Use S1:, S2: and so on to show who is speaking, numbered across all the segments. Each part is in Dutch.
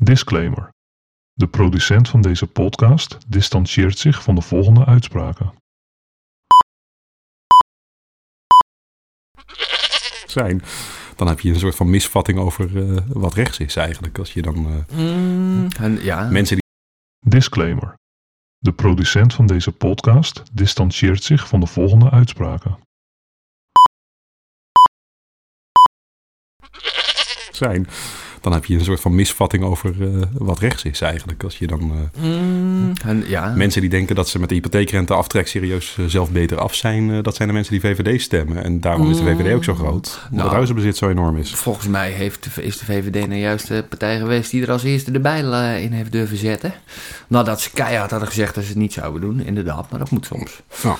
S1: Disclaimer. De producent van deze podcast distantieert zich van de volgende uitspraken.
S2: zijn. Dan heb je een soort van misvatting over eh, wat rechts is eigenlijk. Als je dan eh,
S3: En, ja.
S2: mensen die
S1: Disclaimer. De producent van deze podcast distantieert zich van de volgende uitspraken.
S2: zijn, dan heb je een soort van misvatting over eh, wat rechts is eigenlijk. Als je dan eh,
S3: En, Hmm. ja.
S2: mensen die denken dat ze met de hypotheekrenteaftrek serieus eh, zelf beter af zijn, eh, dat zijn de mensen die VVD stemmen. En daarom is de VVD ook zo groot. Omdat
S3: Nou.
S2: het huizenbezit zo enorm is.
S3: Volgens mij heeft, de- is de VVD nou juist de partij geweest die er als eerste de bijl eh, in heeft durven zetten. Nadat ze keihard hadden gezegd dat ze het niet zouden doen, inderdaad. Maar dat moet soms.
S2: Nou,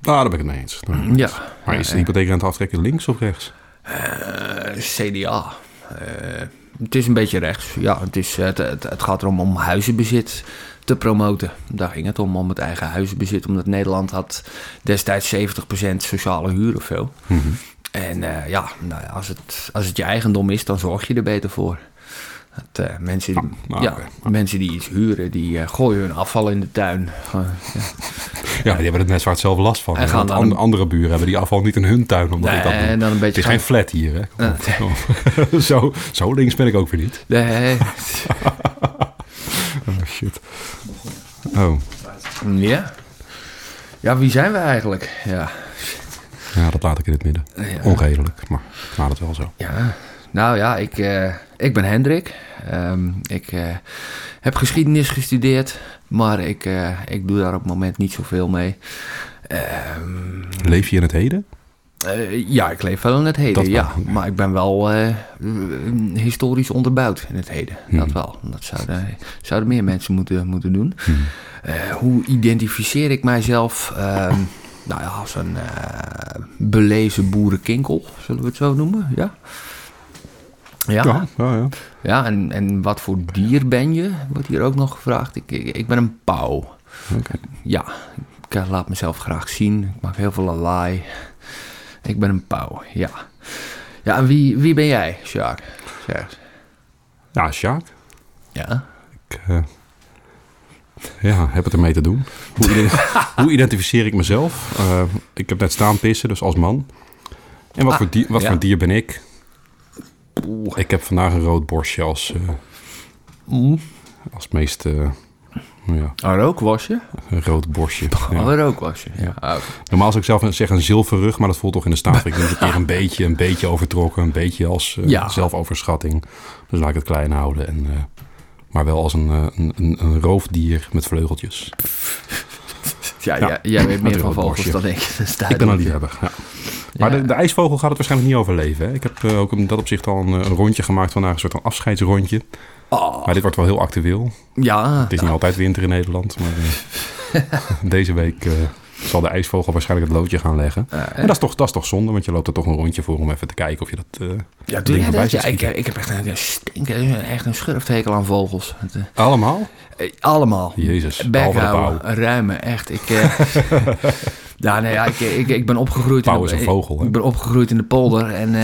S2: daar ben ik het mee eens. Daar ben ik het mee eens.
S3: Ja.
S2: Maar is de hypotheekrenteaftrek links of rechts?
S3: Eh, CDA. Eh, het is een beetje rechts. Ja, het, is, het, het, het gaat erom om huizenbezit te promoten. Daar ging het om, om het eigen huizenbezit. Omdat Nederland had destijds 70% sociale huur of zo.
S2: Mhm.
S3: En eh, ja, nou, ja, als, het, als het je eigendom is, dan zorg je er beter voor. Het, eh, mensen, die,
S2: nou,
S3: ja,
S2: oké.
S3: mensen die iets huren, die eh, gooien hun afval in de tuin. Eh, ja.
S2: Ja, die hebben het net zwart zelf last van.
S3: En gaan
S2: Want
S3: dan-
S2: an- andere buren hebben die afval niet in hun tuin, omdat ik dat
S3: Nee,
S2: doe.
S3: Eh, en dan een beetje
S2: Het is
S3: gaan-
S2: geen flat hier, hè? Kom op.
S3: Eh,
S2: zo, zo links ben ik ook weer niet.
S3: Nee.
S2: Oh, shit. Oh,
S3: ja. ja, wie zijn we eigenlijk? Ja.
S2: ja, dat laat ik in het midden. Onredelijk, maar ik laat het wel zo.
S3: Ja, nou ja, ik, eh, ik ben Hendrik. Ehm, ik eh, heb geschiedenis gestudeerd, maar ik, eh, ik doe daar op het moment niet zoveel mee. Ehm,
S2: Leef je in het heden?
S3: eh, ja, ik leef wel in het
S2: Dat
S3: heden,
S2: wel,
S3: ja.
S2: ja.
S3: Maar ik ben wel eh, eh, historisch onderbouwd in het heden. Dat
S2: Hmm.
S3: wel. Dat zouden, zouden meer mensen moeten, moeten doen. Eh, hoe identificeer ik mijzelf? Ehm, nou ja, als een eh, belezen boerenkinkel, zullen we het zo noemen? Ja. Ja,
S2: ja, ja.
S3: ja, en, en wat voor dier ben je? Wordt hier ook nog gevraagd. Ik, ik, ik ben een pauw.
S2: Oké.
S3: Ja, ik eh, laat mezelf graag zien. Ik maak heel veel lawaai. Ik ben een pauw, ja. Ja, en wie, wie ben jij, Sjaak? Zeg.
S2: Ja, Sjaak.
S3: Ja.
S2: Ik, eh, ja, heb het ermee te doen. Hoe, ident- hoe identificeer ik mezelf? Eh, ik heb net staan pissen, dus als man. En wat,
S3: Ah,
S2: voor, dier, wat
S3: ja.
S2: voor dier ben ik? Ik heb vandaag een rood borstje als, eh,
S3: Mm.
S2: als meest... eh, nou ja,
S3: Een rookworstje?
S2: een rood borstje. Ja.
S3: Oh, een rookworstje. Ja. Oh.
S2: Normaal zou ik zelf zeg een zilverrug, maar dat voelt toch in de staat. Ik denk een keer een beetje, een beetje overtrokken, een beetje als eh,
S3: Ja.
S2: zelfoverschatting. Dus laat ik het klein houden. En, eh, maar wel als een, eh, een, een, een roofdier met vleugeltjes.
S3: Ja,
S2: Ja.
S3: ja, jij weet meer
S2: Een
S3: van vogels
S2: rookworstje.
S3: dan ik. Dat is
S2: Ik ben een
S3: duidelijk.
S2: liefhebber. Ja. Maar de, de ijsvogel gaat het waarschijnlijk niet overleven. Hè? Ik heb eh, ook in dat opzicht al een, eh, een rondje gemaakt vandaag, een soort van afscheidsrondje.
S3: Oh,
S2: Maar dit wordt wel heel actueel.
S3: ja.
S2: Het is niet altijd winter in Nederland, maar eh, deze week eh, zal de ijsvogel waarschijnlijk het loodje gaan leggen.
S3: Eh,
S2: en dat is, toch, dat is toch zonde, want je loopt er toch een rondje voor om even te kijken of je dat eh,
S3: Ja, doe
S2: ding
S3: jij
S2: voorbij
S3: dat?
S2: ziet
S3: Ja, ik,
S2: schieten.
S3: ik heb echt een, een stinker, echt een schurfthekel aan vogels. Het, eh,
S2: Allemaal?
S3: Eh, Allemaal.
S2: Jezus, behalve de
S3: Bekhouden, ruimen, echt. Ik, eh, ja, nee, ja, ik, ik, ik ben opgegroeid...
S2: Pauw is
S3: in de,
S2: een vogel, hè?
S3: Ik ben opgegroeid in de polder en eh,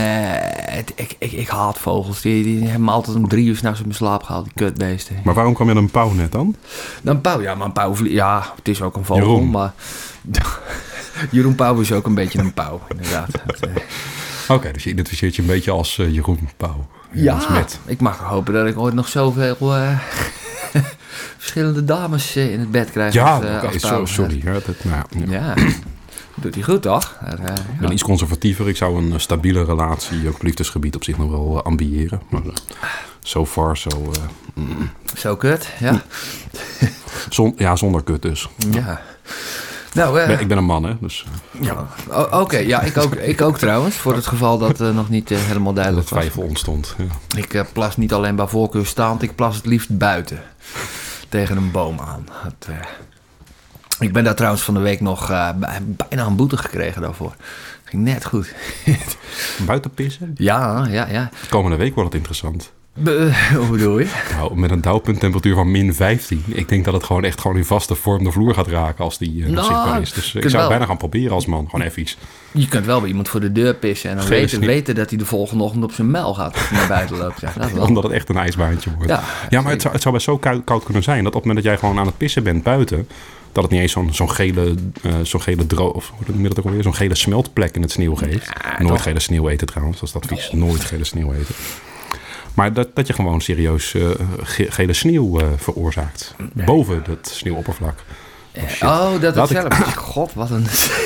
S3: het- ik, ik, ik haat vogels. Die, die hebben me altijd om drie uur s'nachts in mijn slaap gehaald, die kutbeesten.
S2: Maar waarom kwam je dan een pauw net dan?
S3: Dan een pauw, ja, maar een pauw... vlie- Ja, het is ook een vogel,
S2: Jeroen.
S3: maar... Jeroen Pauw is ook een beetje een pauw, inderdaad. Het, eh,
S2: Oké, dus je identificeert je een beetje als eh, Jeroen Pauw. Als
S3: ja,
S2: met.
S3: ik mag hopen dat ik ooit nog zoveel... eh, verschillende dames eh, in het bed krijg.
S2: Ja,
S3: als, eh,
S2: oké,
S3: als
S2: zo-
S3: pauw.
S2: sorry. Ja, dat, nou, ja.
S3: Ja, doet hij goed toch? Maar, eh,
S2: Ik ben
S3: ja.
S2: iets conservatiever. Ik zou een eh, stabiele relatie op liefdesgebied op zich nog wel eh, ambiëren. Maar zo so far, zo... eh,
S3: Zo kut, ja.
S2: zon- ja, zonder kut dus.
S3: ja. Nou, eh,
S2: Ik ben- ik ben een man, hè. Dus eh,
S3: ja. O- oké, ja, ik ook, ik ook trouwens. Voor het geval dat eh, nog niet eh, helemaal
S2: dat
S3: duidelijk was.
S2: twijfel ontstond. Ja.
S3: Ik eh, plas niet alleen bij voorkeur staand, ik plas het liefst buiten. Tegen een boom aan. Het, eh, ik ben daar trouwens van de week nog eh, bij- bijna een boete gekregen daarvoor. Ging net goed.
S2: Buiten pissen?
S3: ja, ja, ja.
S2: Komende week wordt het interessant.
S3: Eh, hoe bedoel je?
S2: Nou, met een dauwpunttemperatuur van min 15. Ik denk dat het gewoon echt gewoon in vaste vorm de vloer gaat raken als die eh, nog
S3: Nou,
S2: zichtbaar is. Dus eh, ik
S3: kan
S2: zou het
S3: wel.
S2: bijna gaan proberen als man. Gewoon even iets.
S3: Je kunt wel bij iemand voor de deur pissen en dan
S2: Geen
S3: weten,
S2: snik.
S3: weten dat hij de volgende ochtend op zijn muil gaat als hij naar buiten loopt. Ja, dat wel.
S2: Omdat het echt een ijsbaantje wordt.
S3: Ja,
S2: maar het zou, het zou best zo koud, koud kunnen zijn dat op het moment dat jij gewoon aan het pissen bent buiten, dat het niet eens zo'n zo'n gele, eh zo'n gele droog, of hoe noem je dat ook alweer, zo'n gele smeltplek in het sneeuw geeft. Nooit
S3: toch.
S2: gele sneeuw eten trouwens, dat is dat vies. Nooit gele sneeuw eten. Maar dat, dat je gewoon serieus eh, ge- gele sneeuw eh, veroorzaakt. Boven het sneeuwoppervlak.
S3: Oh, dat
S2: Laat
S3: is
S2: ik-
S3: zelf. God, wat een...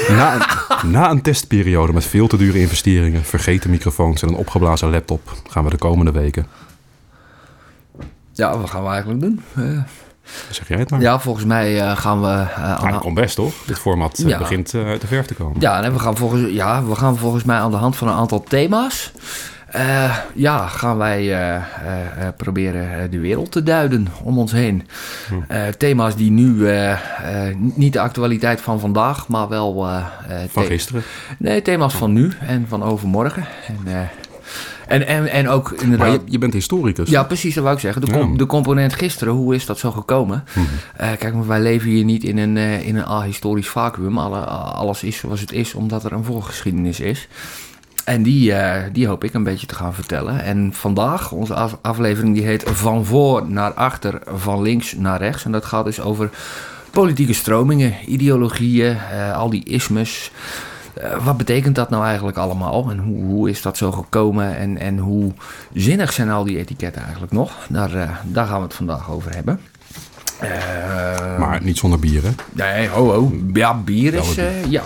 S2: Na een, na een testperiode met veel te dure investeringen, vergeten microfoons en een opgeblazen laptop, gaan we de komende weken.
S3: Ja, wat gaan we eigenlijk doen? Eh,
S2: Zeg jij het maar?
S3: ja, volgens mij eh, gaan we... eh,
S2: Ah,
S3: aan-
S2: dat komt best, toch? Dit format eh,
S3: Ja.
S2: begint eh, te ver te komen.
S3: ja, nee, we gaan volgens, ja, we gaan volgens mij aan de hand van een aantal thema's... eh, ja, gaan wij eh, eh, eh, proberen eh, de wereld te duiden om ons heen.
S2: Hm.
S3: Eh, thema's die nu eh, eh, niet de actualiteit van vandaag, maar wel... eh, eh,
S2: Van
S3: the-
S2: gisteren.
S3: Nee, thema's van nu en van overmorgen. En, eh, en, en, en ook
S2: Maar
S3: inderdaad...
S2: je, je bent historicus.
S3: Ja, precies, dat wou ik zeggen. De, com-
S2: dus. Ja.
S3: de component gisteren, hoe is dat zo gekomen? Eh, kijk, maar wij leven hier niet in een, eh, in een ahistorisch vacuüm. Alle, alles is zoals het is, omdat er een voorgeschiedenis is. En die, eh, die hoop ik een beetje te gaan vertellen. En vandaag, onze af- aflevering, die heet Van voor naar achter, van links naar rechts. En dat gaat dus over politieke stromingen, ideologieën, eh, al die ismes. Eh, wat betekent dat nou eigenlijk allemaal? En hoe, hoe is dat zo gekomen? En, en hoe zinnig zijn al die etiketten eigenlijk nog? Daar, eh, daar gaan we het vandaag over hebben. Eh,
S2: Maar niet zonder bier, hè?
S3: Nee, ho, ho. Ja, bier is...
S2: Wel
S3: eh, ja.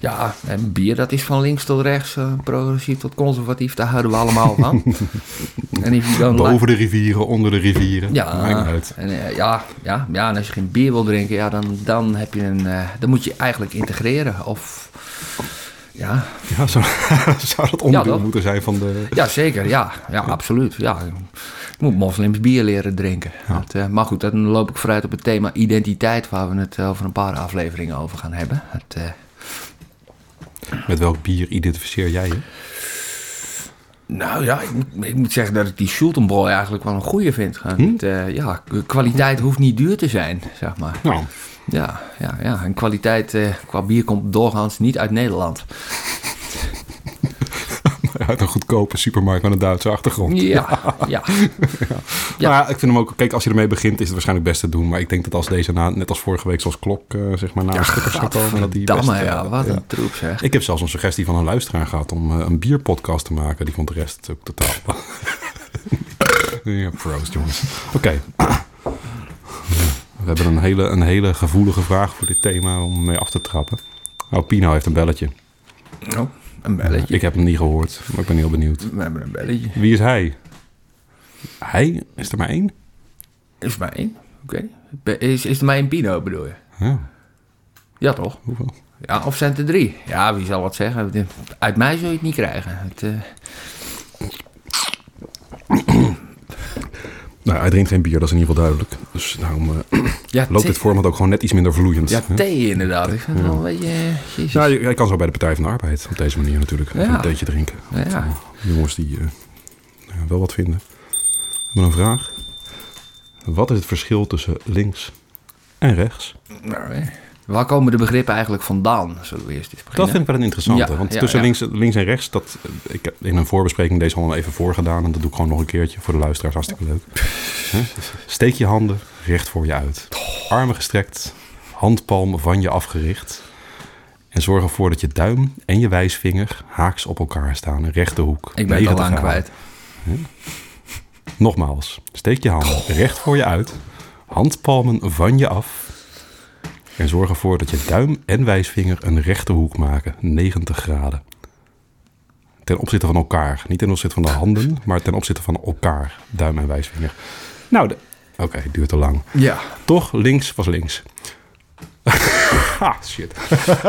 S3: ja, en bier dat is van links tot rechts, eh, progressief tot conservatief. Daar houden we allemaal van. en if you don't like-
S2: Boven de rivieren, onder de rivieren.
S3: ja,
S2: Maakt niet uit.
S3: En, eh, ja, ja, ja, en als je geen bier wil drinken, ja, dan, dan, heb je een, eh, dan moet je eigenlijk integreren. Of, ja,
S2: Ja, zou, zou dat onderdeel
S3: Ja, toch?
S2: moeten zijn van de...
S3: ja, zeker. Ja, ja, absoluut. Ja, ik moet moslims bier leren drinken. Dat, eh, maar goed, dan loop ik vooruit op het thema identiteit, waar we het eh, over een paar afleveringen over gaan hebben. Het, eh,
S2: Met welk bier identificeer jij je?
S3: Nou ja, ik moet, ik moet zeggen dat ik die Schultenboy eigenlijk wel een goeie vind. Gewoon
S2: Hm?
S3: het, eh, ja, k- kwaliteit hoeft niet duur te zijn, zeg maar.
S2: Nou,
S3: Ja, ja, ja. En kwaliteit eh, qua bier komt doorgaans niet uit Nederland.
S2: uit een goedkope supermarkt met een Duitse achtergrond.
S3: Ja, ja. Ja.
S2: Nou Ja. ik vind hem ook... Kijk, als je ermee begint is het waarschijnlijk best te doen. Maar ik denk dat als deze, na, net als vorige week, zoals Klok, eh, zeg maar, na een stuk of zo komen... dat die best,
S3: Gadverdamme,
S2: eh,
S3: ja. Wat
S2: ja.
S3: een troep, zeg.
S2: Ik heb zelfs een suggestie van een luisteraar gehad om eh, een bierpodcast te maken. Die vond de rest ook totaal. ja, proost jongens. Oké. We hebben een hele, een hele gevoelige vraag voor dit thema om mee af te trappen. Oh, Pino heeft een belletje.
S3: Oh, een belletje.
S2: Ik heb hem niet gehoord, maar Nou, ik ben heel benieuwd.
S3: We hebben een belletje.
S2: Wie is hij? Hij? Is er maar één?
S3: Is er maar één? Oké. Be- Is, is er maar één Pino, bedoel je?
S2: Ja,
S3: Ja, toch?
S2: hoeveel?
S3: Ja, of zijn het er drie? Ja, wie zal wat zeggen? Uit mij zul je het niet krijgen. Het, eh,
S2: Nou, hij drinkt geen bier, dat is in ieder geval duidelijk. Dus daarom eh,
S3: ja,
S2: loopt
S3: thee-
S2: dit format ook gewoon net iets minder vloeiend.
S3: Ja,
S2: hè?
S3: thee inderdaad. Ik vind het wel een beetje... eh, Jezus.
S2: Ja, je, je kan zo bij de Partij van de Arbeid op deze manier natuurlijk. Even
S3: Ja.
S2: een theetje drinken.
S3: Ja.
S2: Dat, eh, Jongens die eh, ja, wel wat vinden. We hebben een vraag. Wat is het verschil tussen links en rechts?
S3: Nou, hè. Waar komen de begrippen eigenlijk vandaan? Zullen we eerst eens beginnen?
S2: Dat vind ik wel een interessante.
S3: Ja,
S2: want
S3: ja,
S2: tussen
S3: ja.
S2: Links, links en rechts, dat, eh, ik heb in een voorbespreking deze al even voorgedaan. En dat doe ik gewoon nog een keertje voor de luisteraars. Hartstikke leuk. Hè? Steek je handen recht voor je uit. Armen gestrekt, handpalm van je afgericht. En zorg ervoor dat je duim en je wijsvinger haaks op elkaar staan. Een rechte hoek.
S3: Ik ben het al
S2: 90
S3: lang
S2: graden.
S3: kwijt.
S2: Nogmaals, steek je handen recht voor je uit, handpalmen van je af. En zorg ervoor dat je duim en wijsvinger een rechte hoek maken, 90 graden. Ten opzichte van elkaar. Niet ten opzichte van de handen, maar ten opzichte van elkaar, duim en wijsvinger. Nou, de- oké, het duurt te lang.
S3: Ja.
S2: Toch, links was links. ah, shit.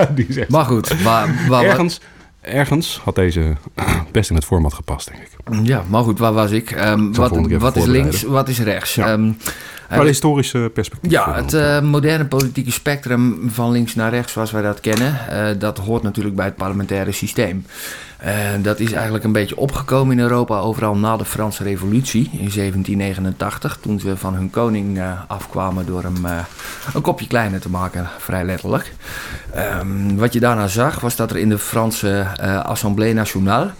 S2: Die is echt-
S3: Maar goed, waar, waar,
S2: Ergens, Ergens had deze best in het format gepast, denk ik.
S3: Ja, maar goed, waar was ik?
S2: volgende
S3: Ehm, wat
S2: keer
S3: wat is
S2: voorbereiden.
S3: links, wat is rechts?
S2: Ja.
S3: Ehm,
S2: Maar historische perspectief.
S3: Ja,
S2: eh,
S3: het eh, moderne politieke spectrum van links naar rechts, zoals wij dat kennen, eh, dat hoort natuurlijk bij het parlementaire systeem. Eh, dat is eigenlijk een beetje opgekomen in Europa overal na de Franse Revolutie in 1789, toen ze van hun koning eh, afkwamen door hem eh, een kopje kleiner te maken, vrij letterlijk. Ehm, wat je daarna zag, was dat er in de Franse eh Assemblée Nationale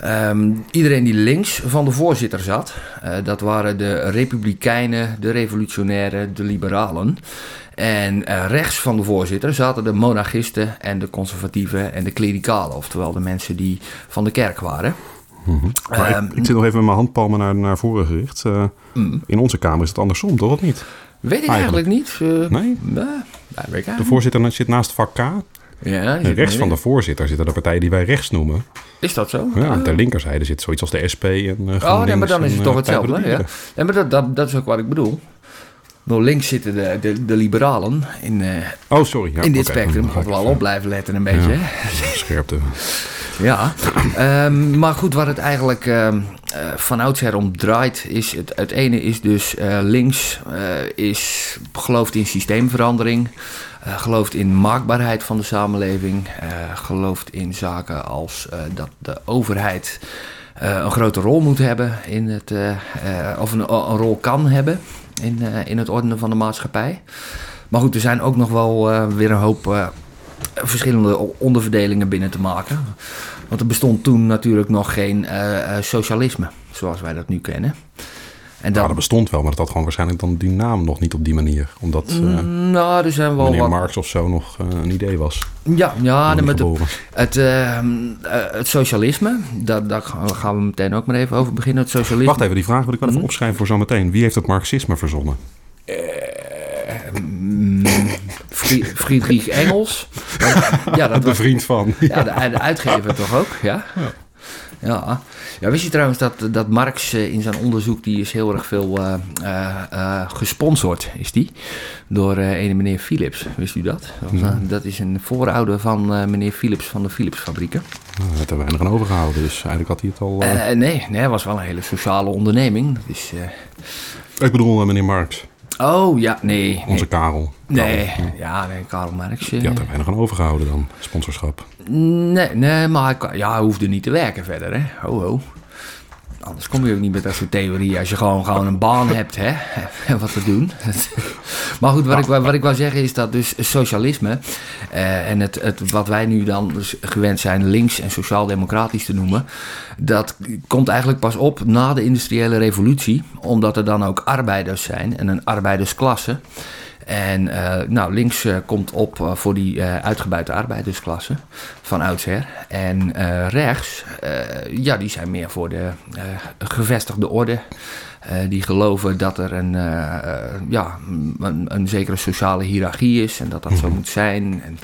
S3: ehm, iedereen die links van de voorzitter zat, eh, dat waren de Republikeinen, de Revolutionairen, de Liberalen. En eh, rechts van de voorzitter zaten de monarchisten en de conservatieven en de klerikalen, oftewel de mensen die van de kerk waren.
S2: mhm. Maar ik-
S3: ehm,
S2: ik, zit nog even met mijn handpalmen naar, naar voren gericht. Eh,
S3: Mm.
S2: in onze kamer is het andersom, toch? Of niet?
S3: Weet ik eigenlijk,
S2: Eigenlijk.
S3: niet. eh,
S2: Nee?
S3: nou, nou, weet ik
S2: De
S3: eigenlijk
S2: voorzitter zit naast vak K. En
S3: niet. Ja, die zit
S2: rechts van de
S3: midden.
S2: voorzitter zitten de partijen die wij rechts noemen.
S3: Is dat zo?
S2: Ja,
S3: Ah.
S2: aan de linkerzijde zit zoiets als de SP en eh GroenLinks.
S3: Oh, nee, maar dan is
S2: en,
S3: het toch
S2: eh, Partij voor de
S3: hetzelfde. Ja.
S2: Dieren.
S3: Nee, maar dat, dat, dat is ook wat ik bedoel. Nou, links zitten de, de, de liberalen in, eh,
S2: Oh, sorry. Ja,
S3: in dit
S2: oké. Dan
S3: spectrum.
S2: ga
S3: Moeten
S2: ik
S3: we wel
S2: even
S3: op blijven letten een beetje.
S2: Ja.
S3: hè.
S2: Scherpte.
S3: Ja, ehm, maar goed, waar het eigenlijk ehm, eh, van oudsher om draait, is het, het ene is dus eh, links, eh, is gelooft in systeemverandering, eh, gelooft in maakbaarheid van de samenleving, eh, gelooft in zaken als eh, dat de overheid eh, een grote rol moet hebben in het, eh, eh, of een, een rol kan hebben in, eh, in het ordenen van de maatschappij. Maar goed, er zijn ook nog wel eh, weer een hoop eh, verschillende o- onderverdelingen binnen te maken. Want er bestond toen natuurlijk nog geen eh, eh, socialisme, zoals wij dat nu kennen. En
S2: Ja,
S3: dat,
S2: dat bestond wel, maar dat had gewoon waarschijnlijk dan die naam nog niet op die manier. Omdat eh,
S3: nou, er zijn wel
S2: meneer
S3: wat...
S2: Marx of zo nog eh, een idee was.
S3: Ja, ja
S2: Nog
S3: nee,
S2: niet
S3: maar de-
S2: geboren.
S3: het, eh, eh, het socialisme, daar, daar gaan we- gaan we meteen ook maar even over beginnen. Het socialisme...
S2: Wacht even, die vraag wil ik wel
S3: Mhm.
S2: even opschrijven voor zometeen. Wie heeft het marxisme verzonnen?
S3: Eh, mm, Fri- Friedrich Engels. ja, dat
S2: De
S3: was
S2: vriend van.
S3: ja, de, de uitgever toch ook, ja? Ja. ja. Wist je trouwens dat, dat Marx eh, in zijn onderzoek, die is heel erg veel eh, eh, eh, gesponsord, is die, door eh ene meneer Philips. Wist u dat? Dat, was, eh, dat is een voorouder van eh, meneer Philips van de Philips fabrieken.
S2: Nou, daar heeft er weinig aan overgehouden, dus eigenlijk had hij het al... eh,
S3: Eh, nee, nee, het was wel een hele sociale onderneming. Dat is, eh,
S2: Ik bedoel eh, meneer Marx,
S3: oh ja, nee. nee.
S2: onze Karel.
S3: Nee, ja, nee, Karl Marx. eh,
S2: Die had er weinig aan overgehouden dan, sponsorschap.
S3: Nee, nee maar hij, kan- ja, hij hoefde niet te werken verder, hè. Ho, ho. Anders kom je ook niet met dat soort theorieën als je gewoon, gewoon een baan hebt, hè. En wat te doen. maar goed, wat ik, wou- wat ik wou zeggen is dat dus socialisme... eh, en het, het, wat wij nu dan dus gewend zijn links en sociaal-democratisch te noemen... dat komt eigenlijk pas op na de industriële revolutie... omdat er dan ook arbeiders zijn en een arbeidersklasse... En eh, nou, links eh, komt op eh, voor die eh, uitgebuite arbeidersklasse van oudsher. En eh, rechts, eh, ja, die zijn meer voor de eh, gevestigde orde. Eh, die geloven dat er een, eh, eh, ja, een, een zekere sociale hiërarchie is en dat dat
S2: Mhm.
S3: zo moet zijn. En,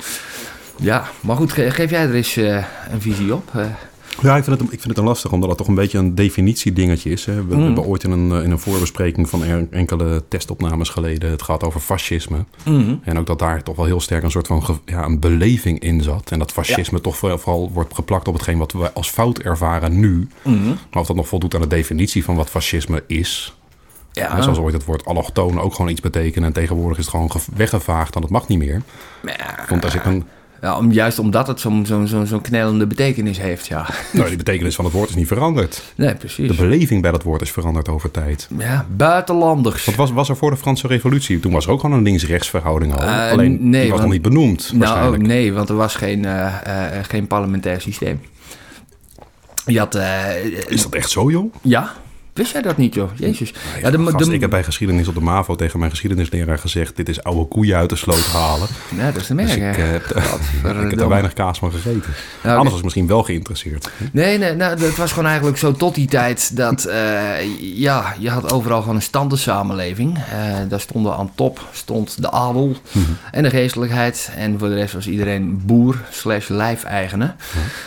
S3: ja, maar goed, ge- geef jij er eens eh, een visie op? eh?
S2: Ja, ik vind, het, ik vind het een lastig, omdat dat toch een beetje een definitiedingetje is. Hè. We, we hebben ooit in een, eh, in een voorbespreking van er- enkele testopnames geleden het gehad over fascisme. En ook dat daar toch wel heel sterk een soort van ge- ja, een beleving in zat. En dat fascisme toch vooral, vooral wordt geplakt op hetgeen wat we als fout ervaren nu. Maar of dat nog voldoet aan de definitie van wat fascisme is.
S3: ja,
S2: Hè, Zoals ooit het woord allochtoon ook gewoon iets betekenen. En tegenwoordig is het gewoon ge- weggevaagd en dat mag niet meer. Want als ik een...
S3: ja, om, juist omdat het zo'n zo, zo, zo'n knellende betekenis heeft, ja.
S2: Nou, die betekenis van het woord is niet veranderd.
S3: Nee,
S2: De
S3: precies.
S2: beleving bij dat woord is veranderd over tijd.
S3: Ja, buitenlanders.
S2: Wat was, was er voor de Franse revolutie? Toen was er ook gewoon een links-rechts verhouding al.
S3: Eh,
S2: Alleen die
S3: nee,
S2: was
S3: want-
S2: nog niet benoemd
S3: Nou,
S2: waarschijnlijk.
S3: ook nee, want er was geen, eh, eh, geen parlementair systeem. Je had... eh,
S2: Is dat echt zo, joh?
S3: ja? Wist jij dat niet, joh? Jezus. ja, de,
S2: Gast,
S3: de-
S2: ik heb bij geschiedenis op de MAVO tegen mijn geschiedenisleraar gezegd... dit is oude koeien uit de sloot halen.
S3: Ja, Nou, dat is te
S2: Dus ik,
S3: merken.
S2: eh, heb- ik heb
S3: Godverdomme.
S2: er weinig kaas van gegeten.
S3: oké.
S2: Anders was ik misschien wel geïnteresseerd.
S3: Nee, nee nou, het was gewoon eigenlijk zo tot die tijd dat eh, ja, je had overal gewoon een standensamenleving. Eh daar stonden aan top stond de adel
S2: Mhm.
S3: en de geestelijkheid. En voor de rest was iedereen boer slash lijfeigene.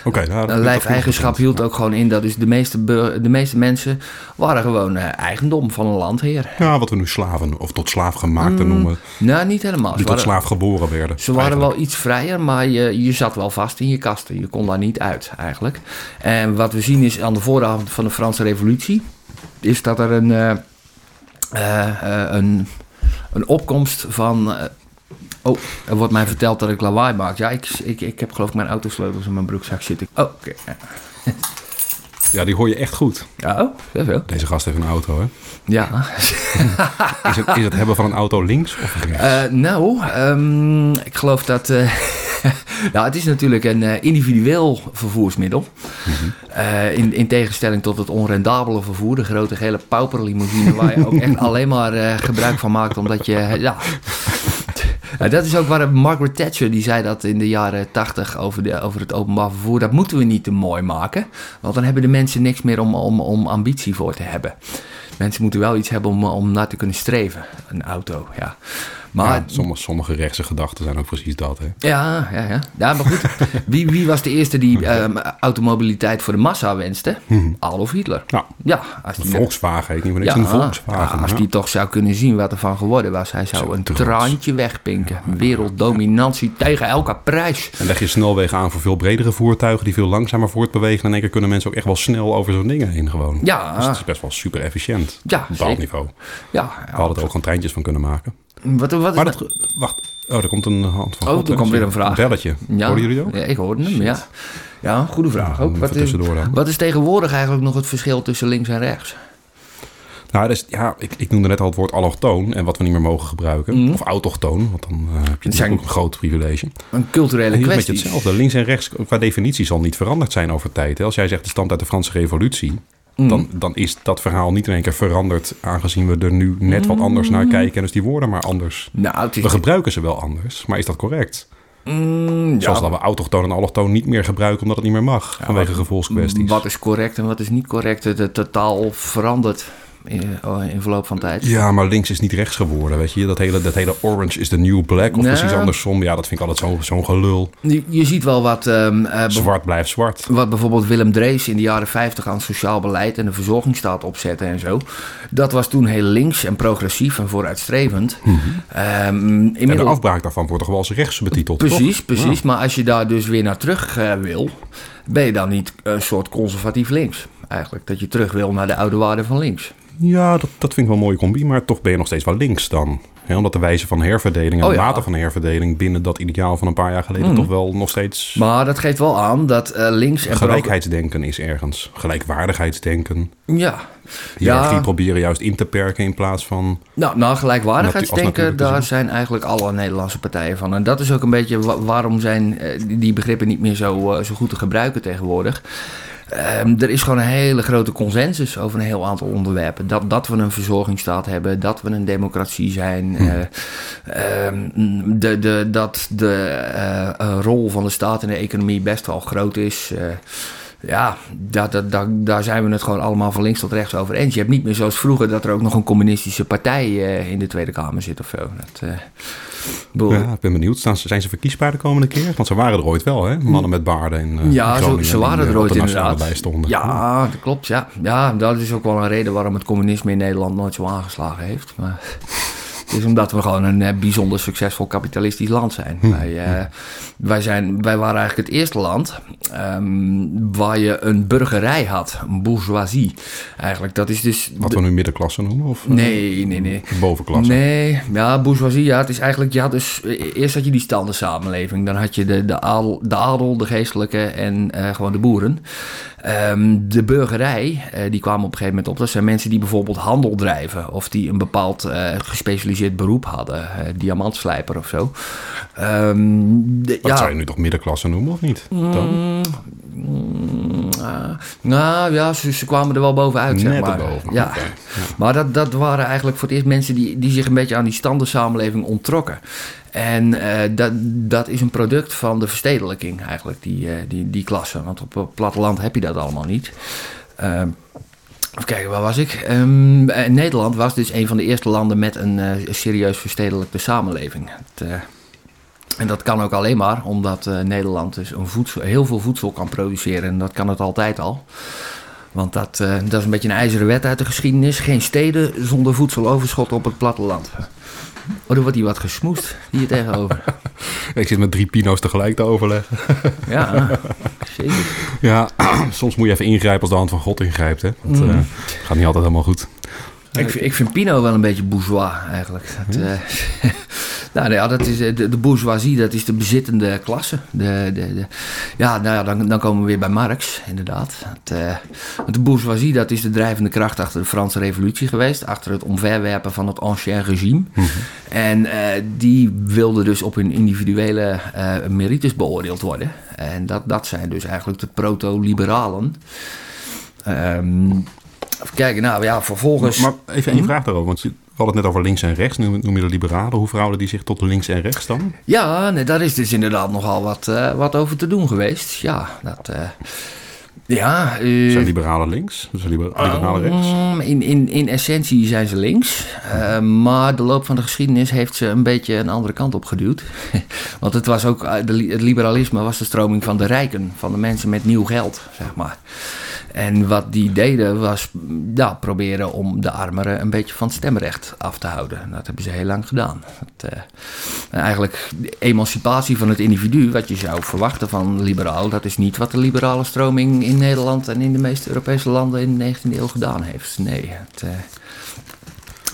S2: Oké, nou, dat-
S3: Een
S2: dat-
S3: lijfeigenschap hield ook gewoon in dat dus de meeste, bur- de meeste mensen waren gewoon eh, eigendom van een landheer.
S2: Ja, wat we nu slaven of tot slaafgemaakten noemen.
S3: Nou, niet helemaal. Ze
S2: Die tot
S3: waren,
S2: slaaf geboren werden.
S3: ze waren wel iets vrijer, maar je, je zat wel vast in je kasten. Je kon daar niet uit, eigenlijk. En wat we zien is aan de vooravond van de Franse Revolutie... is dat er een, eh, eh, eh, een, een opkomst van... eh, oh, er wordt mij verteld dat ik lawaai maak. Ja, ik, ik, ik heb geloof ik mijn autosleutels in mijn broekzak zitten. Oh, oké.
S2: Ja, die hoor je echt goed.
S3: Ja, oh, zoveel.
S2: Deze gast heeft een auto, hè?
S3: Ja.
S2: Is het, is het hebben van een auto links of rechts?
S3: Eh, nou, ehm, ik geloof dat. eh, nou, het is natuurlijk een eh, individueel vervoersmiddel. Eh, in, in tegenstelling tot het onrendabele vervoer, de grote gele pauperlimousine, waar je ook echt alleen maar eh, gebruik van maakt, omdat je. eh, ja. Nou, dat is ook waar Margaret Thatcher, die zei dat in de jaren tachtig over, de- over het openbaar vervoer. Dat moeten we niet te mooi maken, want dan hebben de mensen niks meer om, om, om ambitie voor te hebben. Mensen moeten wel iets hebben om, om naar te kunnen streven. Een auto, ja. Maar
S2: Ja, sommige, sommige rechtse gedachten zijn ook precies dat, hè?
S3: ja, ja, ja. ja maar goed. Wie, wie was de eerste die ehm, automobiliteit voor de massa wenste? Adolf Hitler.
S2: Nou,
S3: Ja, als
S2: een
S3: die,
S2: Mhm. Volkswagen heet niet meer niks
S3: ja,
S2: een Volkswagen.
S3: ja, als
S2: ja.
S3: die toch zou kunnen zien wat er van geworden was. Hij zou een
S2: trots.
S3: traantje wegpinken. Werelddominantie tegen elke prijs.
S2: En leg je snelwegen aan voor veel bredere voertuigen die veel langzamer voortbewegen. En in één keer kunnen mensen ook echt wel snel over zo'n dingen heen gewoon.
S3: Ja.
S2: Dus het is best wel super efficiënt.
S3: Ja,
S2: Op een bepaald
S3: zeker.
S2: niveau.
S3: Ja,
S2: We
S3: ja.
S2: hadden er ook gewoon treintjes van kunnen maken.
S3: Wat, wat is
S2: Oh. Maar
S3: dat-
S2: dat... Wacht. Oh, er komt een hand van
S3: Oh,
S2: God,
S3: er
S2: hè?
S3: komt weer een vraag.
S2: belletje.
S3: Ja,
S2: Hoorden jullie dat ook?
S3: Ja, ik hoorde hem, ja. Ja, goede vraag
S2: Ja,
S3: ook.
S2: even
S3: Wat is,
S2: tussendoor dan.
S3: wat is tegenwoordig eigenlijk nog het verschil tussen links en rechts?
S2: Nou, dus, ja, ik, ik noemde net al het woord allochtoon en wat we niet meer mogen gebruiken. Of autochtoon, want dan eh, heb je natuurlijk
S3: Mhm. zijn-
S2: ook een groot privilege.
S3: Een culturele
S2: En hier is het
S3: kwestie.
S2: met hetzelfde. Links en rechts qua definitie zal niet veranderd zijn over tijd. hè. Als jij zegt de stamt uit de Franse Revolutie,
S3: Mhm.
S2: dan, dan is dat verhaal niet in één keer veranderd. Aangezien we er nu net wat anders
S3: Mhm.
S2: naar kijken en dus die woorden maar anders.
S3: Nou, het is...
S2: We gebruiken ze wel anders, maar is dat correct?
S3: Mm, ja.
S2: Zoals dat we autochtoon en allochtoon niet meer gebruiken omdat het niet meer mag. vanwege gevoelskwesties.
S3: Wat is correct en wat is niet correct? De, de totaal verandert in, oh, in verloop van tijd.
S2: Ja, maar links is niet rechts geworden, weet je. Dat hele, dat hele orange is de new black of
S3: Nou.
S2: precies andersom. Ja, dat vind ik altijd zo'n zo'n gelul.
S3: Je, je ziet wel wat, ehm, eh, bijv-
S2: Zwart blijft zwart.
S3: wat bijvoorbeeld Willem Drees in de jaren 50 aan het sociaal beleid en de verzorgingsstaat opzetten en zo. Dat was toen heel links en progressief en vooruitstrevend. Ehm,
S2: Mhm. En de
S3: inmiddels,
S2: afbraak daarvan wordt toch wel als rechts betiteld,
S3: precies,
S2: toch? Ah.
S3: precies. Maar als je daar dus weer naar terug eh, wil, ben je dan niet een soort conservatief links eigenlijk? Dat je terug wil naar de oude waarden van links.
S2: Ja, dat, dat vind ik wel een mooie combi, maar toch ben je nog steeds wel links dan. Hè, omdat de wijze van herverdeling en
S3: Oh
S2: de
S3: ja. Mhm.
S2: mate van herverdeling binnen dat ideaal van een paar jaar geleden toch wel nog steeds
S3: Maar dat geeft wel aan dat eh, links en progressief.
S2: gelijkheidsdenken is ergens. Gelijkwaardigheidsdenken.
S3: Ja.
S2: Hiërarchie proberen juist in te perken in plaats van...
S3: Nou, nou
S2: Natu- als
S3: gelijkwaardigheidsdenken,
S2: natuurlijke
S3: daar
S2: zin.
S3: zijn eigenlijk alle Nederlandse partijen van. En dat is ook een beetje wa- waarom zijn eh, die- die begrippen niet meer zo, eh, zo goed te gebruiken tegenwoordig. Ehm, er is gewoon een hele grote consensus over een heel aantal onderwerpen. Dat, dat we een verzorgingsstaat hebben, dat we een democratie zijn. eh, ehm, de, de, dat de eh, eh, rol van de staat in de economie best wel groot is. eh, ja, daar, daar, daar, daar zijn we het gewoon allemaal van links tot rechts over eens. Je hebt niet meer zoals vroeger dat er ook nog een communistische partij eh, in de Tweede Kamer zit of zo. Dat, eh, ik bedoel,
S2: Ja, ik ben benieuwd. Staan ze- Zijn ze verkiesbaar de komende keer? Want ze waren er ooit wel, hè? Mannen met baarden in eh,
S3: Hm. Ja, zo,
S2: Groningen
S3: ze
S2: die,
S3: waren
S2: eh,
S3: er
S2: op
S3: ooit
S2: de nationale
S3: inderdaad.
S2: lijst stonden. Hm.
S3: Ja, dat klopt. Ja. ja, dat is ook wel een reden waarom het communisme in Nederland nooit zo aangeslagen heeft. Maar het is omdat we gewoon een eh, bijzonder succesvol kapitalistisch land zijn.
S2: Hm.
S3: Wij, eh, wij, zijn wij waren eigenlijk het eerste land ehm, waar je een burgerij had, een bourgeoisie. Eigenlijk, dat is dus...
S2: Wat we nu middenklasse noemen? Of eh,
S3: Nee, nee, nee.
S2: bovenklasse?
S3: Nee, ja, bourgeoisie, ja, het is eigenlijk, ja, dus e- eerst had je die standensamenleving, dan had je de, de, adel, de adel, de geestelijke en eh, gewoon de boeren. Ehm, de burgerij, eh, die kwamen op een gegeven moment op, dat zijn mensen die bijvoorbeeld handel drijven of die een bepaald eh, gespecialiseerd beroep hadden, eh, diamantslijper of zo. Ehm, de-
S2: Dat
S3: ja, Hm.
S2: zou je nu toch middenklasse noemen, of niet? Dan?
S3: Ah, nou ja, ze, ze kwamen er wel bovenuit, zeg
S2: Net
S3: maar.
S2: erboven,
S3: Ja.
S2: oké.
S3: Maar dat, dat waren eigenlijk voor het eerst mensen die, die zich een beetje aan die standensamenleving onttrokken. En eh, dat, dat is een product van de verstedelijking eigenlijk, die, eh, die, die klasse. Want op het platteland heb je dat allemaal niet. Ehm, Even kijken, waar was ik? Ehm, eh, Nederland was dus een van de eerste landen met een eh, serieus verstedelijkte samenleving. Het, eh, en dat kan ook alleen maar omdat eh, Nederland dus een voedsel, heel veel voedsel kan produceren. En dat kan het altijd al. Want dat, eh, dat is een beetje een ijzeren wet uit de geschiedenis. Geen steden zonder voedseloverschot op het platteland. Oh, dan wordt hier wat gesmoest hier tegenover.
S2: Ik zit met drie pino's tegelijk te overleggen.
S3: Ja, zeker.
S2: Ja, soms moet je even ingrijpen als de hand van God ingrijpt. Hè? Dat
S3: Mm.
S2: eh, gaat niet altijd helemaal goed.
S3: Ik, ik vind Pino wel een beetje bourgeois eigenlijk. Dat, eh, nou ja, dat is, eh, de, de bourgeoisie, dat is de bezittende klasse. De, de, de- ja, nou ja, dan, dan komen we weer bij Marx, inderdaad. Dat, eh, want de bourgeoisie, dat is de drijvende kracht achter de Franse revolutie geweest. Achter het omverwerpen van het ancien regime. En eh, die wilden dus op hun individuele eh, merites beoordeeld worden. En dat, dat zijn dus eigenlijk de proto-liberalen. Ehm, even kijken, nou ja, vervolgens...
S2: Maar even
S3: Hm?
S2: één vraag daarover. Want je- we hadden het net over links en rechts. Nu noem je de liberalen. Hoe verhouden die zich tot links en rechts dan?
S3: Ja, nee, daar is dus inderdaad nogal wat, eh, wat over te doen geweest. Ja, dat. eh, ja, eh,
S2: Zijn liberalen links? Zijn liber- liberalen rechts?
S3: mm, in, in, in essentie zijn ze links. Eh, maar de loop van de geschiedenis heeft ze een beetje een andere kant op geduwd. Want het, was ook, eh, de li- het liberalisme was de stroming van de rijken, van de mensen met nieuw geld, zeg maar. En wat die deden was mm, ja, proberen om de armeren een beetje van het stemrecht af te houden. En Dat hebben ze heel lang gedaan. Dat, eh, en eigenlijk de emancipatie van het individu, wat je zou verwachten van een liberaal, dat is niet wat de liberale stroming in Nederland en in de meeste Europese landen in de 19e eeuw gedaan heeft. Nee, het eh,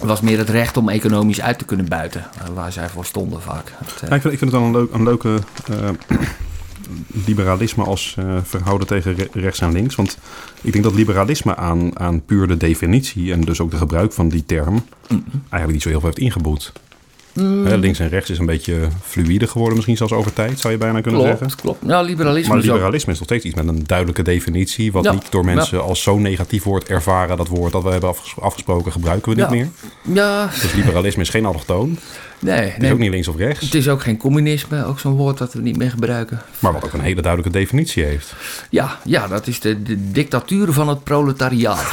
S3: was meer het recht om economisch uit te kunnen buiten, eh, waar zij voor stonden vaak. Het, eh,
S2: Ja, ik, vind, ik vind het wel een, leuk, een leuke eh, liberalisme als eh, verhouden tegen re- rechts en links. Want ik denk dat liberalisme aan, aan puur de definitie en dus ook de gebruik van die term
S3: Mm-hmm.
S2: eigenlijk niet zo heel veel heeft ingeboet.
S3: Mm.
S2: Hè, links en rechts is een beetje fluïde geworden, misschien zelfs over tijd, zou je bijna kunnen
S3: klopt,
S2: zeggen.
S3: klopt. Nou, liberalisme
S2: Maar
S3: is ook-
S2: liberalisme is nog steeds iets met een duidelijke definitie, wat
S3: Ja,
S2: niet door mensen als zo negatief wordt ervaren. Dat woord dat we hebben afges- afgesproken gebruiken we niet
S3: Ja.
S2: meer.
S3: Ja,
S2: Dus liberalisme is geen allochtoon. Het
S3: nee.
S2: is
S3: nee.
S2: ook niet links of rechts,
S3: Het is ook geen communisme, ook zo'n woord dat we niet meer gebruiken.
S2: maar wat ook een hele duidelijke definitie heeft.
S3: Ja, ja dat is de, de dictatuur van het proletariaat.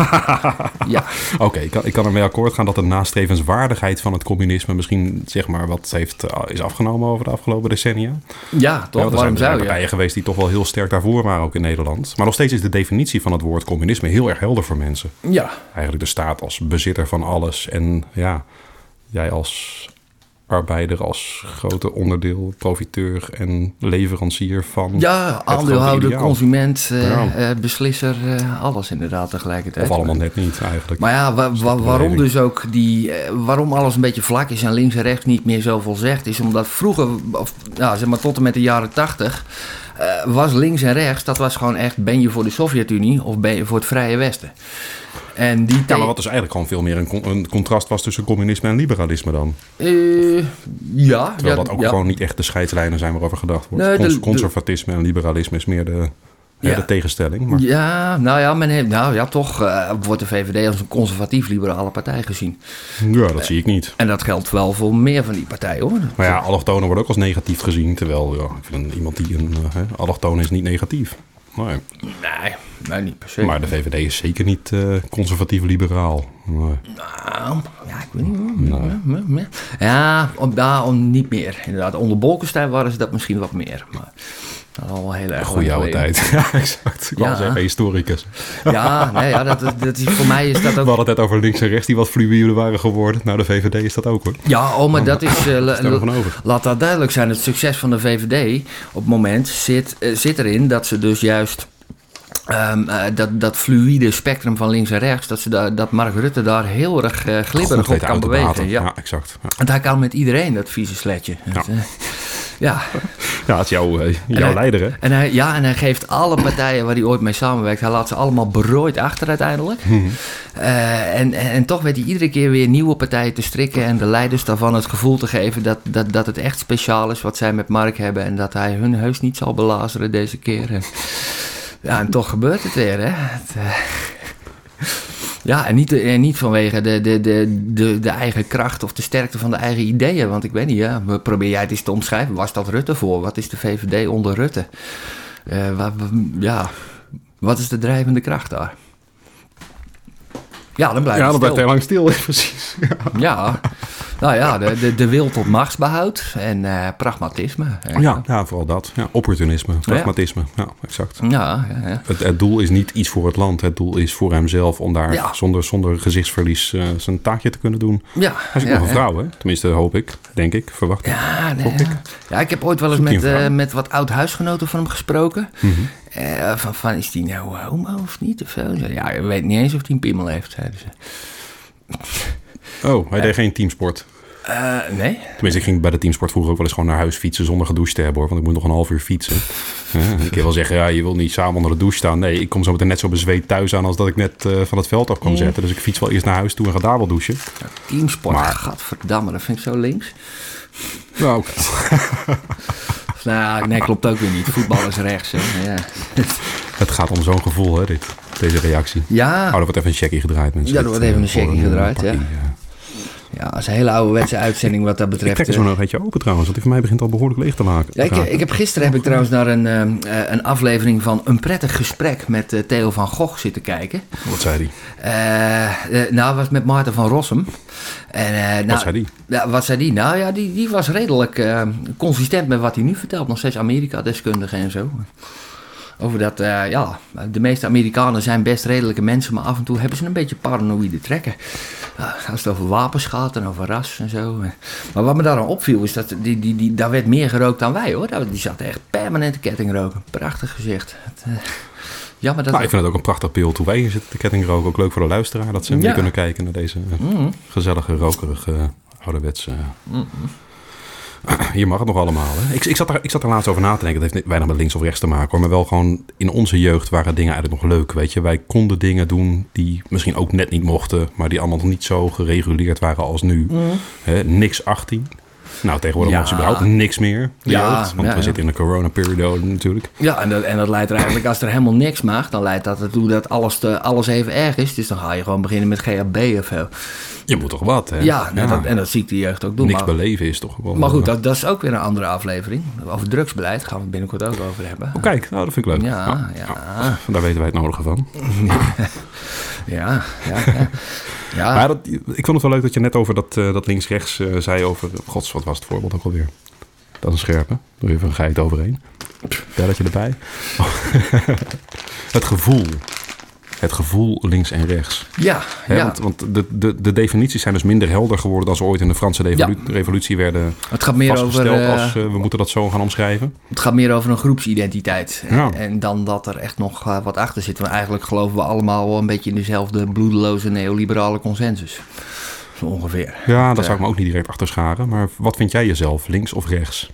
S3: ja,
S2: Oké, ik, kan, ik kan ermee akkoord gaan dat de nastrevenswaardigheid van het communisme misschien zeg maar wat heeft, eh, is afgenomen over de afgelopen decennia.
S3: ja,
S2: Ja,
S3: toch?
S2: want er zijn-
S3: Waarom
S2: er zijn
S3: zou
S2: partijen
S3: je?
S2: geweest die toch wel heel sterk daarvoor waren, ook in Nederland. Maar nog steeds is de definitie van het woord communisme heel erg helder voor mensen.
S3: Ja,
S2: Eigenlijk de staat als bezitter van alles en ja, jij als arbeider, als grote onderdeel, profiteur en leverancier van.
S3: ja
S2: grote
S3: aandeelhouder,
S2: ideaal.
S3: consument, eh,
S2: Ja.
S3: eh, beslisser, eh, alles inderdaad tegelijkertijd.
S2: Of allemaal net niet eigenlijk.
S3: Maar ja, wa- wa- waarom
S2: probleem.
S3: dus ook die, eh, waarom alles een beetje vlak is en links en rechts niet meer zoveel zegt, is omdat vroeger, of, nou, zeg maar tot en met de jaren tachtig, eh, was links en rechts, dat was gewoon echt, ben je voor de Sovjet-Unie of ben je voor het Vrije Westen? En die
S2: Ja, maar wat dus eigenlijk gewoon veel meer een, con- een contrast was tussen communisme en liberalisme dan.
S3: Eh, ja, ja,
S2: Terwijl dat ook
S3: ja.
S2: gewoon niet echt de scheidslijnen zijn waarover gedacht wordt.
S3: Nee, de-
S2: Cons-
S3: de-
S2: conservatisme en liberalisme is meer de, hè,
S3: Ja.
S2: de tegenstelling. Maar
S3: Ja, nou ja, men heeft, nou ja, toch eh, wordt de VVD als een conservatief-liberale partij gezien.
S2: ja, dat zie ik niet.
S3: En dat geldt wel voor meer van die partijen hoor.
S2: Maar ja, allochtonen worden ook als negatief gezien. Terwijl ja, ik vind een- iemand die een eh, hè, allochtoon is niet negatief. Nee.
S3: Nee, nee niet per se.
S2: Maar de VVD is zeker niet eh, conservatief-liberaal. Nee.
S3: Nou, ja, ik weet niet. hoor. Ja, ja, ja. Ja, om, daar om niet meer. Inderdaad, onder Bolkestein waren ze dat misschien wat meer. Maar dat is al wel heel erg.
S2: Goeie
S3: lang
S2: oude
S3: geleden.
S2: tijd. ja, exact. Ik wou
S3: Ja.
S2: zeggen, historicus.
S3: Ja, nee, ja dat, dat is, voor mij is dat
S2: We
S3: ook
S2: hadden het net over links en rechts die wat fluïde waren geworden. Nou, de VVD is dat ook hoor.
S3: Ja, oh, maar dat is. eh, la-
S2: Stel er van over.
S3: laat dat duidelijk zijn. Het succes van de VVD op het moment zit, eh, zit erin dat ze dus juist. ehm, eh, dat, dat fluïde spectrum van links en rechts, dat, ze daar dat Mark Rutte daar heel erg eh,
S2: Goed
S3: glibberig op
S2: weten
S3: kan
S2: uit te
S3: bewegen.
S2: baten.
S3: Ja.
S2: ja, exact. Ja.
S3: Want hij kan met iedereen dat vieze sletje.
S2: Ja.
S3: Ja. ja.
S2: Ja, het is jouw, eh, jouw
S3: hij-
S2: leider hè.
S3: En hij, ja, en hij geeft alle partijen waar hij ooit mee samenwerkt, hij laat ze allemaal berooid achter uiteindelijk.
S2: Mhm.
S3: Eh, en, en, en toch weet hij iedere keer weer nieuwe partijen te strikken en de leiders daarvan het gevoel te geven dat, dat, dat het echt speciaal is wat zij met Mark hebben en dat hij hun heus niet zal belazeren deze keer. En, ja, en toch gebeurt het weer, hè? Het, eh, ja, en niet, en niet vanwege de, de, de, de, de eigen kracht of de sterkte van de eigen ideeën. Want ik weet niet, ja, probeer jij het eens te omschrijven. Was dat Rutte voor? Wat is de VVD onder Rutte? Eh, wa- wa- ja, wat is de drijvende kracht daar? Ja, dan blijft
S2: Ja,
S3: het
S2: dan blijft
S3: stil.
S2: hij lang stil. Precies.
S3: Ja, Nou ja, de, de, de wil tot machtsbehoud en eh, pragmatisme. Eh,
S2: Ja, ja, vooral dat. Ja, opportunisme,
S3: Oh
S2: pragmatisme. Ja, exact.
S3: Ja, ja, ja.
S2: Het, het doel is niet iets voor het land. Het doel is voor hemzelf om daar
S3: Ja.
S2: zonder, zonder gezichtsverlies eh, zijn taakje te kunnen doen.
S3: Ja,
S2: Hij is ook
S3: ja,
S2: nog
S3: hè.
S2: een vrouw, hè? Tenminste, hoop ik, denk ik, verwacht ik.
S3: Ja, nee,
S2: Gok
S3: ja.
S2: ik.
S3: Ja, ik heb ooit wel eens
S2: Zoek je
S3: met,
S2: een vrouw? Mhm.
S3: eh, met wat oud-huisgenoten van hem gesproken. Eh, van, van, is die nou homo of niet? Of zo? Ja, ik weet niet eens of hij een piemel heeft, zeiden ze.
S2: Oh, hij deed geen teamsport.
S3: Eh, nee?
S2: Tenminste, ik ging bij de teamsport vroeger ook wel eens gewoon naar huis fietsen zonder gedoucht te hebben hoor. Want ik moet nog een half uur fietsen. Ja, ik kan wel zeggen, ja, je wil niet samen onder de douche staan. Nee, ik kom zo meteen net zo bezweet thuis aan als dat ik net eh, van het veld af kwam zetten. Dus ik fiets wel eerst naar huis toe en ga daar wel douchen.
S3: Teamsport,
S2: Maar-
S3: gadverdamme, dat vind ik zo links.
S2: Nou,
S3: Of, Nou, nee, klopt ook weer niet. Voetbal is rechts, hè. Ja,
S2: het gaat om zo'n gevoel, hè, dit, deze reactie.
S3: ja,
S2: Oh, er wordt even een checkie gedraaid, mensen.
S3: Ja, er wordt
S2: Dit,
S3: even
S2: eh,
S3: een checkie
S2: voor
S3: gedraaid,
S2: pakkie,
S3: ja.
S2: eh.
S3: ja dat is een hele ouderwetse uitzending wat dat
S2: Ik
S3: betreft.
S2: trek er
S3: hè.
S2: zo nog een beetje open trouwens, want die van mij begint al behoorlijk leeg te maken.
S3: eh, Ja, ik, eh, ik heb, gisteren heb ik trouwens naar een, ehm, eh, een aflevering van Een Prettig Gesprek met eh, Theo van Gogh zitten kijken.
S2: Wat zei die?
S3: Eh, eh, nou, was met Maarten van Rossum. En, eh, nou,
S2: zei die?
S3: Ja, wat zei die? Nou ja, die, die was redelijk eh, consistent met wat hij nu vertelt. Nog steeds Amerika-deskundige en zo. Over dat, eh, ja, de meeste Amerikanen zijn best redelijke mensen, maar af en toe hebben ze een beetje paranoïde trekken. Nou, Als het over wapens gaat en over ras en zo. Maar wat me daar aan opviel is dat, die, die, die, daar werd meer gerookt dan wij hoor. Daar- Die zaten echt permanente kettingroken. Prachtig gezicht. Het, eh, jammer dat...
S2: Nou, ik vind het ook een prachtig beeld hoe wij hier zitten te kettingroken. Ook leuk voor de luisteraar dat ze mee
S3: Ja. Mm-hmm.
S2: kunnen kijken naar deze eh, gezellige, rokerige, eh, ouderwetse... Je mag het nog allemaal, hè? Ik, ik, zat er, ik zat er laatst over na te denken. Dat heeft ni- weinig met links of rechts te maken, hoor. Maar wel gewoon in onze jeugd waren dingen eigenlijk nog leuk, weet je. Wij konden dingen doen die misschien ook net niet mochten... maar die allemaal nog niet zo gereguleerd waren als nu. Hè, niks 18. Nou, tegenwoordig
S3: Mm-hmm. Ja.
S2: mag ze überhaupt niks meer. de
S3: Ja,
S2: jeugd, want
S3: ja,
S2: we
S3: ja.
S2: zitten in de corona-periode natuurlijk.
S3: Ja, en dat, en dat leidt er eigenlijk, als er helemaal niks mag, dan leidt dat ertoe dat alles, te, alles even erg is. Dus dan ga je gewoon beginnen met GHB of zo.
S2: Je moet toch wat, hè?
S3: Ja, en Dat, en dat zie ik de jeugd ook doen.
S2: niks
S3: maar,
S2: beleven is toch gewoon...
S3: maar goed,
S2: eh,
S3: dat, dat is ook weer een andere aflevering. Over drugsbeleid gaan we het binnenkort ook over hebben.
S2: Oh, kijk, nou, dat vind ik leuk.
S3: Ja,
S2: Nou,
S3: ja.
S2: nou, daar weten wij het nodige van.
S3: Ja, ja, ja. ja.
S2: Maar dat, ik vond het wel leuk dat je net over dat, eh, dat links-rechts eh, zei over... Gods, wat was het voorbeeld ook alweer? Dat is een scherpe. Doe even een geit overheen. Belletje erbij. Oh. het gevoel. Het gevoel links en rechts.
S3: ja,
S2: Hè,
S3: ja.
S2: Want, want de, de, de definities zijn dus minder helder geworden... dan ze ooit in de Franse revolu- revolutie werden
S3: Het gaat meer over...
S2: vastgesteld...
S3: eh,
S2: als eh, we moeten dat zo gaan omschrijven.
S3: Het gaat meer over een groepsidentiteit. En-
S2: Ja.
S3: En dan dat er echt nog eh, wat achter zit. Want eigenlijk geloven we allemaal wel een beetje in dezelfde bloedeloze neoliberale consensus. Zo ongeveer.
S2: Ja, daar zou ik me ook niet direct achter scharen. Maar wat vind jij jezelf, links of rechts?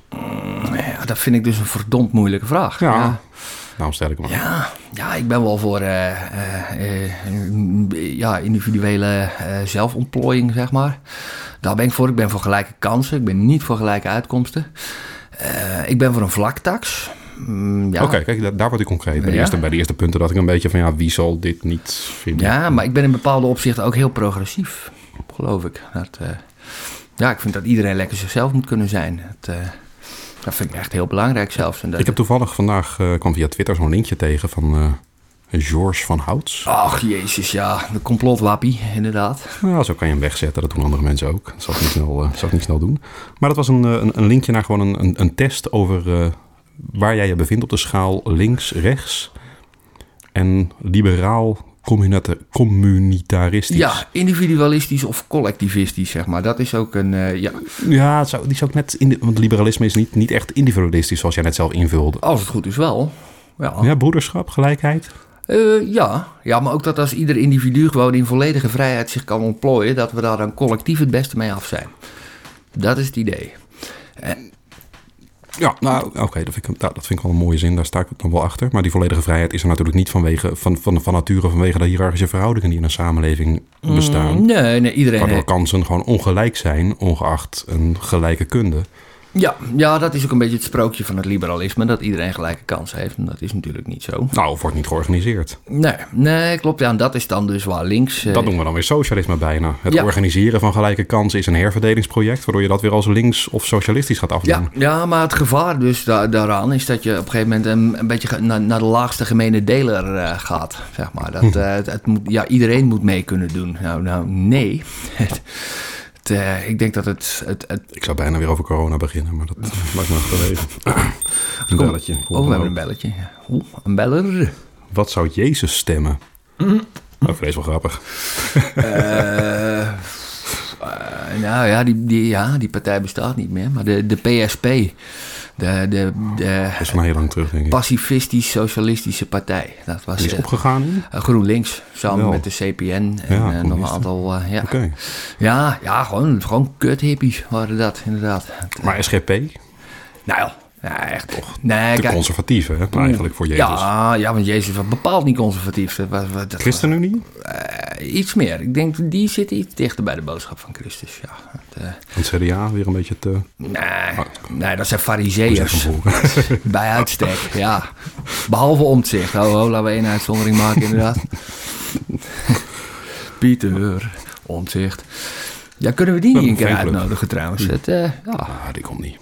S3: Ja, dat vind ik dus een verdomd moeilijke vraag.
S2: Ja.
S3: ja.
S2: Nou, stel ik hem aan.
S3: Ja, ja, ik ben wel voor eh, eh, eh, mm, ja, individuele eh, zelfontplooiing, zeg maar. Daar ben ik voor. Ik ben voor gelijke kansen. Ik ben niet voor gelijke uitkomsten. Eh, ik ben voor een vlaktax. Mm, ja.
S2: Oké, kijk, da- daar word ik concreet. Bij, de
S3: Ja.
S2: eerste, bij de eerste punten dat ik een beetje van ja, wie zal dit niet vinden?
S3: ja, maar ik ben in bepaalde opzichten ook heel progressief, geloof ik. Dat, eh, ja, ik vind dat iedereen lekker zichzelf moet kunnen zijn. Dat, eh, dat vind ik echt heel belangrijk zelfs. En dat,
S2: Ik heb toevallig vandaag, eh, kwam via Twitter zo'n linkje tegen van eh George van Houts.
S3: Ach, jezus, ja. De complotwappie, inderdaad.
S2: Nou, zo kan je hem wegzetten, dat doen andere mensen ook. Dat zal ik niet snel, eh, zal ik niet snel doen. Maar dat was een, eh, een, een linkje naar gewoon een, een, een test over eh, waar jij je bevindt op de schaal links, rechts en liberaal communita- communitaristisch.
S3: Ja, individualistisch of collectivistisch, zeg maar. Dat is ook een. eh, ja,
S2: ja het zou, die zou ik net, in de- want liberalisme is niet, niet echt individualistisch zoals jij net zelf invulde.
S3: als het goed is wel. Ja. Ja.
S2: Ja, broederschap, gelijkheid.
S3: ja. ja, maar ook dat als ieder individu gewoon in volledige vrijheid zich kan ontplooien, dat we daar dan collectief het beste mee af zijn. Dat is het idee.
S2: Ja, nou, oké, dat, vind ik- nou, dat vind ik wel een mooie zin. Daar sta ik dan wel achter. Maar die volledige vrijheid is er natuurlijk niet vanwege, van, van, van nature vanwege de hiërarchische verhoudingen die in een samenleving bestaan.
S3: Nee, nee, iedereen.
S2: Waardoor kansen gewoon ongelijk zijn, ongeacht een gelijke kunde.
S3: Ja, ja, dat is ook een beetje het sprookje van het liberalisme, dat iedereen gelijke kans heeft. En dat is natuurlijk niet zo.
S2: Nou, of wordt niet georganiseerd.
S3: Nee, nee klopt. Ja, en dat is dan dus waar links. eh,
S2: Dat noemen we dan weer socialisme bijna. Het
S3: Ja.
S2: organiseren van gelijke kansen is een herverdelingsproject, waardoor je dat weer als links of socialistisch gaat afdoen.
S3: Ja, ja, maar het gevaar dus da- daaraan is dat je op een gegeven moment een, een beetje ge- naar, naar de laagste gemene deler eh, gaat. Zeg
S2: Hm.
S3: maar. dat, eh, het, het moet, ja, iedereen moet mee kunnen doen. Nou, nou nee. Het, Het, eh, ik denk dat het, het, het oh,
S2: Ik zou bijna weer over corona beginnen, maar dat maakt me achterwege. Een
S3: Kom.
S2: belletje.
S3: Oh, we hebben een belletje. Oeh, een beller.
S2: Wat zou Jezus stemmen?
S3: Mhm.
S2: Nou, vrees wel grappig.
S3: Eh, eh, nou ja die, die, ja, die partij bestaat niet meer. Maar de, de PSP, de, de, de
S2: Dat is van heel lang terug, denk ik.
S3: Pacifistisch-Socialistische Partij. Dat was
S2: Die is
S3: eh,
S2: opgegaan nu?
S3: eh, GroenLinks, samen
S2: Wel.
S3: met de CPN en
S2: Ja,
S3: eh, nog een
S2: communisten.
S3: aantal... eh, ja.
S2: Oké.
S3: Ja, ja, gewoon, gewoon kuthippies waren dat, inderdaad.
S2: Maar SGP?
S3: Nou ja, ja, echt. Toch, nee,
S2: De
S3: kijk,
S2: conservatieve, hè? Eigenlijk voor Jezus.
S3: ja, ja, want Jezus was bepaald niet conservatief. Dat was, dat was-
S2: ChristenUnie?
S3: Iets meer. Ik denk, die zit iets dichter bij de boodschap van Christus. Ja. Het, eh,
S2: Het CDA weer een beetje te... Ah,
S3: nee, nee, dat zijn
S2: Zeg
S3: fariseërs.
S2: hem voor.
S3: Bij uitstek, ja. Behalve omzicht. Oh, oh, laten we één uitzondering maken, inderdaad. Pieter, omzicht. Ja, kunnen we die
S2: We
S3: niet een
S2: hebben
S3: keer
S2: een fanclub.
S3: uitnodigen trouwens? Het, eh, ja.
S2: Ah, die komt niet.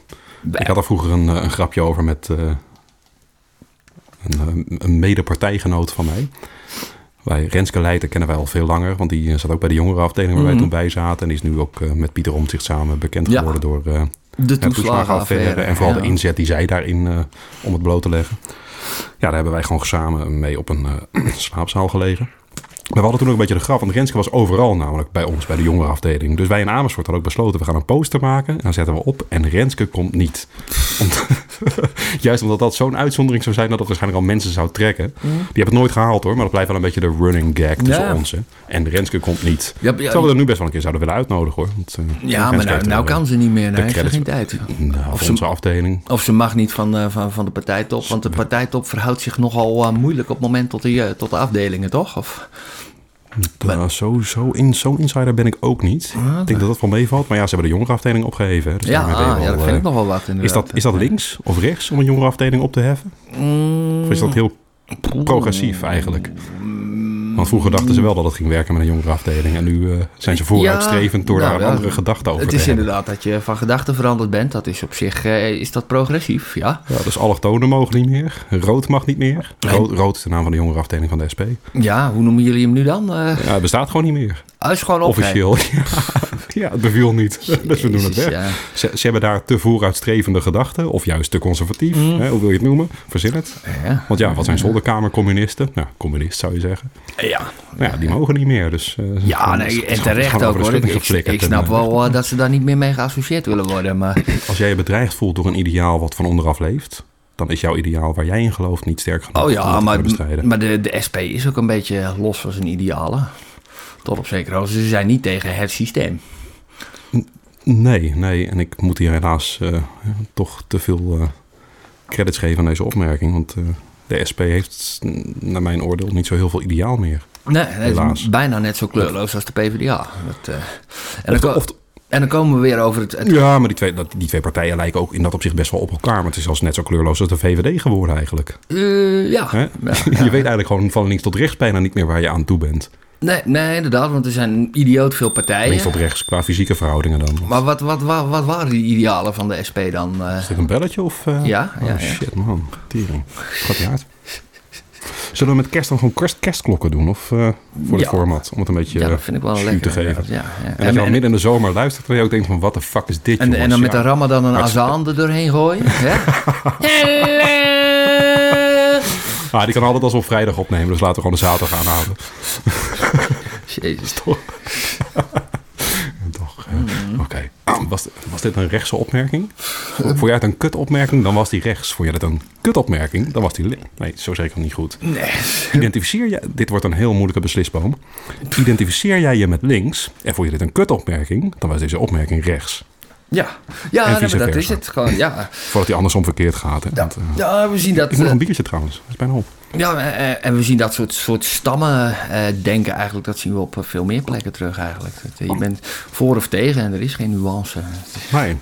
S2: Ik had er vroeger een, eh, een grapje over met eh, een, eh, een medepartijgenoot van mij. Wij, Renske Leijten kennen wij al veel langer, want die eh, zat ook bij de jongerenafdeling waar wij toen bij zaten. En die is nu ook eh, met Pieter Omtzigt samen bekend
S3: Ja.
S2: geworden door eh,
S3: De
S2: ja, toeslagenaffaire.
S3: toeslagenaffaire.
S2: En vooral
S3: ja.
S2: de inzet die zij daarin eh, om het bloot te leggen. Ja, daar hebben wij gewoon samen mee op een eh, slaapzaal gelegen. Maar we hadden toen ook een beetje de grap, want Renske was overal namelijk bij ons, bij de jongerenafdeling. Dus wij in Amersfoort hadden ook besloten, we gaan een poster maken. En dan zetten we op en Renske komt niet. Om- juist omdat dat zo'n uitzondering zou zijn, dat het waarschijnlijk al mensen zou trekken. Die hebben het nooit gehaald hoor, maar dat blijft wel een beetje de running gag tussen
S3: Ja.
S2: ons. hè. En Renske komt niet.
S3: Ja, ja,
S2: Terwijl we er nu best wel een keer zouden willen uitnodigen hoor. Want, eh,
S3: ja,
S2: Renske
S3: maar nou,
S2: heeft
S3: nou
S2: er,
S3: kan ze niet meer.
S2: de
S3: Nee, heeft ze
S2: credits-
S3: geen tijd.
S2: nou,
S3: Of
S2: voor
S3: ze-
S2: onze afdeling.
S3: Of ze mag niet van, eh, van, van de partijtop. Want de partijtop verhoudt zich nogal eh, moeilijk op het moment tot de, eh, tot de afdelingen, toch? Of,
S2: Nou, zo, zo in, zo'n insider ben ik ook niet. Ik denk dat dat wel meevalt. Maar ja, ze hebben de jongerenafdeling opgeheven. Hè, dus
S3: Ah, ja,
S2: daarmee ben je
S3: ah,
S2: wel,
S3: ja, dat
S2: eh,
S3: vind ik nog wel wat. Inderdaad.
S2: is, dat, is dat links of rechts om een jongerenafdeling op te heffen?
S3: Mm.
S2: Of is dat heel progressief eigenlijk?
S3: Mm.
S2: Want vroeger dachten ze wel dat het ging werken met een jongerenafdeling. En nu eh, zijn ze vooruitstrevend door
S3: nou
S2: daar
S3: ja,
S2: een andere gedachte over
S3: Het
S2: te
S3: is
S2: hebben.
S3: inderdaad dat je van gedachten veranderd bent. Dat is op zich eh, is dat progressief, ja.
S2: Ja, dus allochtonen mogen niet meer. Rood mag niet meer. Rood, rood is de naam van de jongerenafdeling van de SP.
S3: Ja, hoe noemen jullie hem nu dan? Eh
S2: Ja, het bestaat gewoon niet meer.
S3: hij is gewoon opgeheven.
S2: Officieel. Ja, het beviel niet. dus we doen het
S3: Jezus,
S2: weg.
S3: ja.
S2: Ze, ze hebben daar te vooruitstrevende gedachten, of juist te conservatief, hè, hoe wil je het noemen? Verzin het.
S3: Mm. Ja.
S2: Want ja, wat zijn zolderkamercommunisten? Nou, communist zou je zeggen.
S3: ja.
S2: Nou ja, die mogen niet meer. Dus, eh,
S3: Ja,
S2: ze- ze-
S3: nee,
S2: ze- ze-
S3: en
S2: ze- ze- ze-
S3: terecht
S2: ze-
S3: ook
S2: ze- ze-
S3: hoor.
S2: ze- ze-
S3: Ik,
S2: ze-
S3: ik,
S2: ze-
S3: ik
S2: geflikkerd.
S3: snap
S2: En,
S3: wel eh, dat ze daar niet meer mee geassocieerd willen worden. Maar
S2: eh, Als jij je bedreigd voelt door een ideaal wat van onderaf leeft, dan is jouw ideaal waar jij in gelooft niet sterk genoeg
S3: Oh
S2: om dat
S3: ja,
S2: te
S3: maar,
S2: kunnen bestrijden.
S3: maar de, de SP is ook een beetje los van zijn idealen. Tot op zekere hoogte. Ze zijn niet tegen het systeem.
S2: Nee, nee. En ik moet hier helaas eh, toch te veel eh, credits geven aan deze opmerking. Want eh, de SP heeft, mm, naar mijn oordeel, niet zo heel veel ideaal meer.
S3: Nee, het is
S2: Helaas.
S3: bijna net zo kleurloos als de PvdA. Dat, eh, en, dan ko-
S2: of-
S3: en dan komen we weer over het... het-
S2: Ja, maar die twee, dat- die twee partijen lijken ook in dat opzicht best wel op elkaar. Maar het is zelfs net zo kleurloos als de VVD geworden eigenlijk.
S3: eh, ja.
S2: Hè? je weet eigenlijk gewoon van links tot rechts bijna niet meer waar je aan toe bent.
S3: Nee, nee, inderdaad, want er zijn idioot veel partijen.
S2: Links tot rechts, qua fysieke verhoudingen dan. Is
S3: Maar wat, wat, wat, wat waren die idealen van de SP dan? eh?
S2: dit een belletje of... eh?
S3: Ja, ja,
S2: oh,
S3: ja.
S2: shit man, tering. Gaat niet uit. Zullen we met kerst dan gewoon kerst, kerstklokken doen? Of eh, voor het
S3: Ja.
S2: format? Om het een beetje
S3: ja, dat vind ik wel
S2: jus
S3: lekker.
S2: te geven.
S3: inderdaad, Ja, ja.
S2: En, dat je al
S3: en,
S2: midden in de zomer luistert en je ook denkt van... wat de fuck is dit,
S3: en, en dan met de
S2: de
S3: ramadan een
S2: Maar het is-
S3: azaan er doorheen gooien. hè?
S2: Ah, die kan altijd als op vrijdag opnemen. Dus laten we gewoon de zaterdag aanhouden.
S3: Jezus.
S2: Toch, eh,
S3: Mhm.
S2: Oké. Was, was dit een rechtse opmerking? Vond jij het een kutopmerking, dan was die rechts. Vond jij het een kutopmerking, dan was die links. Nee, zo zeker niet goed. Identificeer je... Dit wordt een heel moeilijke beslisboom. Identificeer jij je met links... en vond je dit een kutopmerking, dan was deze opmerking rechts.
S3: Ja, ja nee,
S2: vice
S3: maar dat
S2: versa.
S3: is het gewoon. Ja.
S2: Voordat die andersom verkeerd gaat. Hè? Want, eh,
S3: ja, we zien dat.
S2: ik moet nog
S3: eh,
S2: een biertje trouwens. Dat is bijna op.
S3: Ja, eh, eh, en we zien dat soort, soort stammen eh, denken eigenlijk. Dat zien we op eh, veel meer plekken terug eigenlijk. Dat, eh, je bent voor of tegen en er is geen nuance.
S2: Nee.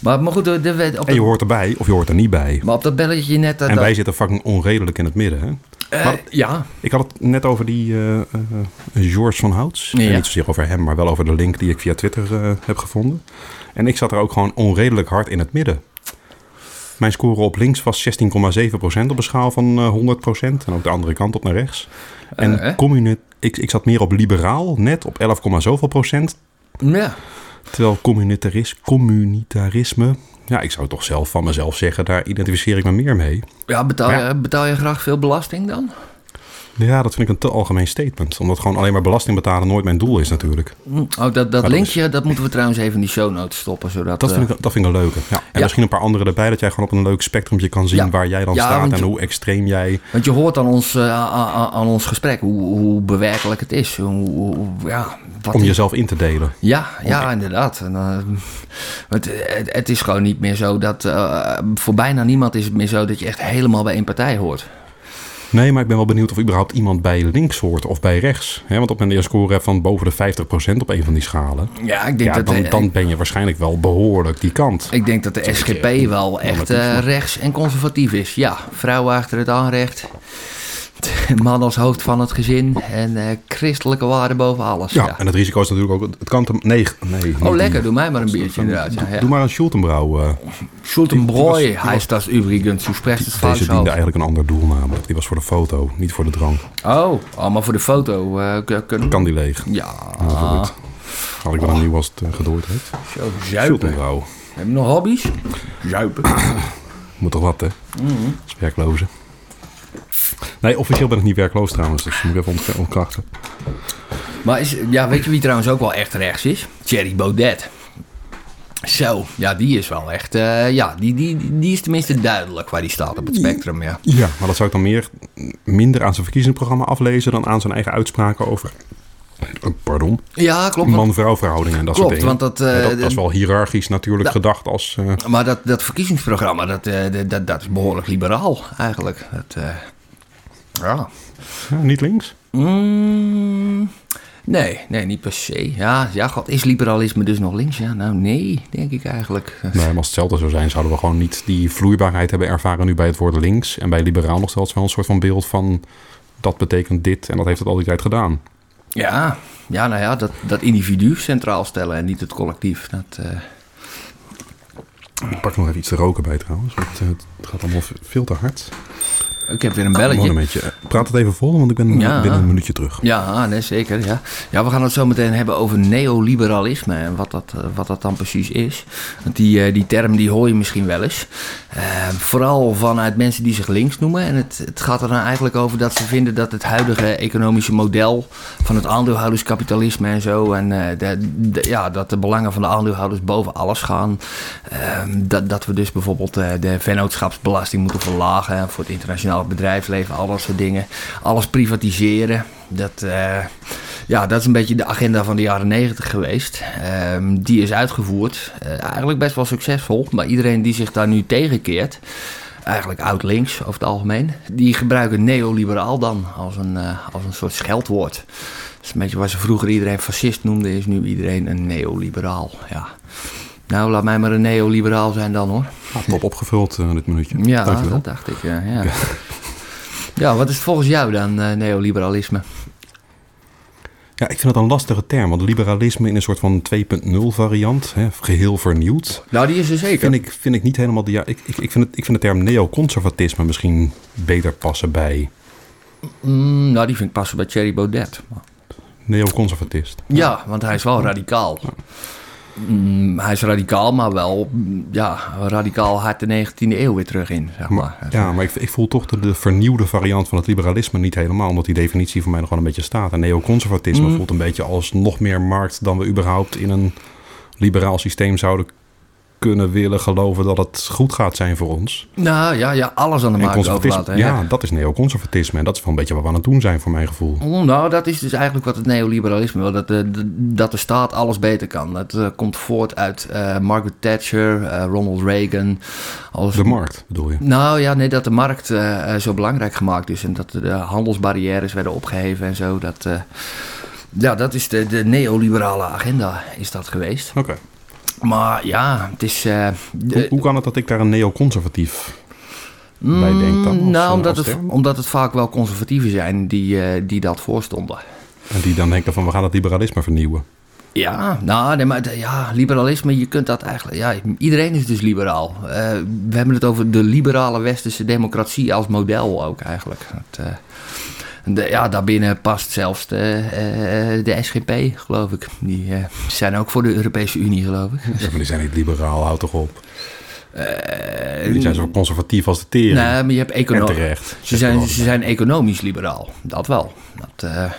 S3: Maar, maar goed, eh, de, de- op
S2: En je
S3: dat,
S2: hoort erbij of je hoort er niet bij.
S3: maar op dat belletje net. eh,
S2: En
S3: dat-
S2: wij zitten fucking onredelijk in het midden. Hè?
S3: eh,
S2: maar-
S3: ja,
S2: Ik had het net over die eh, eh, George van Houts. En
S3: Ja.
S2: Niet zozeer over hem, maar wel over de link die ik via Twitter eh, heb gevonden. En ik zat er ook gewoon onredelijk hard in het midden. Mijn score op links was 16,7% op een schaal van eh, 100%. En ook de andere kant op naar rechts. En
S3: Eh.
S2: communi- ik, ik zat meer op liberaal, net op 11, zoveel procent.
S3: ja.
S2: Terwijl communitaris, communitarisme, ja, ik zou toch zelf van mezelf zeggen, daar identificeer ik me meer mee.
S3: Ja, betaal,
S2: Ja.
S3: Je, betaal je graag veel belasting dan?
S2: Ja, dat vind ik een te algemeen statement. Omdat gewoon alleen maar belasting betalen nooit mijn doel is natuurlijk.
S3: Oh, dat, dat
S2: dat
S3: linkje, dat moeten we trouwens even in die show notes stoppen. Zodat,
S2: Dat
S3: eh,
S2: vind ik, dat vind ik een leuke. Ja. En
S3: Ja.
S2: misschien een paar andere erbij, dat jij gewoon op een leuk spectrumje kan zien
S3: Ja.
S2: waar jij dan
S3: Ja,
S2: staat
S3: want
S2: en
S3: je-
S2: hoe extreem jij...
S3: Want je hoort aan ons, eh, aan, aan- aan ons gesprek hoe, hoe bewerkelijk het is. Hoe, hoe- ja, wat
S2: Om jezelf in te delen.
S3: Ja, ja, inderdaad. En, eh, want eh, het, het is gewoon niet meer zo dat. eh, voor bijna niemand is het meer zo dat je echt helemaal bij één partij hoort.
S2: Nee, maar ik ben wel benieuwd of überhaupt iemand bij links hoort of bij rechts. Hè, want op een score hebt van boven de 50% op een van die schalen...
S3: Ja, ik denk
S2: Ja,
S3: dat.
S2: dan,
S3: eh,
S2: dan ben je waarschijnlijk wel behoorlijk die kant.
S3: ik denk dat de SGP wel echt eh, rechts en conservatief is. Ja, vrouwen achter het aanrecht. Man als hoofd van het gezin. En eh, christelijke waarden boven alles.
S2: Ja,
S3: Ja.
S2: en het risico is natuurlijk ook... Het kan te... Nee, nee. niet
S3: Oh,
S2: die.
S3: lekker. Doe mij maar een biertje inderdaad. Ja, ja.
S2: Doe maar een Schultenbrouw. eh.
S3: Schultenbräu heißt das übrigens. Du spreekt het
S2: Deze
S3: falsch
S2: diende
S3: uit.
S2: eigenlijk een ander doel namelijk. Die was voor de foto, niet voor de drank.
S3: Oh, oh, maar voor de foto eh, k- kunnen
S2: Kan die leeg?
S3: Ja,
S2: Dat is wel goed. Had ik
S3: Oh.
S2: wel een nieuw als het eh, gedooid heeft.
S3: zo zuipen.
S2: Schultenbrouw.
S3: Heb je nog hobby's? Zuipen. Mhm.
S2: Moet toch wat, hè? Dat is werklozen. Nee, officieel ben ik niet werkloos trouwens. Dus moet ik even ont- ontkrachten.
S3: Maar is, ja, weet je wie trouwens ook wel echt rechts is? Thierry Baudet. Zo, ja, die is wel echt. eh, ja, die, die, die is tenminste duidelijk waar die staat op het spectrum. Ja.
S2: Ja. Maar dat zou ik dan meer, minder aan zijn verkiezingsprogramma aflezen... dan aan zijn eigen uitspraken over... eh, Pardon.
S3: ja, klopt. want-
S2: Man-vrouw verhoudingen en dat
S3: Oh, Klopt,
S2: soort dingen.
S3: want dat, eh,
S2: Ja, dat, dat is wel hiërarchisch natuurlijk gedacht als... eh,
S3: Maar dat, dat verkiezingsprogramma, dat, eh, dat- dat, dat is behoorlijk liberaal eigenlijk. Dat, eh, ja.
S2: ja, eh, niet links?
S3: Mm, nee, nee, niet per se. Ja, ja, god, is liberalisme dus nog links? Ja, nou nee, denk ik eigenlijk.
S2: Nee, maar als het hetzelfde zou zijn, zouden we gewoon niet die vloeibaarheid hebben ervaren nu bij het woord links. En bij liberaal nog steeds wel een soort van beeld van dat betekent dit en dat heeft het al die tijd gedaan.
S3: Ja, ja nou ja, dat, dat individu centraal stellen en niet het collectief. Dat, eh,
S2: Ik pak nog even iets te roken bij trouwens, want eh, het gaat allemaal ve- veel te hard.
S3: ik heb weer een
S2: Gewoon een
S3: belletje.
S2: beetje. eh, Praat het even vol, want ik ben
S3: Ja.
S2: binnen een minuutje terug.
S3: Ja, ah, nee, zeker. Ja. ja, we gaan het zo meteen hebben over neoliberalisme en wat dat, eh, wat dat dan precies is. Want die, eh, die term die hoor je misschien wel eens. Eh, vooral vanuit mensen die zich links noemen. En het, het gaat er dan eigenlijk over dat ze vinden dat het huidige economische model van het aandeelhouderskapitalisme en zo. En eh, de, de- ja, dat de belangen van de aandeelhouders boven alles gaan. Ehm, dat, dat we dus bijvoorbeeld eh, de vennootschapsbelasting moeten verlagen. En voor het internationale bedrijfsleven, al dat soort dingen. Alles privatiseren. Dat, eh, ja, dat is een beetje de agenda van de jaren negentig geweest. Ehm, die is uitgevoerd. Eh, eigenlijk best wel succesvol. Maar iedereen die zich daar nu tegenkeert. Eigenlijk oud-links over het algemeen. Die gebruiken neoliberaal dan als een, eh, als een soort scheldwoord. Dat is een beetje waar ze vroeger iedereen fascist noemde. Is nu iedereen een neoliberaal. Ja. Nou, laat mij maar een neoliberaal zijn dan hoor.
S2: Ah, top opgevuld eh, dit minuutje.
S3: Ja,
S2: Dankjewel.
S3: dat dacht ik. Ja, ja. ja, wat is het volgens jou dan, eh, neoliberalisme?
S2: Ja, ik vind dat een lastige term, want liberalisme in een soort van 2.0 variant, hè, geheel vernieuwd.
S3: Nou, die is er zeker.
S2: Vind ik, vind ik niet helemaal de. Ja, ik, ik, ik, vind het, ik vind de term neoconservatisme misschien beter passen bij
S3: Mm, nou, die vind ik passen bij Thierry Baudet.
S2: neoconservatist.
S3: Ja, want hij is wel radicaal. Mm, hij is radicaal, maar wel mm, ja, radicaal hard de 19e eeuw weer terug in. Zeg maar.
S2: Maar, ja, maar ik, ik voel toch de, de vernieuwde variant van het liberalisme niet helemaal, omdat die definitie voor mij nog wel een beetje staat. En neoconservatisme
S3: Mhm.
S2: voelt een beetje als nog meer markt dan we überhaupt in een liberaal systeem zouden kunnen willen geloven dat het goed gaat zijn voor ons.
S3: Nou ja, ja, alles aan de
S2: En
S3: markt overlaten.
S2: conservatisme,
S3: hè.
S2: ja, dat is neoconservatisme. En dat is wel een beetje wat we aan het doen zijn, voor mijn gevoel.
S3: Oh, Nou, dat is dus eigenlijk wat het neoliberalisme wil. Dat de, de- dat de staat alles beter kan. Dat eh, komt voort uit eh, Margaret Thatcher, eh, Ronald Reagan. Alles.
S2: De markt, bedoel je?
S3: Nou ja, nee, dat de markt eh, eh, zo belangrijk gemaakt is. En dat de handelsbarrières werden opgeheven en zo. Dat, eh, ja, dat is de, de neoliberale agenda is dat geweest.
S2: Oké.
S3: Maar ja, het is... eh, de-
S2: Hoe, hoe kan het dat ik daar een neoconservatief bij
S3: Mm,
S2: denk dan? als, eh,
S3: nou, omdat
S2: als
S3: het,
S2: term?
S3: omdat het vaak wel conservatieven zijn die, eh, die dat voorstonden.
S2: En die dan denken van we gaan het liberalisme vernieuwen.
S3: Ja, nou, nee, maar de- ja, liberalisme, je kunt dat eigenlijk... Ja, iedereen is dus liberaal. Eh, we hebben het over de liberale westerse democratie als model ook eigenlijk. Dat, eh, De, ja, daarbinnen past zelfs de, eh, de SGP, geloof ik. Die eh, zijn ook voor de Europese Unie, geloof ik.
S2: Ja, maar die zijn niet liberaal, houd toch op.
S3: Eh,
S2: Die zijn zo conservatief als de tering.
S3: Nee, maar je hebt
S2: en
S3: econo-
S2: terecht.
S3: Ze
S2: zegt er
S3: zijn,
S2: altijd.
S3: ze zijn economisch liberaal, dat wel. Dat, eh,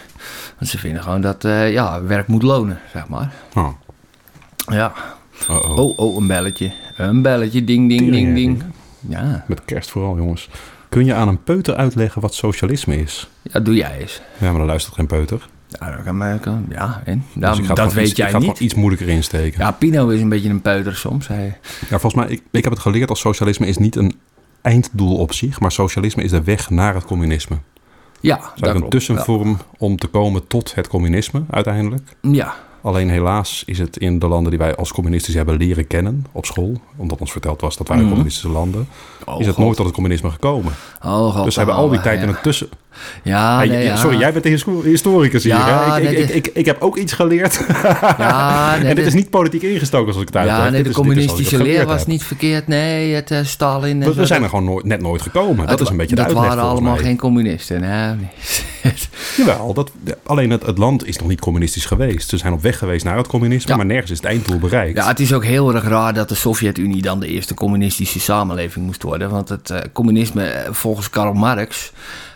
S3: want ze vinden gewoon dat eh, ja, werk moet lonen, zeg maar.
S2: Oh,
S3: Ja.
S2: oh, oh.
S3: Oh, oh, een belletje. Een belletje, ding, ding, ding, ding. Ja,
S2: Met kerst vooral, jongens. Kun je aan een peuter uitleggen wat socialisme is?
S3: ja doe jij eens.
S2: Ja, maar dan luistert geen peuter.
S3: Ja, dat kan mij kan- Ja, en?
S2: Dus
S3: Nou,
S2: ik ga het
S3: dat
S2: gewoon
S3: weet
S2: iets,
S3: jij
S2: ik ga het
S3: niet.
S2: gewoon iets moeilijker insteken. Ja.
S3: Ja, Pino is een beetje een peuter soms. Hij,
S2: volgens mij, ik, ik heb het geleerd als socialisme is niet een einddoel op zich, maar socialisme is de weg naar het communisme.
S3: ja,
S2: Het is eigenlijk een
S3: klopt.
S2: tussenvorm om te komen tot het communisme uiteindelijk.
S3: Ja,
S2: Alleen helaas is het in de landen die wij als communistisch hebben leren kennen op school, omdat ons verteld was dat wij
S3: Mhm.
S2: communistische landen,
S3: Oh,
S2: is het
S3: God.
S2: nooit tot het communisme gekomen.
S3: Oh, God,
S2: dus ze hebben al die
S3: oh,
S2: tijd
S3: ja.
S2: in het tussen...
S3: Ja,
S2: Hey,
S3: Ah, nee,
S2: ja,
S3: ja.
S2: Sorry, jij bent de histo- historicus hier.
S3: Ja,
S2: hè? Ik,
S3: nee,
S2: ik,
S3: dit-
S2: ik, ik, ik heb ook iets geleerd.
S3: Ja, nee,
S2: en dit
S3: dit-
S2: is niet politiek ingestoken zoals ik het uitleg.
S3: Ja, nee,
S2: Dit
S3: de
S2: is- dit is zoals ik het
S3: communistische
S2: geleerd
S3: leer was
S2: heb.
S3: niet verkeerd. Nee, het eh, Stalin. en
S2: We,
S3: zo,
S2: we zijn
S3: dat-
S2: er gewoon nooit, net nooit gekomen. Dat
S3: Het
S2: is een
S3: wa-
S2: beetje de
S3: Dat
S2: uitleg
S3: waren
S2: volgens
S3: allemaal
S2: mij.
S3: geen communisten. Hè?
S2: Jawel, dat, ja, alleen het, het land is nog niet communistisch geweest. Ze zijn op weg geweest naar het communisme,
S3: Ja.
S2: maar nergens is het einddoel bereikt.
S3: ja, het is ook heel erg raar dat de Sovjet-Unie dan de eerste communistische samenleving moest worden. Want het eh, communisme, eh, volgens Karl Marx,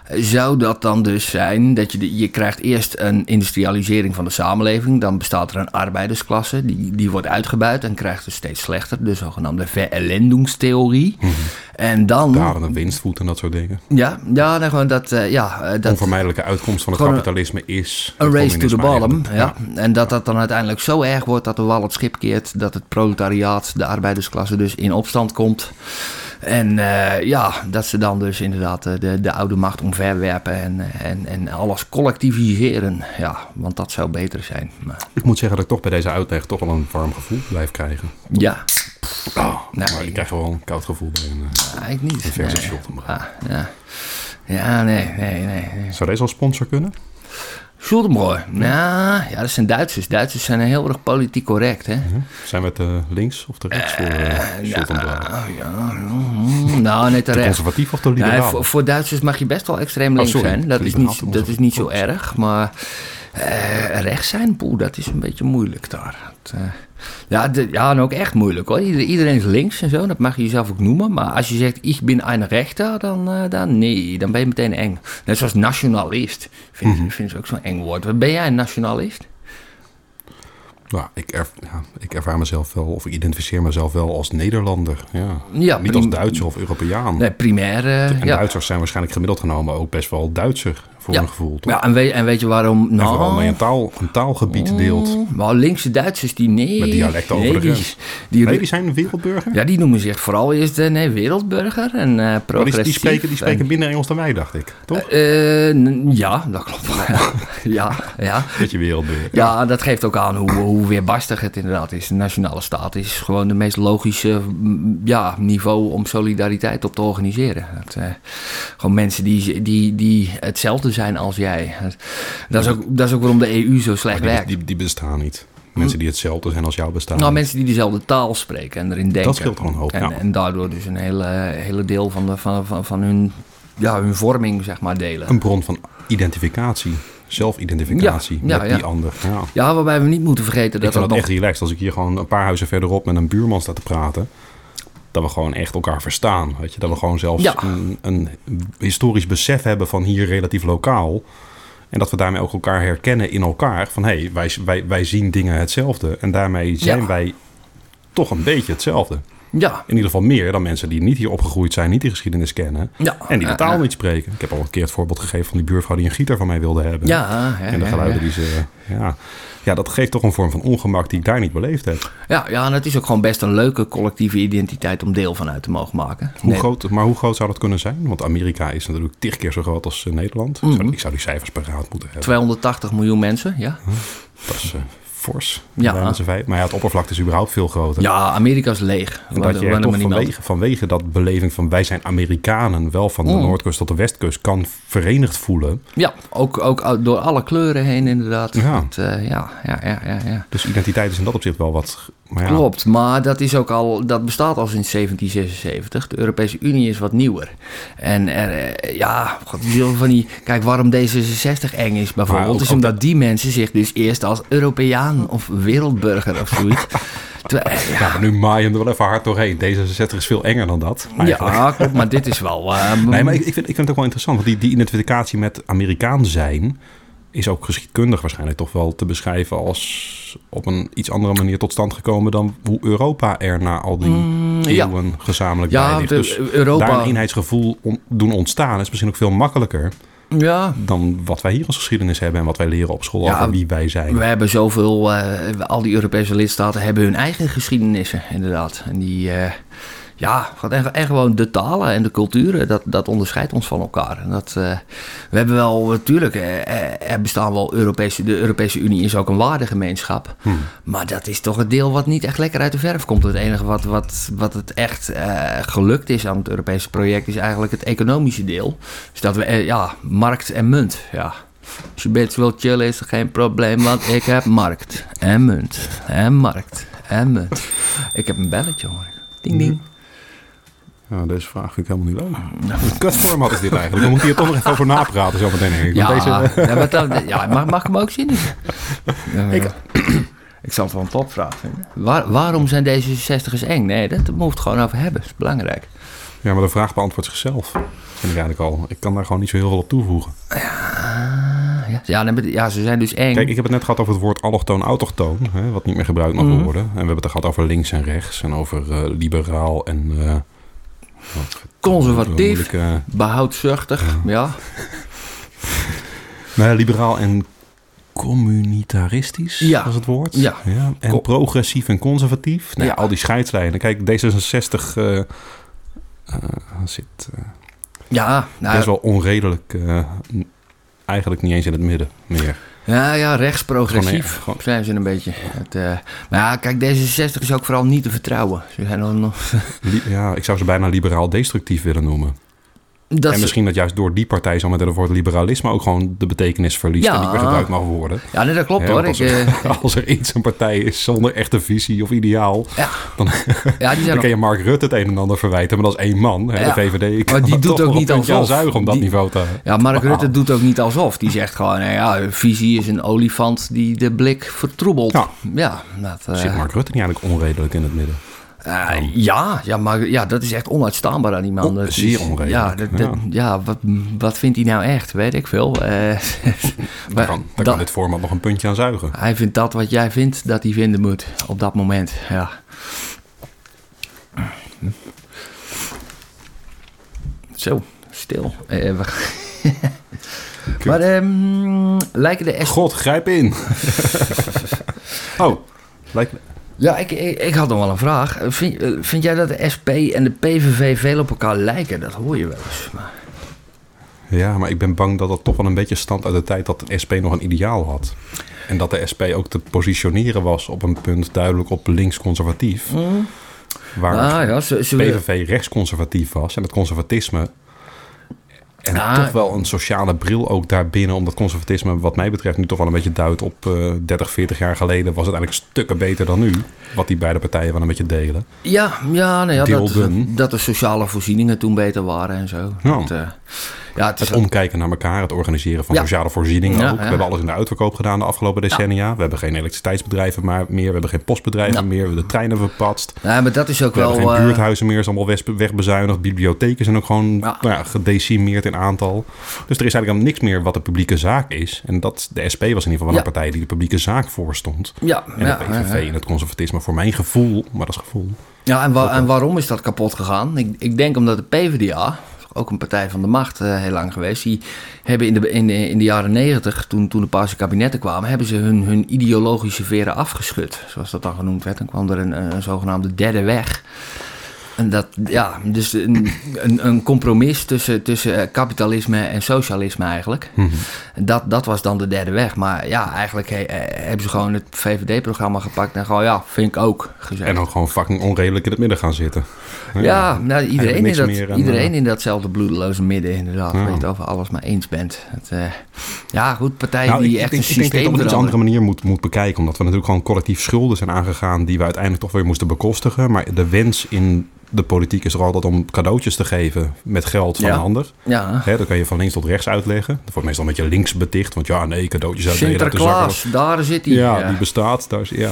S3: eh, zou dat dan dus zijn dat je, de- je krijgt eerst een industrialisering van de samenleving. Dan bestaat er een arbeidersklasse, die, die wordt uitgebuit en krijgt het steeds slechter. De zogenaamde verellendingstheorie. En dan...
S2: Dalen en winstvoet en dat soort dingen.
S3: Ja, ja, nou gewoon dat... eh, ja, eh, dat
S2: Onvermijdelijke uitkomst van het
S3: Gewoon een-
S2: kapitalisme is...
S3: Een
S2: het
S3: race to the
S2: communisme
S3: bottom,
S2: eigenlijk.
S3: dus ja. En dat dat dan uiteindelijk zo erg wordt dat de wal het schip keert, dat het proletariaat, de arbeidersklasse dus in opstand komt. En eh, ja, dat ze dan dus inderdaad eh, de, de oude macht omverwerpen en, en, en alles collectiviseren. Ja, want dat zou beter zijn. Maar,
S2: Ik moet zeggen dat ik toch bij deze uitleg toch wel een warm gevoel blijf krijgen.
S3: ja,
S2: Nou,
S3: Nou,
S2: maar ik
S3: ik-
S2: krijg wel een koud gevoel bij een... eh,
S3: eigenlijk niet.
S2: Een verse
S3: Nee.
S2: shot om te
S3: Ah, ja. ja, nee, nee, nee. nee.
S2: Zou deze als sponsor kunnen?
S3: Schuldenbroer. Ja, ja, dat zijn Duitsers. Duitsers zijn heel erg politiek correct, hè.
S2: Zijn we het eh, links of de rechts voor eh Schultenbrouw?
S3: Oh, ja, ja. Nou, nee,
S2: mm-hmm. De
S3: terecht.
S2: conservatief of de
S3: Nee,
S2: liberaal? Oh,
S3: voor, voor Duitsers mag je best wel extreem links
S2: sorry.
S3: zijn. Dat is,
S2: Liberaal
S3: niet,
S2: te
S3: dat is niet zo erg. Maar eh, rechts zijn, poeh, dat is een beetje moeilijk daar. Het, eh, ja, de- ja, en ook echt moeilijk hoor. Ieder- Iedereen is links en zo, dat mag je jezelf ook noemen. Maar als je zegt, ik ben een rechter, dan, eh, dan nee, dan ben je meteen eng. Net zoals nationalist. Vind,
S2: Mhm.
S3: vind ik ook zo'n eng woord. Wat Ben jij een nationalist?
S2: Ja, Nou, ik, erf- ja, ik ervaar mezelf wel, of ik identificeer mezelf wel als Nederlander. Ja.
S3: Ja,
S2: niet
S3: prim-
S2: als Duitser of Europeaan.
S3: Nee, primair. eh,
S2: en
S3: ja.
S2: Duitsers zijn waarschijnlijk gemiddeld genomen ook best wel Duitser voor
S3: Ja.
S2: hun gevoel. Toch?
S3: Ja, en, weet, en weet je waarom?
S2: En
S3: Nou, Mm,
S2: vooral omdat je een, taal, een taalgebied deelt.
S3: Maar linkse Duitsers die nee.
S2: Met dialecten over
S3: nee,
S2: de
S3: die-
S2: grens.
S3: Die,
S2: Nee, die zijn een wereldburger.
S3: Ja, die noemen zich vooral eerst eh, nee, wereldburger en eh
S2: maar
S3: progressief.
S2: die, die, spreken, die
S3: en-
S2: spreken minder Engels dan wij, dacht ik. Toch?
S3: Eh, n- ja, dat klopt. ja, ja, ja.
S2: Dat je wereldburger.
S3: Ja, dat geeft ook aan hoe, hoe weerbarstig het inderdaad is. De nationale staat is gewoon de meest logische mm, ja, niveau om solidariteit op te organiseren. Dat, eh, gewoon mensen die, die, die hetzelfde zijn als jij. Dat is ook, dat is ook waarom de EU zo slecht
S2: Die,
S3: werkt.
S2: die, die bestaan niet. Mensen die hetzelfde zijn als jou bestaan.
S3: Nou, mensen die dezelfde taal spreken en erin denken.
S2: scheelt gewoon een hoop,
S3: En,
S2: ja.
S3: en daardoor dus een hele, hele deel van, de, van, van, van hun, ja, hun vorming, zeg maar, delen.
S2: Een bron van identificatie, zelfidentificatie
S3: Ja, ja,
S2: met
S3: ja.
S2: die ander. Ja.
S3: Ja, waarbij we niet moeten vergeten
S2: Ik
S3: dat
S2: vind
S3: dat
S2: het
S3: nog...
S2: echt relaxed als ik hier gewoon een paar huizen verderop met een buurman sta te praten. Dat we gewoon echt elkaar verstaan. Weet je? Dat we gewoon zelfs
S3: Ja.
S2: een, een historisch besef hebben van hier relatief lokaal. En dat we daarmee ook elkaar herkennen in elkaar. Van hé, hey, wij, wij, wij zien dingen hetzelfde. En daarmee zijn
S3: Ja.
S2: wij toch een beetje hetzelfde.
S3: Ja,
S2: In ieder geval meer dan mensen die niet hier opgegroeid zijn, niet die geschiedenis kennen.
S3: Ja.
S2: En die de
S3: Ja,
S2: taal
S3: ja.
S2: niet spreken. Ik heb al een keer het voorbeeld gegeven van die buurvrouw die een gieter van mij wilde hebben.
S3: ja, ja,
S2: En de
S3: ja,
S2: geluiden
S3: ja.
S2: die ze... Ja. ja, dat geeft toch een vorm van ongemak die ik daar niet beleefd heb.
S3: Ja, ja, en het is ook gewoon best een leuke collectieve identiteit om deel van uit te mogen maken.
S2: Hoe
S3: Nee.
S2: groot, maar hoe groot zou dat kunnen zijn? Want Amerika is natuurlijk tig keer zo groot als eh, Nederland. Ik zou-
S3: Mhm.
S2: Ik zou die cijfers paraat moeten hebben.
S3: 280 miljoen mensen, ja.
S2: Hm. Dat is eh, fors.
S3: Ja.
S2: Wij met z'n vijf. Maar ja, het oppervlak is überhaupt veel groter.
S3: Ja, Amerika is leeg.
S2: En
S3: Waar-
S2: dat je
S3: waar
S2: er
S3: de
S2: toch
S3: manier mee-
S2: vanwege, vanwege dat beleving van wij zijn Amerikanen... wel van de
S3: Mm.
S2: Noordkust tot de Westkust kan verenigd voelen.
S3: Ja, ook, ook door alle kleuren heen inderdaad.
S2: Ja.
S3: Het, eh, ja, ja, ja, ja, ja.
S2: Dus identiteit is in dat opzicht wel wat Maar ja,
S3: Klopt, maar dat, is ook al, dat bestaat al sinds 1776. De Europese Unie is wat nieuwer. En er, eh, ja, god, die zullen van die, kijk waarom D66 eng is
S2: Maar
S3: bijvoorbeeld,
S2: ook-
S3: is omdat die mensen zich dus eerst als Europeaan of wereldburger of zoiets. Terwijl, eh, ja,
S2: nu maai je hem er wel even hard doorheen. D66 is veel enger dan dat. eigenlijk.
S3: ja, klopt, maar dit is wel. eh,
S2: Nee, maar ik, ik, vind, ik vind het ook wel interessant. Want die, die identificatie met Amerikaan zijn... is ook geschiedkundig waarschijnlijk toch wel te beschrijven... als op een iets andere manier tot stand gekomen... dan hoe Europa er na al die
S3: Mm, ja.
S2: eeuwen gezamenlijk
S3: Ja,
S2: bij ligt.
S3: de-
S2: Dus
S3: Europa-
S2: daar een eenheidsgevoel on- doen ontstaan... is misschien ook veel makkelijker...
S3: ja,
S2: dan wat wij hier als geschiedenis hebben... en wat wij leren op school
S3: Ja,
S2: over wie wij zijn.
S3: We hebben zoveel, eh, al die Europese lidstaten hebben hun eigen geschiedenissen, inderdaad. En die, eh, ja, wat- en, en gewoon de talen en de culturen, dat, dat onderscheidt ons van elkaar. En dat, eh, we hebben wel, natuurlijk, eh, eh, er bestaan wel Europese, de Europese Unie is ook een waardegemeenschap. Maar dat is toch het deel wat niet echt lekker uit de verf komt. Het enige wat, wat, wat het echt eh, gelukt is aan het Europese project is eigenlijk het economische deel. Dus dat we, eh, ja, markt en munt, ja. Als je bent wil chillen is er geen probleem, want ik heb markt en munt en markt en munt. Ik heb een belletje hoor. Ding ding.
S2: Ja, deze vraag vind ik helemaal niet leuk. Wat kutformat is dit eigenlijk? We moeten hier toch nog even over napraten zo meteen. Henk. Want
S3: Ja,
S2: Deze,
S3: ja, wat dan- ja mag, mag ik hem ook zien? ik, ik zal het wel een topvraag vinden. Waar, waarom zijn deze 60ers eng? Nee, dat moeten we het gewoon over hebben. Dat is belangrijk.
S2: Ja, maar de vraag beantwoordt zichzelf. Vind ik eigenlijk al. Ik kan daar gewoon niet zo heel veel op toevoegen.
S3: Ah, ja. Ja, nee, maar- ja, ze zijn dus eng.
S2: Kijk, ik heb het net gehad over het woord allochtoon, autochtoon. Hè, wat niet meer gebruikt mag
S3: Mhm.
S2: worden. En we hebben het er gehad over links en rechts. En over eh, liberaal en... eh, wat-
S3: Conservatief.
S2: moeilijke-
S3: Behoudzuchtig, Oh, ja.
S2: nee, Nou liberaal en communitaristisch
S3: Ja.
S2: was het woord.
S3: Ja.
S2: En
S3: Co-
S2: progressief en conservatief. Nou,
S3: Ja.
S2: Al die scheidslijnen. Kijk, D66 eh, eh, zit eh,
S3: Ja, nou,
S2: best wel onredelijk... eh, n- eigenlijk niet eens in het midden meer.
S3: Ja, ja, rechtsprogressief
S2: Gewoon, gewoon-
S3: zijn ze een beetje. Het, eh, maar ja, kijk, D66 is ook vooral niet te vertrouwen. Ze zijn dan nog...
S2: Li- Ja, ik zou ze bijna liberaal-destructief willen noemen.
S3: Dat
S2: en
S3: is-
S2: misschien dat juist door die partij zo met het woord liberalisme ook gewoon de betekenis verliest
S3: Ja.
S2: en niet meer gebruikt mag worden.
S3: Ja, nee, dat klopt
S2: Hè,
S3: hoor.
S2: want
S3: Ik,
S2: als, er,
S3: eh,
S2: als er iets een partij is zonder echte visie of ideaal,
S3: ja.
S2: dan,
S3: ja, die zijn
S2: dan
S3: nog...
S2: kun je Mark Rutte het een en ander verwijten. Maar dat is één man, hè,
S3: Ja.
S2: de VVD. kan
S3: Maar die
S2: er
S3: doet
S2: toch
S3: ook
S2: wel een
S3: niet
S2: puntje aan
S3: alsof.
S2: zuigen om dat
S3: Die-
S2: niveau te...
S3: Ja, Mark Rutte doet ook niet alsof. Die zegt gewoon, nou ja, visie is een olifant die de blik vertroebelt.
S2: Ja.
S3: ja dat... eh,
S2: Zit Mark Rutte niet eigenlijk onredelijk in het midden?
S3: Eh, ja, ja, maar ja, dat is echt onuitstaanbaar aan die man.
S2: On-
S3: Dat is-
S2: Oh, zeer onredelijk,
S3: Ja, dat- dat-
S2: ja.
S3: ja, wat, wat vindt hij nou echt? Weet ik veel. Eh,
S2: Daar
S3: maar
S2: kan, daar
S3: dat-
S2: kan dit format nog een puntje aan zuigen.
S3: Hij vindt dat wat jij vindt dat hij vinden moet op dat moment. Ja. Zo, stil. Eh, we- maar ehm, lijken de echt.
S2: God, grijp in! oh, lijkt me...
S3: Ja, ik, ik, ik had nog wel een vraag. Eh, Vind, eh, vind jij dat de SP en de PVV veel op elkaar lijken? Dat hoor je wel eens. Maar,
S2: Ja, maar ik ben bang dat dat toch wel een beetje stand uit de tijd dat de SP nog een ideaal had. En dat de SP ook te positioneren was op een punt duidelijk op links-conservatief. Waar
S3: Mm. ah, ja, ze, ze willen-
S2: PVV rechts-conservatief was en het conservatisme. En
S3: Ah.
S2: toch wel een sociale bril ook daarbinnen, omdat conservatisme wat mij betreft nu toch wel een beetje duidt op eh 30, 40 jaar geleden was het eigenlijk stukken beter dan nu. Wat die beide partijen wel een beetje delen.
S3: Ja, ja, nou ja dat,
S2: Deelden.
S3: dat de sociale voorzieningen toen beter waren en zo.
S2: Ja.
S3: Dat, eh, ja, het is
S2: Het omkijken naar elkaar, het organiseren van
S3: Ja.
S2: sociale voorzieningen
S3: Ja,
S2: ook. We
S3: ja.
S2: hebben alles in de uitverkoop gedaan de afgelopen decennia. We hebben geen elektriciteitsbedrijven maar meer. We hebben geen postbedrijven
S3: Ja.
S2: meer. We hebben de treinen verpatst.
S3: Ja, maar dat is ook
S2: We
S3: wel.
S2: hebben geen
S3: eh,
S2: buurthuizen meer. is allemaal wes- wegbezuinigd. Bibliotheken zijn ook gewoon nou ja, gedecimeerd in aantal. Dus er is eigenlijk helemaal niks meer wat de publieke zaak is. En dat, de SP was in ieder geval wel
S3: Ja.
S2: een partij die de publieke zaak voorstond.
S3: ja,
S2: En
S3: ja,
S2: de
S3: ja,
S2: PVV
S3: ja.
S2: en het conservatisme voor mijn gevoel, maar dat is gevoel.
S3: Ja, en, wa- en waarom is dat kapot gegaan? Ik, ik denk omdat de PvdA, ook een partij van de macht eh, heel lang geweest, die hebben in de, in, de- in de jaren negentig, toen, toen de paarse kabinetten kwamen, hebben ze hun, hun ideologische veren afgeschud, zoals dat dan genoemd werd. Dan kwam er een, een, een zogenaamde derde weg. En dat, ja, dus een, een, een compromis tussen, tussen eh, kapitalisme en socialisme eigenlijk. Dat, dat was dan de derde weg. Maar ja, eigenlijk he- eh, hebben ze gewoon het VVD-programma gepakt en gewoon, ja, vind ik ook gezegd.
S2: En dan gewoon fucking onredelijk in het midden gaan zitten.
S3: ja, nou, iedereen, in
S2: niks
S3: dat,
S2: meer aan,
S3: iedereen
S2: eh,
S3: in datzelfde bloedeloze midden inderdaad.
S2: Ja.
S3: Waar je het over alles maar eens bent. Het, eh, ja, goed, partijen
S2: Nou,
S3: die
S2: ik, ik
S3: echt
S2: denk,
S3: een
S2: ik denk dat je
S3: systeem
S2: het op een iets andere
S3: veranderen.
S2: manier moet, moet bekijken. Omdat we natuurlijk gewoon collectief schulden zijn aangegaan... die we uiteindelijk toch weer moesten bekostigen. Maar de wens in de politiek is er altijd om cadeautjes te geven... met geld van
S3: Ja.
S2: een ander.
S3: Ja,
S2: Hè, dat kan je van links tot rechts uitleggen. Dat wordt meestal een beetje links beticht. Want ja, nee, cadeautjes uit Nederland. de zakken.
S3: Sinterklaas, daar zit hij.
S2: Ja,
S3: Ja.
S2: die bestaat. Daar is, ja.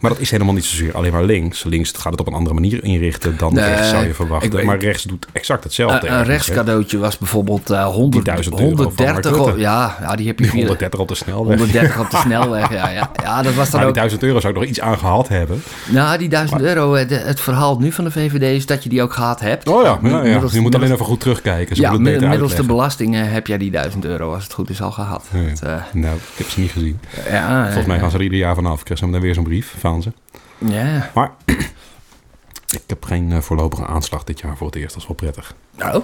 S2: maar dat is helemaal niet zozeer alleen maar links. Links gaat het op een andere manier inrichten dan
S3: Nee,
S2: rechts, zou je verwachten.
S3: ik weet-
S2: maar rechts doet exact hetzelfde.
S3: Een, een
S2: ergens, hè.
S3: rechtscadeautje was bijvoorbeeld eh 100,
S2: Die 1000 euro van
S3: 130.
S2: Mark Rutte.
S3: ja, ja, die heb je
S2: Die
S3: via-
S2: 130 op de snelweg.
S3: 130 op de snelweg. Ja, ja. ja dat was dan
S2: Maar die
S3: ook.
S2: 1000 euro zou ik nog iets aan gehad hebben.
S3: Nou, die 1000 euro, eh, de- het verhaal nu van de VVD is dat je die ook gehad hebt.
S2: Oh ja, ja, ja.
S3: Middels-
S2: je moet alleen
S3: middels-
S2: even goed terugkijken. Ze
S3: Ja,
S2: moeten het
S3: middels
S2: beter
S3: de
S2: uitleggen.
S3: belastingen heb jij die 1000 euro, als het goed is, al gehad.
S2: Ja, ja.
S3: Dat, eh,
S2: Nou, ik heb ze niet gezien.
S3: ja, eh,
S2: Volgens mij gaan ze er ieder jaar vanaf. Ik krijg ze meteen weer zo'n brief van ze.
S3: Ja.
S2: Maar ik heb geen eh, voorlopige aanslag dit jaar voor het eerst. Dat is wel prettig.
S3: Nou,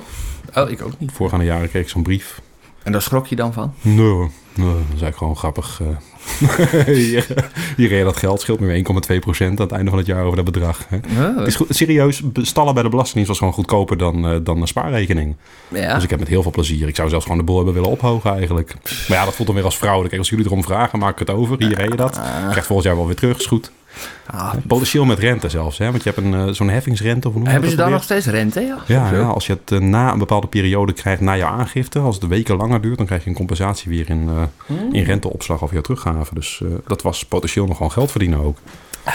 S3: oh, ik ook niet.
S2: Voorgaande jaren kreeg ik zo'n brief
S3: En daar schrok je dan van?
S2: Nee, hoor. nee, dat is eigenlijk gewoon grappig. eh. hier, hier reed dat geld, scheelt meer 1,2% aan het einde van het jaar over dat bedrag. Hè.
S3: Oh,
S2: Het is goed, serieus, be- stallen bij de Belastingdienst was gewoon goedkoper dan, eh, dan een spaarrekening.
S3: ja.
S2: Dus ik heb met heel veel plezier. Ik zou zelfs gewoon de boel hebben willen ophogen eigenlijk. Maar ja, dat voelt dan weer als fraude. Kijk, als jullie erom vragen, maak ik het over. Hier reed je dat. Krijgt volgend jaar wel weer terug, is goed.
S3: Ah,
S2: Potentieel met rente zelfs, hè? want je hebt een, eh, zo'n heffingsrente. Of hoe noem je
S3: hebben ze
S2: dat
S3: daar
S2: ook
S3: nog
S2: alweer?
S3: steeds rente? Ja.
S2: Ja, ja, als je het eh, na een bepaalde periode krijgt na je aangifte, als het weken langer duurt, dan krijg je een compensatie weer in, eh,
S3: Hmm.
S2: in renteopslag of jouw teruggave. Dus eh, dat was potentieel nog gewoon geld verdienen ook.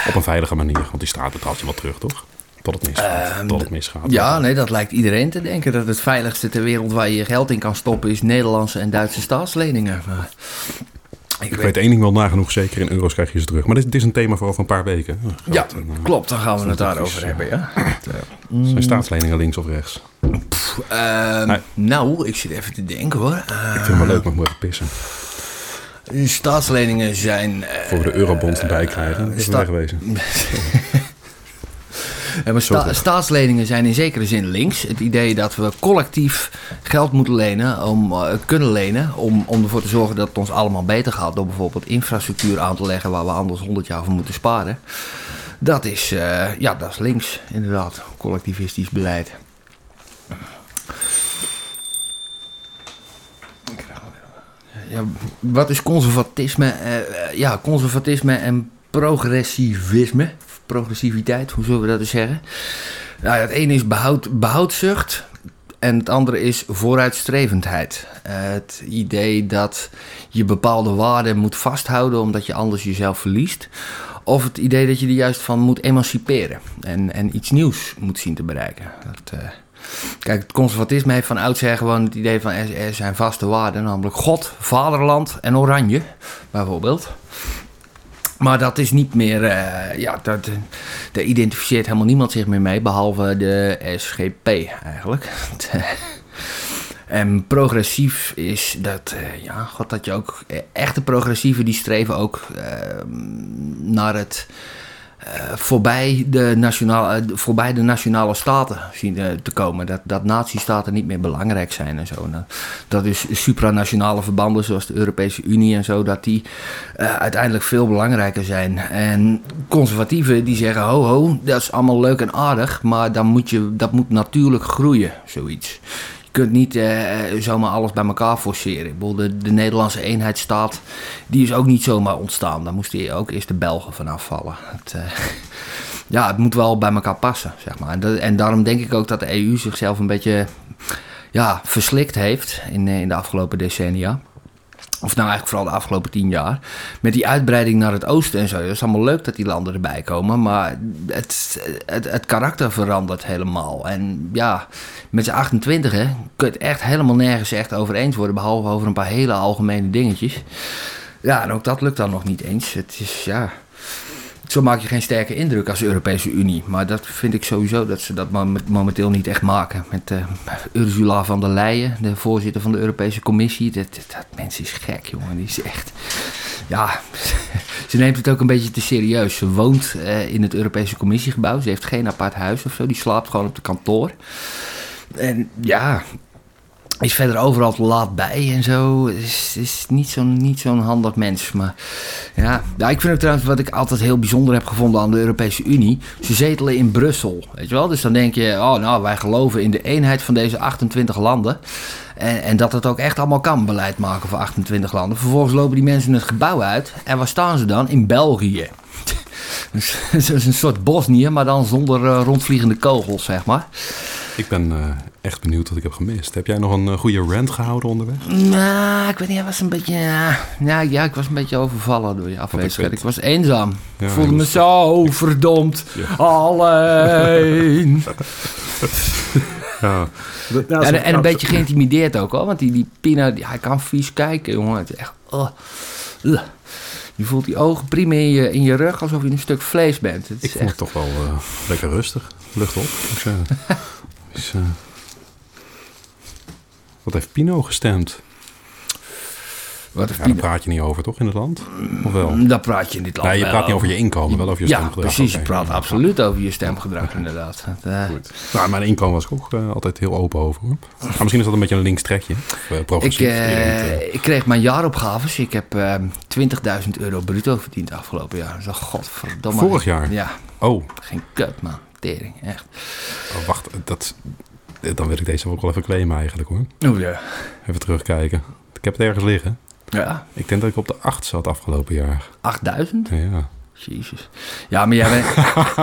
S2: Op een veilige manier, want die staat betaalt je wel terug, toch? Tot het misgaat. Tot het misgaat.
S3: Ehm, Ja, nee, dat lijkt iedereen te denken. Dat het veiligste ter wereld waar je je geld in kan stoppen is Nederlandse en Duitse staatsleningen. Maar
S2: Ik weet één ding wel nagenoeg zeker, in euro's krijg je ze terug. Maar dit, dit is een thema voor over een paar weken. Eh, geld
S3: Ja,
S2: en, eh,
S3: klopt. Dan gaan we het
S2: dat
S3: daarover
S2: is,
S3: hebben, ja.
S2: Zijn staatsleningen links of rechts?
S3: Ehm,
S2: Nee.
S3: Nou, ik zit even te denken hoor.
S2: Ik vind het wel leuk, maar ik moet even pissen.
S3: Eh, staatsleningen zijn... eh,
S2: Voor we de eurobond erbij krijgen, dat is
S3: sta-
S2: wegwezen.
S3: Ja, maar sta-
S2: terug.
S3: staatsleningen zijn in zekere zin links. Het idee dat we collectief geld moeten lenen, om, eh, kunnen lenen, om, om ervoor te zorgen dat het ons allemaal beter gaat. Door bijvoorbeeld infrastructuur aan te leggen waar we anders 100 jaar voor moeten sparen. Dat is, eh, ja, dat is links, inderdaad. Collectivistisch beleid. Ja, wat is conservatisme? Eh, eh, ja, conservatisme en progressivisme. Of Progressiviteit, hoe zullen we dat eens zeggen? Nou, ja, het ene is behoud, behoudzucht en het andere is vooruitstrevendheid. Eh, het idee dat je bepaalde waarden moet vasthouden omdat je anders jezelf verliest. Of het idee dat je er juist van moet emanciperen en, en iets nieuws moet zien te bereiken. Dat, eh, Kijk, het conservatisme heeft van oudsher gewoon het idee van er, er zijn vaste waarden, namelijk God, vaderland en oranje, bijvoorbeeld. Maar dat is niet meer, eh, ja, dat, eh, daar identificeert helemaal niemand zich meer mee, behalve de SGP eigenlijk. En progressief is dat, eh, ja, god, dat je ook, eh, echte progressieven die streven ook eh, naar het eh, voorbij de, nationale, eh, voorbij de nationale staten zien eh, te komen. Dat, dat nazistaten niet meer belangrijk zijn en zo. Nou, dat is supranationale verbanden zoals de Europese Unie en zo, dat die eh, uiteindelijk veel belangrijker zijn. En conservatieven die zeggen, ho ho, dat is allemaal leuk en aardig, maar dan moet je, dat moet natuurlijk groeien, zoiets. Je kunt niet eh, zomaar alles bij elkaar forceren. Ik bedoel, de, de Nederlandse eenheidsstaat die is ook niet zomaar ontstaan. Daar moesten ook eerst de Belgen van afvallen. Het, eh, ja, het moet wel bij elkaar passen, zeg maar. En, dat- en daarom denk ik ook dat de EU zichzelf een beetje ja, verslikt heeft in, eh, in de afgelopen decennia. Of nou eigenlijk vooral de afgelopen tien jaar. Met die uitbreiding naar het oosten en zo. Dat is allemaal leuk dat die landen erbij komen. Maar het, het, het karakter verandert helemaal. En ja, met z'n 28 hè, kun je het echt helemaal nergens echt over eens worden. Behalve over een paar hele algemene dingetjes. Ja, en ook dat lukt dan nog niet eens. Het is ja. Zo maak je geen sterke indruk als Europese Unie. Maar dat vind ik sowieso dat ze dat mom- momenteel niet echt maken. Met eh, Ursula van der Leyen, de voorzitter van de Europese Commissie. Dat, dat, dat mens is gek, jongen. Die is echt. ja, ze neemt het ook een beetje te serieus. Ze woont eh, in het Europese Commissiegebouw. Ze heeft geen apart huis of zo. Die slaapt gewoon op de kantoor. En ja, is verder overal te laat bij en zo. Is, is niet zo'n niet zo'n handig mens. Maar ja. ja, ik vind ook trouwens wat ik altijd heel bijzonder heb gevonden aan de Europese Unie. Ze zetelen in Brussel, weet je wel. Dus dan denk je, oh nou, wij geloven in de eenheid van deze 28 landen. En, en dat het ook echt allemaal kan, beleid maken voor 28 landen. Vervolgens lopen die mensen het gebouw uit. En waar staan ze dan? In België. Dus het is een soort Bosnië, maar dan zonder eh, rondvliegende kogels, zeg maar.
S2: Ik ben eh, echt benieuwd wat ik heb gemist. Heb jij nog een eh, goede rant gehouden onderweg?
S3: Nou, ik weet niet, hij was een beetje. ja, Nou ja, ik was een beetje overvallen door je afwezigheid.
S2: weet.
S3: Ik was eenzaam.
S2: Ja,
S3: ik voelde
S2: ik
S3: me
S2: was-
S3: zo verdomd
S2: Ja.
S3: alleen.
S2: Ja.
S3: en, en een beetje geïntimideerd ook hoor. Want die, die Pina, die, hij kan vies kijken, jongen. Het is echt. oh, ugh. Je voelt die ogen prima in je, in je rug alsof je een stuk vlees bent. Het
S2: Ik
S3: is
S2: vond het
S3: echt.
S2: toch wel eh, lekker rustig. Lucht op. moet ik zeggen. Dus, eh, wat heeft Pino gestemd?
S3: Wat
S2: Ja,
S3: een
S2: daar
S3: Pina.
S2: praat je niet over, toch, in het land? Of wel?
S3: Dat praat je in dit land.
S2: Nee, je
S3: Mm, wel
S2: praat niet over je inkomen, wel over je
S3: Ja,
S2: stemgedrag.
S3: precies. Je
S2: Oké.
S3: praat
S2: Ja,
S3: absoluut over je stemgedrag, inderdaad. Dat, eh,
S2: Goed. Nou, mijn inkomen was ik ook eh, altijd heel open over, hoor. Maar misschien is dat een beetje een links trekje. Of, eh,
S3: Ik,
S2: progressief. Je
S3: eh,
S2: denkt, eh,
S3: ik kreeg mijn jaaropgaves. Ik heb eh, 20.000 euro bruto verdiend afgelopen jaar. Dus, oh, godverdomme.
S2: Vorig jaar?
S3: Ja,
S2: oh,
S3: geen kut, man. Tering, echt.
S2: oh, wacht. Dat, eh, dan wil ik deze ook wel even claimen eigenlijk, hoor.
S3: Oh ja.
S2: Even terugkijken. Ik heb het ergens liggen.
S3: Ja,
S2: Ik denk dat ik op de 8 zat afgelopen jaar.
S3: 8.000?
S2: Ja.
S3: Jezus. Ja, maar jij bent,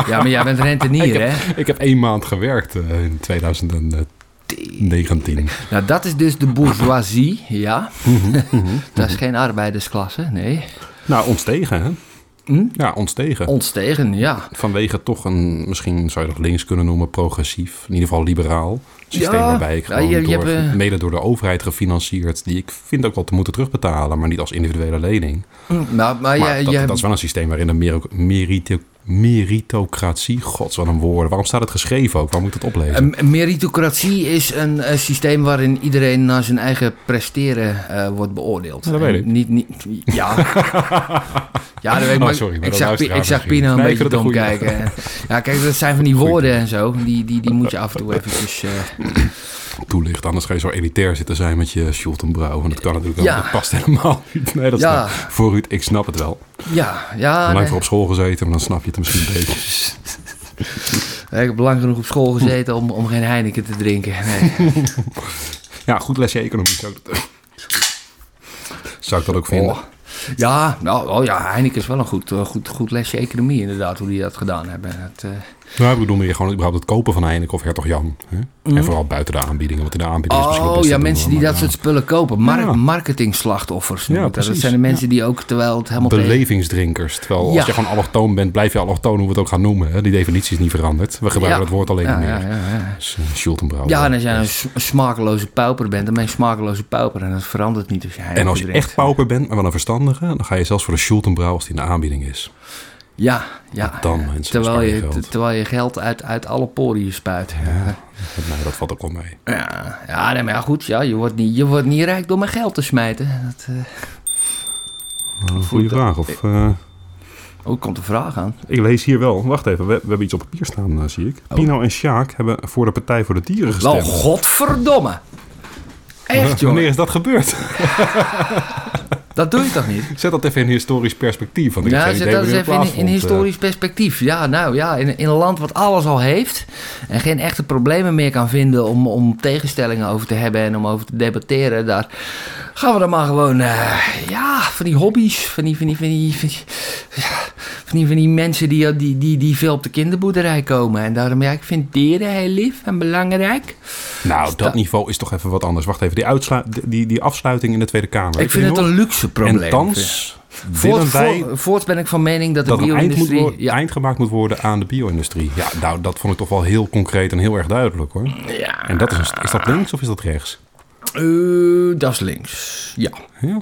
S3: ja, maar jij bent rentenier, hè?
S2: Ik heb één maand gewerkt eh, in 2019.
S3: Nou, dat is dus de bourgeoisie, ja.
S2: Mhm,
S3: dat is geen arbeidersklasse, nee.
S2: Nou, ons tegen, hè?
S3: Hm?
S2: Ja, ons tegen.
S3: Ons tegen, ja.
S2: Vanwege toch een, misschien zou je dat links kunnen noemen, progressief, in ieder geval liberaal systeem
S3: Ja,
S2: waarbij ik
S3: ja,
S2: gewoon
S3: je- je
S2: door,
S3: hebt, eh,
S2: mede door de overheid gefinancierd, die ik vind ook wel te moeten terugbetalen, maar niet als individuele lening.
S3: Nou, Maar, maar,
S2: Maar
S3: jij,
S2: dat,
S3: jij-
S2: dat is wel een systeem waarin de mero- merito- meritocratie, gods wat een woord, waarom staat het geschreven ook, waar moet ik het oplezen?
S3: Een een meritocratie is een, eh, systeem waarin iedereen naar zijn eigen presteren eh, wordt beoordeeld.
S2: Ja, dat weet
S3: En
S2: ik.
S3: Niet, niet, ja. ja, dat weet ik.
S2: Oh,
S3: maar
S2: sorry, maar
S3: ik,
S2: dat
S3: zag, Pi-
S2: luisteraar
S3: ik zag
S2: misschien.
S3: Pina een
S2: Nee, ik
S3: beetje
S2: vind het
S3: dom
S2: een
S3: kijken. Ja, kijk, dat zijn van die
S2: Goeie.
S3: woorden en zo. Die, die, die moet je af en toe eventjes... eh,
S2: toelicht. Anders ga je zo elitair zitten zijn met je Sjoerd en Brouw. En dat kan natuurlijk ook.
S3: Ja.
S2: Dat past helemaal niet. Nee, dat
S3: Ja.
S2: is voor Ruud. Ik snap het wel.
S3: ja, ja.
S2: Lang
S3: nee.
S2: voor op school gezeten, maar dan snap je het misschien een beetje.
S3: Ik heb lang genoeg op school gezeten om, om geen Heineken te drinken. Nee.
S2: Ja, goed lesje economie zou ik dat... Zou ik dat ook vinden?
S3: Oh. Ja, nou, oh ja, Heineken is wel een goed, eh, goed, goed lesje economie inderdaad, hoe die dat gedaan hebben. Het, eh,
S2: Nou, ik bedoel meer gewoon überhaupt het kopen van Heineken of Hertog Jan. Hè? En vooral buiten de aanbiedingen, want in de aanbiedingen is het Dus misschien
S3: Mhm. Oh
S2: wel best
S3: ja,
S2: te doen,
S3: mensen die
S2: maar
S3: dat
S2: ja.
S3: soort spullen kopen. Mar
S2: Ja.
S3: Marketingslachtoffers. noem
S2: Ja,
S3: ik dat. dat
S2: precies.
S3: zijn de mensen die ook, terwijl het helemaal tegen-
S2: Belevingsdrinkers. Terwijl
S3: Ja.
S2: als je gewoon allochtoon bent, blijf je allochtoon, hoe we het ook gaan noemen. Hè? Die definitie is niet veranderd. We gebruiken
S3: Ja.
S2: dat woord alleen
S3: ja,
S2: niet
S3: ja,
S2: meer.
S3: ja, ja.
S2: Dus, eh, Sjoerd en Brouw.
S3: Ja, en
S2: eh,
S3: als jij een s- een smakeloze pauper bent, dan ben je een smakeloze pauper. En dat verandert niet als jij
S2: En als je echt pauper bent, maar wel een verstandige, dan ga je zelfs voor de Schultenbrouw als die in de aanbieding is.
S3: Ja, Ah, ja.
S2: Dan, mensen,
S3: terwijl,
S2: spaar je
S3: je,
S2: geld.
S3: te- terwijl je geld uit, uit alle poriën spuit. Ja,
S2: Nee, dat valt ook wel mee.
S3: ja. nee, maar ja, goed. Ja, je, wordt niet, je wordt niet rijk door met geld te smijten. Dat, eh,
S2: Goeie vraag. Of, eh,
S3: ook oh, komt de vraag aan.
S2: ik lees hier wel. Wacht even, we, we hebben iets op papier staan, eh, zie
S3: Oh.
S2: ik. Pino en Sjaak hebben voor de Partij voor de Dieren
S3: Nou,
S2: gestemd.
S3: godverdomme. Echt,
S2: Wanneer
S3: jongen.
S2: is dat gebeurd?
S3: Dat doe je toch niet?
S2: Zet dat even in historisch perspectief. Want ik heb
S3: Ja,
S2: geen
S3: zet
S2: idee
S3: dat eens
S2: wanneer
S3: even
S2: het
S3: in, in
S2: plaatsvond, eh.
S3: historisch perspectief. Ja, nou ja, in, in een land wat alles al heeft en geen echte problemen meer kan vinden om, om tegenstellingen over te hebben en om over te debatteren, daar gaan we dan maar gewoon, eh, ja, van die hobby's, van die, van die, van die, van die, ja, van die, van die mensen die, die, die, die veel op de kinderboerderij komen. En daarom, ja, ik vind dieren heel lief en belangrijk.
S2: Nou, dat niveau is toch even wat anders. Wacht even, die, uitslu- die, die afsluiting in de Tweede Kamer.
S3: ik vind het
S2: nog-
S3: een luxe probleem.
S2: En thans
S3: Voort,
S2: willen wij
S3: voort- voorts ben ik van mening dat de
S2: dat een eind, moet
S3: bio-industrie...
S2: worden- eind gemaakt moet worden aan de bio-industrie. Ja, nou, dat vond ik toch wel heel concreet en heel erg duidelijk hoor.
S3: ja,
S2: En dat is, een- is dat links of is dat rechts?
S3: Eh, dat is links. Ja.
S2: Ja.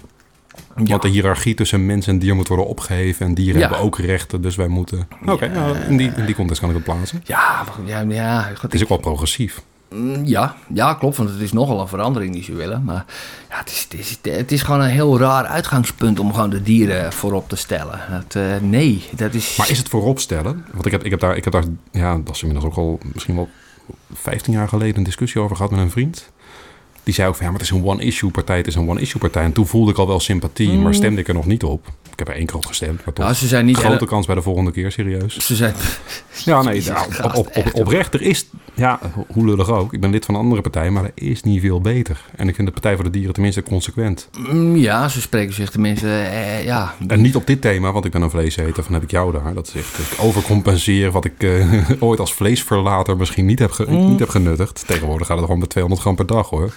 S2: Want de hiërarchie tussen mens en dier moet worden opgeheven. En dieren
S3: Ja.
S2: hebben ook rechten, dus wij moeten... Oké, nou, in, die, in die context kan ik het plaatsen.
S3: Ja, maar goed, ja, ja, goed,
S2: Het is
S3: ik,
S2: ook wel progressief.
S3: Mm, Ja, ja, klopt, want het is nogal een verandering die ze willen. Maar ja, het, is, het, is, het is gewoon een heel raar uitgangspunt om gewoon de dieren voorop te stellen. Dat, eh, nee, dat is...
S2: Maar is het vooropstellen? Want ik heb, ik heb daar, ik heb daar ja, dat is inmiddels ook al misschien wel 15 jaar geleden een discussie over gehad met een vriend. Die zei ook van ja, maar het is een one-issue partij, het is een one-issue partij. En toen voelde ik al wel sympathie, maar stemde ik er nog niet op. Ik heb er één keer op gestemd, maar toch.
S3: Mm. Nou, ze zijn niet...
S2: Grote kans bij de volgende keer, serieus.
S3: Ze zijn...
S2: Ja, nee,
S3: Jezus,
S2: nou, op,
S3: gast,
S2: op, op,
S3: echt,
S2: oprecht, er is, ja, hoe lullig ook. Ik ben lid van een andere partij, maar er is niet veel beter. En ik vind de Partij voor de Dieren tenminste consequent.
S3: Mm, Ja, ze spreken zich tenminste... eh, ja,
S2: En niet op dit thema, want ik ben een vleeseter, van heb ik jou daar. Dat is echt, ik overcompenseer wat ik eh, ooit als vleesverlater misschien niet heb, ge-
S3: Mm.
S2: niet heb genuttigd. Tegenwoordig gaat het gewoon met 200 gram per dag, hoor.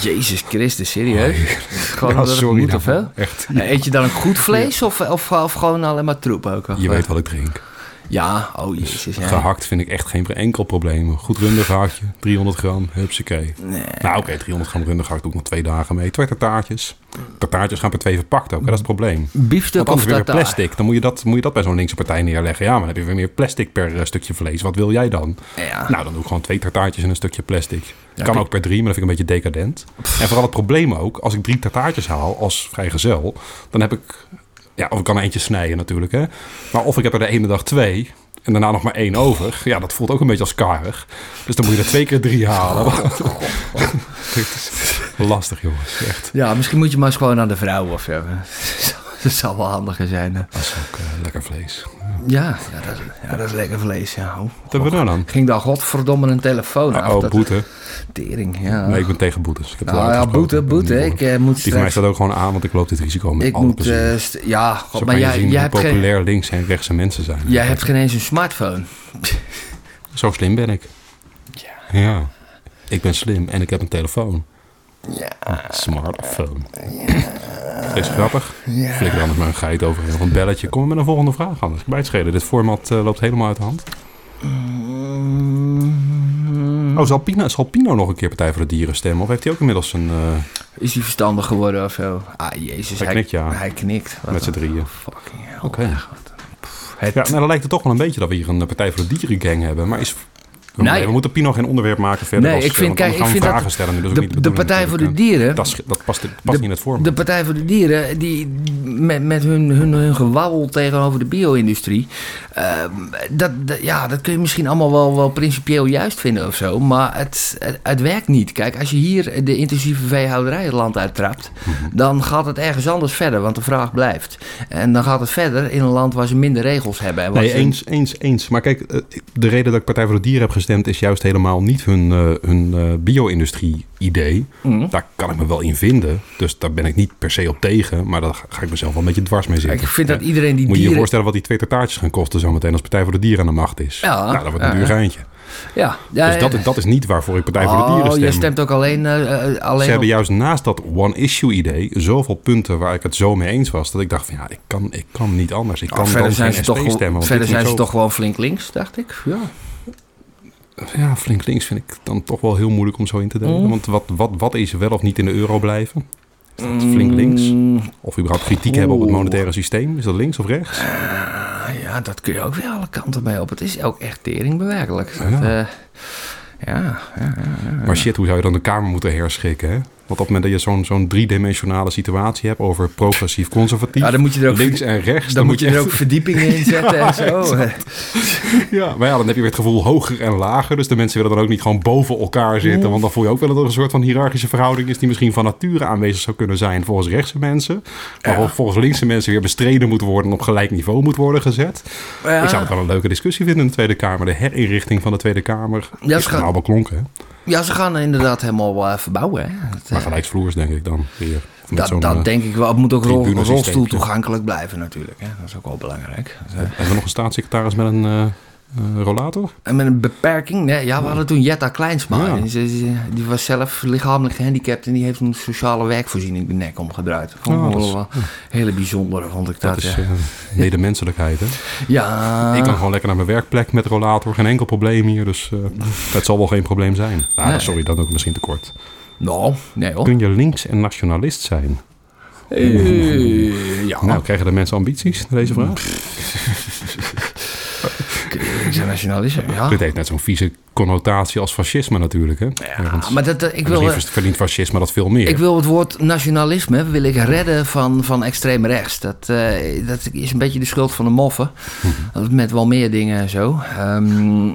S3: Jezus Christus, serieus? Gewoon
S2: Oh, Ja,
S3: omdat het
S2: sorry
S3: moet, of
S2: daarvoor.
S3: hè?
S2: Echt.
S3: En Eet je dan ook goed vlees of, of, of gewoon alleen maar troep ook? Of,
S2: Je weet wat ik drink.
S3: Ja, oh jezus. Ja.
S2: Gehakt vind ik echt geen enkel probleem. Goed rundergehaktje, 300 gram, hupsakee. Nou oké, 300 gram rundergehakt doe ik nog twee dagen mee. Twee tartaartjes. Tartaartjes gaan per twee verpakt ook, hè, dat is het probleem.
S3: Biefstuk
S2: Want
S3: of
S2: anders weer
S3: tartaar?
S2: plastic. Dan moet je, dat, moet je dat bij zo'n linkse partij neerleggen. Ja, maar dan heb je weer meer plastic per eh, stukje vlees. Wat wil jij dan?
S3: Ja.
S2: Nou, dan doe ik gewoon twee tartaartjes en een stukje plastic. kan
S3: ik-
S2: ook per drie, maar dat vind ik een beetje decadent. En vooral het probleem ook, als ik drie tartaartjes haal als vrijgezel, dan heb ik... Ja, of ik kan er eentje snijden natuurlijk, hè. Maar of ik heb er de ene dag twee en daarna nog maar één over. Ja, dat voelt ook een beetje als karig. Dus dan moet je er twee keer drie halen.
S3: Oh.
S2: Dit is lastig, jongens. Echt.
S3: Ja, misschien moet je maar eens gewoon aan de vrouw of zo. Dat zou wel handiger zijn. hè.
S2: Dat is ook eh, lekker vlees.
S3: Ja, ja, dat, ja, dat is lekker vlees. Ja. Oh,
S2: Wat hebben we nou dan?
S3: Ging daar godverdomme een telefoon af.
S2: Oh,
S3: Nou, dat-
S2: boete.
S3: Tering, ja.
S2: Nee, ik ben tegen boetes. Ik heb het
S3: Nou
S2: al
S3: Ah. ja,
S2: uitgesproken.
S3: boete, boete. Ik eh, moet
S2: Die van mij
S3: straks...
S2: staat ook gewoon aan, want ik loop dit risico met
S3: Ik
S2: alle
S3: moet...
S2: plezier.
S3: eh, st- ja, god,
S2: Zo
S3: maar
S2: kan je
S3: jij,
S2: zien
S3: jij,
S2: hoe
S3: hebt geen,
S2: populair links en rechtse mensen zijn.
S3: jij hebt geen eens een smartphone.
S2: Zo slim ben ik. Ja. Ik ben slim en ik heb een telefoon. Ja. Smartphone. Is grappig. Flikker anders maar een geit overheen of een belletje. Kom maar met een volgende vraag anders. Bij het schelen. Dit format eh, loopt helemaal uit de hand.
S3: Mm.
S2: Oh, zal Pino, zal Pino nog een keer Partij voor de Dieren stemmen? Of heeft hij ook inmiddels een... eh,
S3: Is hij verstandig geworden of zo? Ah, jezus.
S2: Hij knikt, ja.
S3: Hij knikt. Wat
S2: Met z'n
S3: een-
S2: drieën.
S3: Fucking hell.
S2: Oké.
S3: Het-
S2: Ja, nou, dan lijkt het toch wel een beetje dat we hier een eh, Partij voor de Dieren gang hebben. Maar is...
S3: Nee.
S2: We moeten Pino geen onderwerp maken verder.
S3: Nee,
S2: als- eh,
S3: ik vind-
S2: want anders
S3: kijk, ik
S2: gaan we
S3: vind
S2: vragen
S3: dat
S2: stellen. dus
S3: de- de Partij voor de Dieren-
S2: eh, Dat, is- dat past, dat past niet in het format.
S3: De Partij voor de Dieren, die met, met hun, hun, hun gewabbel tegenover de bio-industrie. ehm, dat, dat- ja, dat kun je misschien allemaal wel, wel principieel juist vinden of zo. Maar het, het, het werkt niet. Kijk, als je hier de intensieve veehouderij het land uittrapt. dan gaat het ergens anders verder, want de vraag blijft. En dan gaat het verder in een land waar ze minder regels hebben. En waar
S2: Nee,
S3: ze-
S2: eens, eens, eens. Maar kijk, eh, de reden dat ik Partij voor de Dieren heb gestemd... is juist helemaal niet hun, eh, hun eh, bio-industrie-idee.
S3: Mm.
S2: Daar kan ik me wel in vinden. Dus daar ben ik niet per se op tegen. Maar daar ga- ga ik mezelf wel een beetje dwars mee
S3: Kijk,
S2: zitten.
S3: ik vind dat
S2: Ja.
S3: iedereen
S2: Moet
S3: die
S2: je je
S3: dieren.
S2: voorstellen wat die twee taartjes gaan kosten zometeen... als Partij voor de Dieren aan de macht is.
S3: Ja.
S2: nou, dat wordt een
S3: Ja,
S2: duur
S3: ja.
S2: geintje.
S3: ja, ja,
S2: Dus dat, dat is niet waarvoor ik Partij voor de Dieren
S3: Oh,
S2: stem.
S3: je stemt ook alleen, eh, eh, alleen
S2: Ze
S3: op-
S2: hebben juist naast dat one-issue-idee zoveel punten waar ik het zo mee eens was... dat ik dacht van ja, ik kan, ik kan niet anders. Ik kan
S3: Oh, verder
S2: dan
S3: zijn, ze
S2: geen
S3: toch,
S2: SP
S3: wel-
S2: stemmen. want
S3: verder
S2: dit
S3: zijn ze
S2: vind ik
S3: toch gewoon flink links, dacht ik. Ja.
S2: zo- Ja, flink links vind ik dan toch wel heel moeilijk om zo in te delen.
S3: Mm.
S2: Want wat, wat, wat is er wel of niet in de euro blijven? Is dat flink links?
S3: Mm,
S2: Of überhaupt kritiek hebben op het
S3: Oeh.
S2: monetaire systeem? Is dat links of rechts?
S3: ah, ja, dat kun je ook weer alle kanten mee op. Het is ook echt tering bewerkelijk. Dat,
S2: Ja.
S3: eh, ja, ja, ja.
S2: Maar shit, hoe zou je dan de Kamer moeten herschikken, hè? Want op het moment dat je zo'n zo'n driedimensionale situatie hebt over progressief-conservatief,
S3: Ja, Ah, dan moet je er ook-
S2: links en rechts,
S3: Dan, moet je er
S2: echt-
S3: ook verdiepingen in zetten en zo.
S2: Ja, maar ja, dan heb je weer het gevoel hoger en lager. Dus de mensen willen dan ook niet gewoon boven elkaar zitten. Want dan voel je ook wel dat er een soort van hiërarchische verhouding is... die misschien van nature aanwezig zou kunnen zijn volgens rechtse mensen. Maar wel volgens linkse mensen weer bestreden moet worden... en op gelijk niveau moet worden gezet.
S3: Eh, Ja.
S2: Ik zou het wel een leuke discussie vinden in de Tweede Kamer. De herinrichting van de Tweede Kamer
S3: Ja,
S2: is
S3: ze
S2: allemaal
S3: gaan-
S2: beklonken. hè?
S3: Ja, ze gaan inderdaad helemaal eh, verbouwen. Hè. Dat, eh,
S2: Maar gelijksvloers denk ik dan weer. Of met
S3: dat,
S2: zo'n, eh,
S3: dat denk ik wel. Het moet ook rol,
S2: tribunesysteem,
S3: rolstoel
S2: ja.
S3: toegankelijk blijven natuurlijk. Hè. Dat is ook wel belangrijk. Dat, eh,
S2: Hebben we nog een staatssecretaris met een eh, eh, rollator?
S3: En met een beperking. Nee, ja, we hadden toen Jetta Kleinsma.
S2: Ja.
S3: En ze- ze- Die was zelf lichamelijk gehandicapt en die heeft een sociale werkvoorziening de nek omgedraaid. Vond ik
S2: Oh, dat
S3: wel
S2: is-
S3: wel hele bijzondere, vond ik dat.
S2: Dat is
S3: ja.
S2: eh medemenselijkheid, hè?
S3: ja.
S2: Ik
S3: Ah.
S2: kan gewoon lekker naar mijn werkplek met rollator. Geen enkel probleem hier, dus eh dat zal wel geen probleem zijn. Nou,
S3: Nee.
S2: sorry, dat ook misschien te kort.
S3: Nou, nee hoor.
S2: Kun je links en nationalist zijn?
S3: Eh, ja, Eh, Ah.
S2: Nou, krijgen de mensen ambities naar deze vraag?
S3: internationalisme, ja.
S2: Dit heeft net zo'n vieze connotatie als fascisme natuurlijk. Hè?
S3: Ja, Ah, maar dat, dat- ik wil... eh,
S2: Misschien verdient fascisme dat veel meer.
S3: Ik wil het woord nationalisme wil ik redden van, van extreem rechts. Dat, eh, dat is een beetje de schuld van de moffen. Met wel meer dingen en zo. Ehm, eh,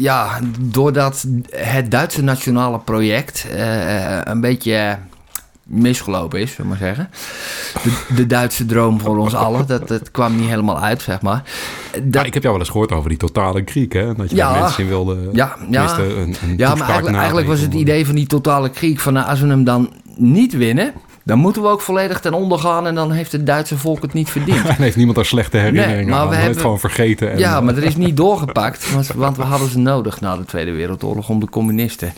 S3: ja, doordat het Duitse nationale project eh, een beetje misgelopen is, zullen we maar zeggen. De, de Duitse droom voor ons allen, dat, dat kwam niet helemaal uit, zeg maar.
S2: Ja,
S3: Dat,
S2: ik heb jou wel eens gehoord over die totale kriek, hè? Dat je
S3: Ja.
S2: daar mensen in wilde...
S3: ja, ja.
S2: tenminste, een, een
S3: Ja, maar
S2: toespraak
S3: eigenlijk, eigenlijk was het
S2: nageven.
S3: idee van die totale kriek... van nou, als we hem dan niet winnen... dan moeten we ook volledig ten onder gaan... en dan heeft het Duitse volk het niet verdiend.
S2: En heeft niemand daar slechte herinneringen
S3: Nee, maar
S2: aan.
S3: we
S2: We hebben
S3: hebben-
S2: het gewoon vergeten. En,
S3: Ja, maar dat is niet doorgepakt... want, want we hadden ze nodig na de Tweede Wereldoorlog... om de communisten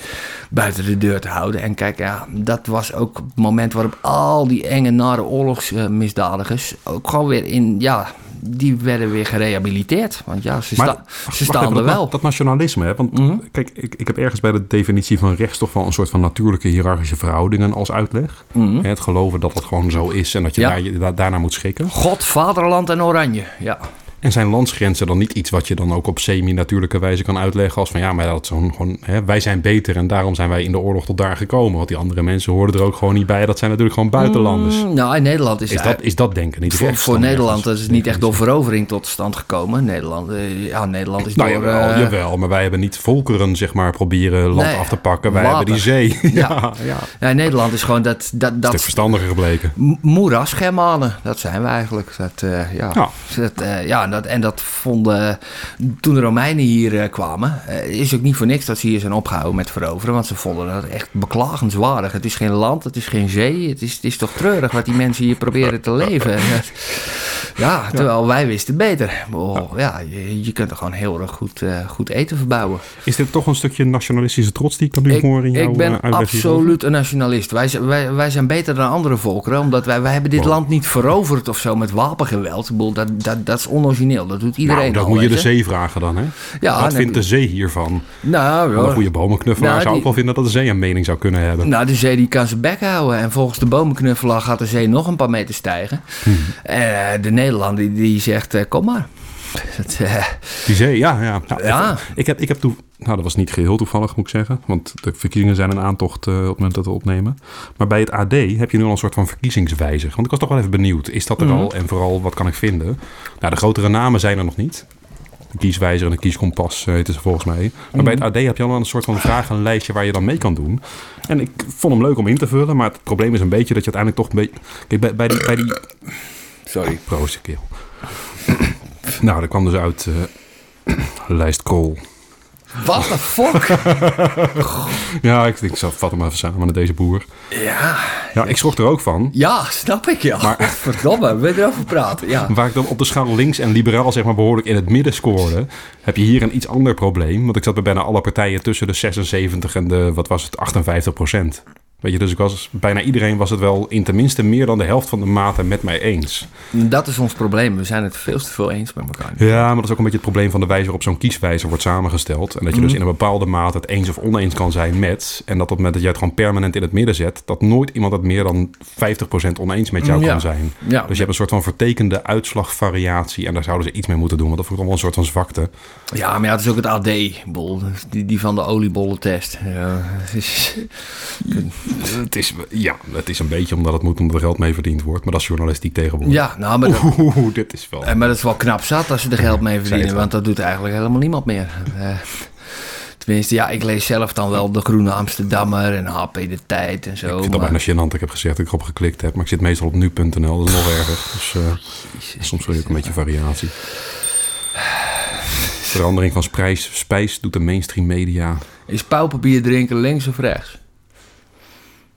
S3: buiten de deur te houden. En kijk, ja, dat was ook het moment... waarop al die enge, nare oorlogsmisdadigers... ook gewoon weer in... Ja, die werden weer gerehabiliteerd. Want ja, ze,
S2: Maar-
S3: sta-
S2: Wacht
S3: ze
S2: even,
S3: staan er
S2: dat,
S3: wel. Mhm.
S2: Dat nationalisme, hè? Want kijk, ik, ik heb ergens bij de definitie van rechts toch wel een soort van natuurlijke hiërarchische verhoudingen als uitleg. Hè, Het geloven dat het gewoon zo is en dat je,
S3: Mhm. Ja.
S2: daar, je da- daarna moet schikken.
S3: God, vaderland en oranje. Ja.
S2: En zijn landsgrenzen dan niet iets wat je dan ook op semi-natuurlijke wijze kan uitleggen als van ja, maar dat is zo'n gewoon, hè, wij zijn beter en daarom zijn wij in de oorlog tot daar gekomen. Want die andere mensen hoorden er ook gewoon niet bij. Dat zijn natuurlijk gewoon buitenlanders.
S3: Mm, Nou, in Nederland is,
S2: Is dat, is dat denken niet
S3: Voor,
S2: rechts
S3: voor
S2: dan
S3: Nederland
S2: ergens?
S3: dat is het niet echt door verovering tot stand gekomen. Nederland, eh, ja, Nederland is
S2: Nou,
S3: door...
S2: jawel,
S3: eh,
S2: jawel, maar wij hebben niet volkeren, zeg maar, proberen land
S3: Nee,
S2: af te pakken. Wij
S3: water.
S2: hebben die zee.
S3: Ja.
S2: ja.
S3: ja, Nederland is gewoon dat... dat,
S2: Dat is
S3: dat
S2: verstandiger gebleken.
S3: m- moerasgermanen, dat zijn we eigenlijk. Dat, eh, ja.
S2: Ja.
S3: Dat, eh, ja, en dat, en dat vonden... Toen de Romeinen hier eh, kwamen... eh, is ook niet voor niks dat ze hier zijn opgehouden met veroveren. Want ze vonden dat echt beklagenswaardig. Het is geen land, het is geen zee. Het is, het is toch treurig wat die mensen hier proberen te leven. En dat- Ja, terwijl wij wisten beter. Oh, ja, je, je kunt er gewoon heel erg goed, eh, goed eten verbouwen.
S2: Is dit toch een stukje nationalistische trots die ik dan nu
S3: Ik,
S2: hoor in jouw
S3: ik
S2: eh,
S3: ben
S2: uitleg hierover?
S3: absoluut een nationalist. Wij, zijn- wij, wij zijn beter dan andere volkeren, omdat wij, wij hebben dit land niet veroverd of zo met wapengeweld. Ik bedoel, dat, dat, dat is onorigineel. Dat doet iedereen
S2: Nou, dat
S3: al,
S2: moet je de
S3: weet
S2: zee vragen dan, hè?
S3: Ja,
S2: Wat
S3: nee,
S2: vindt de zee hiervan?
S3: Nou,
S2: Een
S3: ja.
S2: goede bomenknuffelaar
S3: Nou,
S2: zou
S3: die-
S2: ook wel vinden dat de zee een mening zou kunnen hebben.
S3: Nou, de zee die kan zijn bek houden. En volgens de bomenknuffelaar gaat de zee nog een paar meter stijgen.
S2: Hmm.
S3: Eh, de Nederlander die, die zegt, eh, kom maar. Dat, eh,
S2: Die zee, ja, ja. Nou,
S3: Ja.
S2: Ik, ik heb, ik heb toe, nou, dat was niet geheel toevallig, moet ik zeggen. Want de verkiezingen zijn een aantocht eh, op het moment dat we opnemen. Maar bij het AD heb je nu al een soort van verkiezingswijzer. Want ik was toch wel even benieuwd. Is
S3: Mhm.
S2: dat er al? En vooral, wat kan ik vinden? Nou, de grotere namen zijn er nog niet. De kieswijzer en de kieskompas eh, heet het volgens mij. Maar bij
S3: Mhm.
S2: het AD heb je al een soort van vragenlijstje waar je dan mee kan doen. En ik vond hem leuk om in te vullen. Maar het probleem is een beetje dat je uiteindelijk toch een beetje... Kijk, bij, bij, die, bij die
S3: Sorry.
S2: Proost, keel. nou, dat kwam dus uit eh, lijst Kool.
S3: What the fuck?
S2: Ja, ik denk, ik zal- vat hem even samen met deze boer.
S3: ja,
S2: Ja, ik schrok er ook van.
S3: ja, snap ik ja. Verdomme, wil je erover praten? Ja.
S2: Waar ik dan op de schaal links en liberaal zeg maar behoorlijk in het midden scoorde, heb je hier een iets ander probleem. Want ik zat bij bijna alle partijen tussen de 76 en de, wat was het, 58 procent. Weet je, dus ik was, bijna iedereen was het wel in tenminste meer dan de helft van de mate met mij eens.
S3: Dat is ons probleem. We zijn het veel te veel eens met elkaar.
S2: Ja, maar dat is ook een beetje het probleem van de wijze waarop zo'n kieswijzer wordt samengesteld. En dat je dus in een bepaalde mate het eens of oneens kan zijn met. En dat op het moment dat jij het gewoon permanent in het midden zet, dat nooit iemand het meer dan 50% oneens met jou
S3: Ja.
S2: kan zijn.
S3: Ja.
S2: Dus je hebt een soort van vertekende uitslagvariatie. En daar zouden ze iets mee moeten doen, want dat wordt allemaal een soort van zwakte.
S3: Ja, maar ja, het is ook het AD. Ik bedoel, Die, die van de oliebollentest. Ja, het is-
S2: Het is, ja, het is een beetje omdat het moet, omdat er geld mee verdiend wordt. Maar dat is journalistiek tegenwoordig.
S3: ja nou, maar dat,
S2: Oeh, dit is wel...
S3: eh, maar dat is wel knap zat als ze er geld mee
S2: zei het
S3: verdienen.
S2: al.
S3: Want dat doet eigenlijk helemaal niemand meer. Eh, tenminste, ja, ik lees zelf dan wel De Groene Amsterdammer en HP De Tijd en zo.
S2: Ik vind dat
S3: Oh, maar-
S2: bijna gênant. Ik heb gezegd dat ik erop geklikt heb. Maar ik zit meestal op nu.nl. Dat is nog erger. Dus eh, soms wil je ook een beetje variatie. Verandering van sprijs, spijs doet de mainstream media.
S3: Is pauwpapier drinken links of rechts?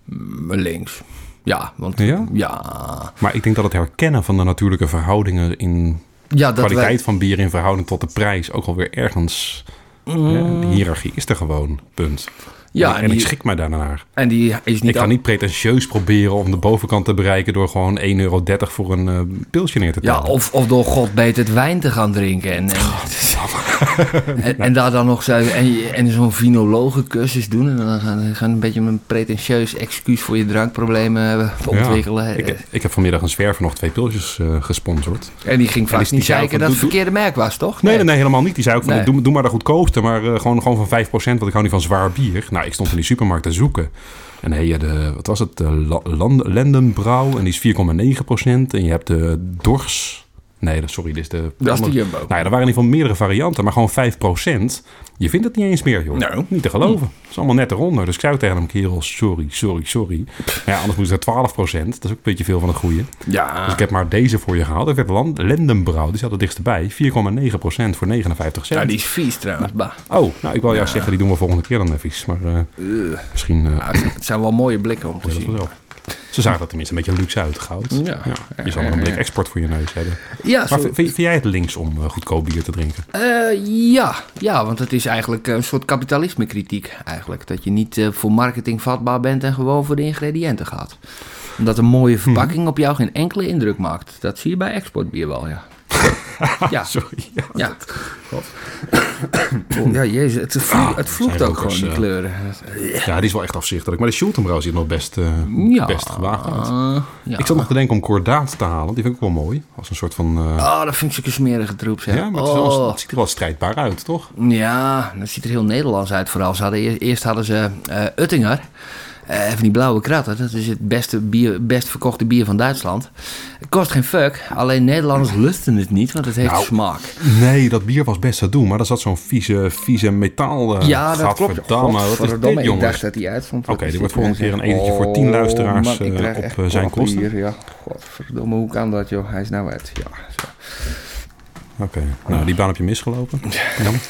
S3: Mm, Links. Ja, want...
S2: Ja?
S3: Ja,
S2: Maar ik denk dat het herkennen van de natuurlijke verhoudingen in
S3: ja Ah, dat
S2: kwaliteit
S3: wij-
S2: van bier in verhouding tot de prijs ook alweer ergens. hè, de hiërarchie is er gewoon. Punt.
S3: Mm. Ja,
S2: en,
S3: en
S2: ik
S3: die-
S2: schrik mij daarnaar.
S3: En die is niet...
S2: Ik ga niet pretentieus proberen om de bovenkant te bereiken door gewoon 1,30 euro voor een eh, pilsje neer te
S3: Ja,
S2: tellen.
S3: of, of door God beter het wijn te gaan drinken. En, en- En, en daar dan nog zo, en, je- en zo'n vinologencursus doen. En dan gaan, gaan een beetje een pretentieus excuus voor je drankproblemen eh, ontwikkelen.
S2: Ja. Ik, ik heb vanmiddag een zwerver nog twee pilsjes eh, gesponsord.
S3: en die ging
S2: die-
S3: vast
S2: die
S3: niet
S2: zei van,
S3: zeiken dat het
S2: doe-
S3: verkeerde merk was, toch?
S2: Nee, nee, nee, helemaal niet. Die zei ook van,
S3: Nee.
S2: doe, doe maar de goedkoopste, maar eh, gewoon, gewoon van 5%, want ik hou niet van zwaar bier. Nou, ik stond in die supermarkt te zoeken. En hey, eh, de, wat was het? De La- Land- Lendenbrouw, en die is 4,9%. En je hebt de Dors. Nee, dat- sorry, dit is de...
S3: Dat is de Jumbo.
S2: Nou ja, er waren in ieder geval meerdere varianten, maar gewoon 5%. Je vindt het niet eens meer, joh.
S3: Nou.
S2: Niet te geloven. Het is allemaal net eronder. Dus ik zei ook tegen hem, kerel, sorry, sorry, sorry. Maar ja, anders moest het naar 12%. Dat is ook een beetje veel van het goede. Dus
S3: Ja.
S2: ik heb maar deze voor je gehaald. Ik heb Land- Lendenbrouw, die zat er dichtstbij. 4,9% voor 59 cent.
S3: Ja, die is vies trouwens. Bah.
S2: Oh, nou, ik wil juist zeggen, die doen we volgende keer dan even. Maar eh, misschien... eh
S3: Nou, het zijn wel mooie blikken om te
S2: dat
S3: zien.
S2: vanzelf. Ze zagen dat tenminste een beetje luxe uit, goud.
S3: Ja.
S2: Je zal nog een blik export voor je neus hebben.
S3: Ja,
S2: Maar
S3: zo-
S2: vind, vind jij het links om eh, goedkoop bier te drinken?
S3: Eh, ja. ja, want het is eigenlijk eh, een soort kapitalisme-kritiek eigenlijk. Dat je niet eh, voor marketing vatbaar bent en gewoon voor de ingrediënten gaat. Omdat een mooie
S2: Mhm.
S3: verpakking op jou geen enkele indruk maakt. Dat zie je bij exportbier wel, ja. ja,
S2: Sorry.
S3: ja. ja, jezus, het, vlo het vloekt
S2: Ah, zijn
S3: ook
S2: rokers,
S3: gewoon, die
S2: eh.
S3: kleuren.
S2: Ja, die is wel echt afzichtelijk. Maar de Schultenbrouw ziet nog best, eh,
S3: Ja.
S2: best gewaagd uit.
S3: Eh, ja.
S2: Ik zat nog te denken om kordaat te halen. Die vind ik ook wel mooi. Als een soort van... eh,
S3: Oh, dat vind ik een smerige troep, zeg.
S2: ja, maar het, is wel,
S3: oh.
S2: het ziet er wel strijdbaar uit, toch?
S3: Ja, dat ziet er heel Nederlands uit vooral. Ze hadden eerst, eerst hadden ze eh, Uttinger. Eh, even die blauwe kratten. Dat is het beste bier, best verkochte bier van Duitsland. Het kost geen fuck. Alleen Nederlanders lusten het niet, want het heeft
S2: Nou,
S3: smaak.
S2: Nee, dat bier was best te doen. Maar daar zat zo'n vieze, vieze metaal... eh,
S3: ja, dat klopt.
S2: gadverdamme, Wat is
S3: Godverdomme,
S2: dit,
S3: ik
S2: jongens?
S3: dacht dat die uitstond.
S2: Oké, er wordt volgende keer een etentje voor 10 luisteraars, eh, op, eh, zijn kosten.
S3: Hier, ja. Godverdomme, hoe kan dat joh? Hij is nou uit. Ja, zo.
S2: Oké, nou, die baan heb je misgelopen. Jammer.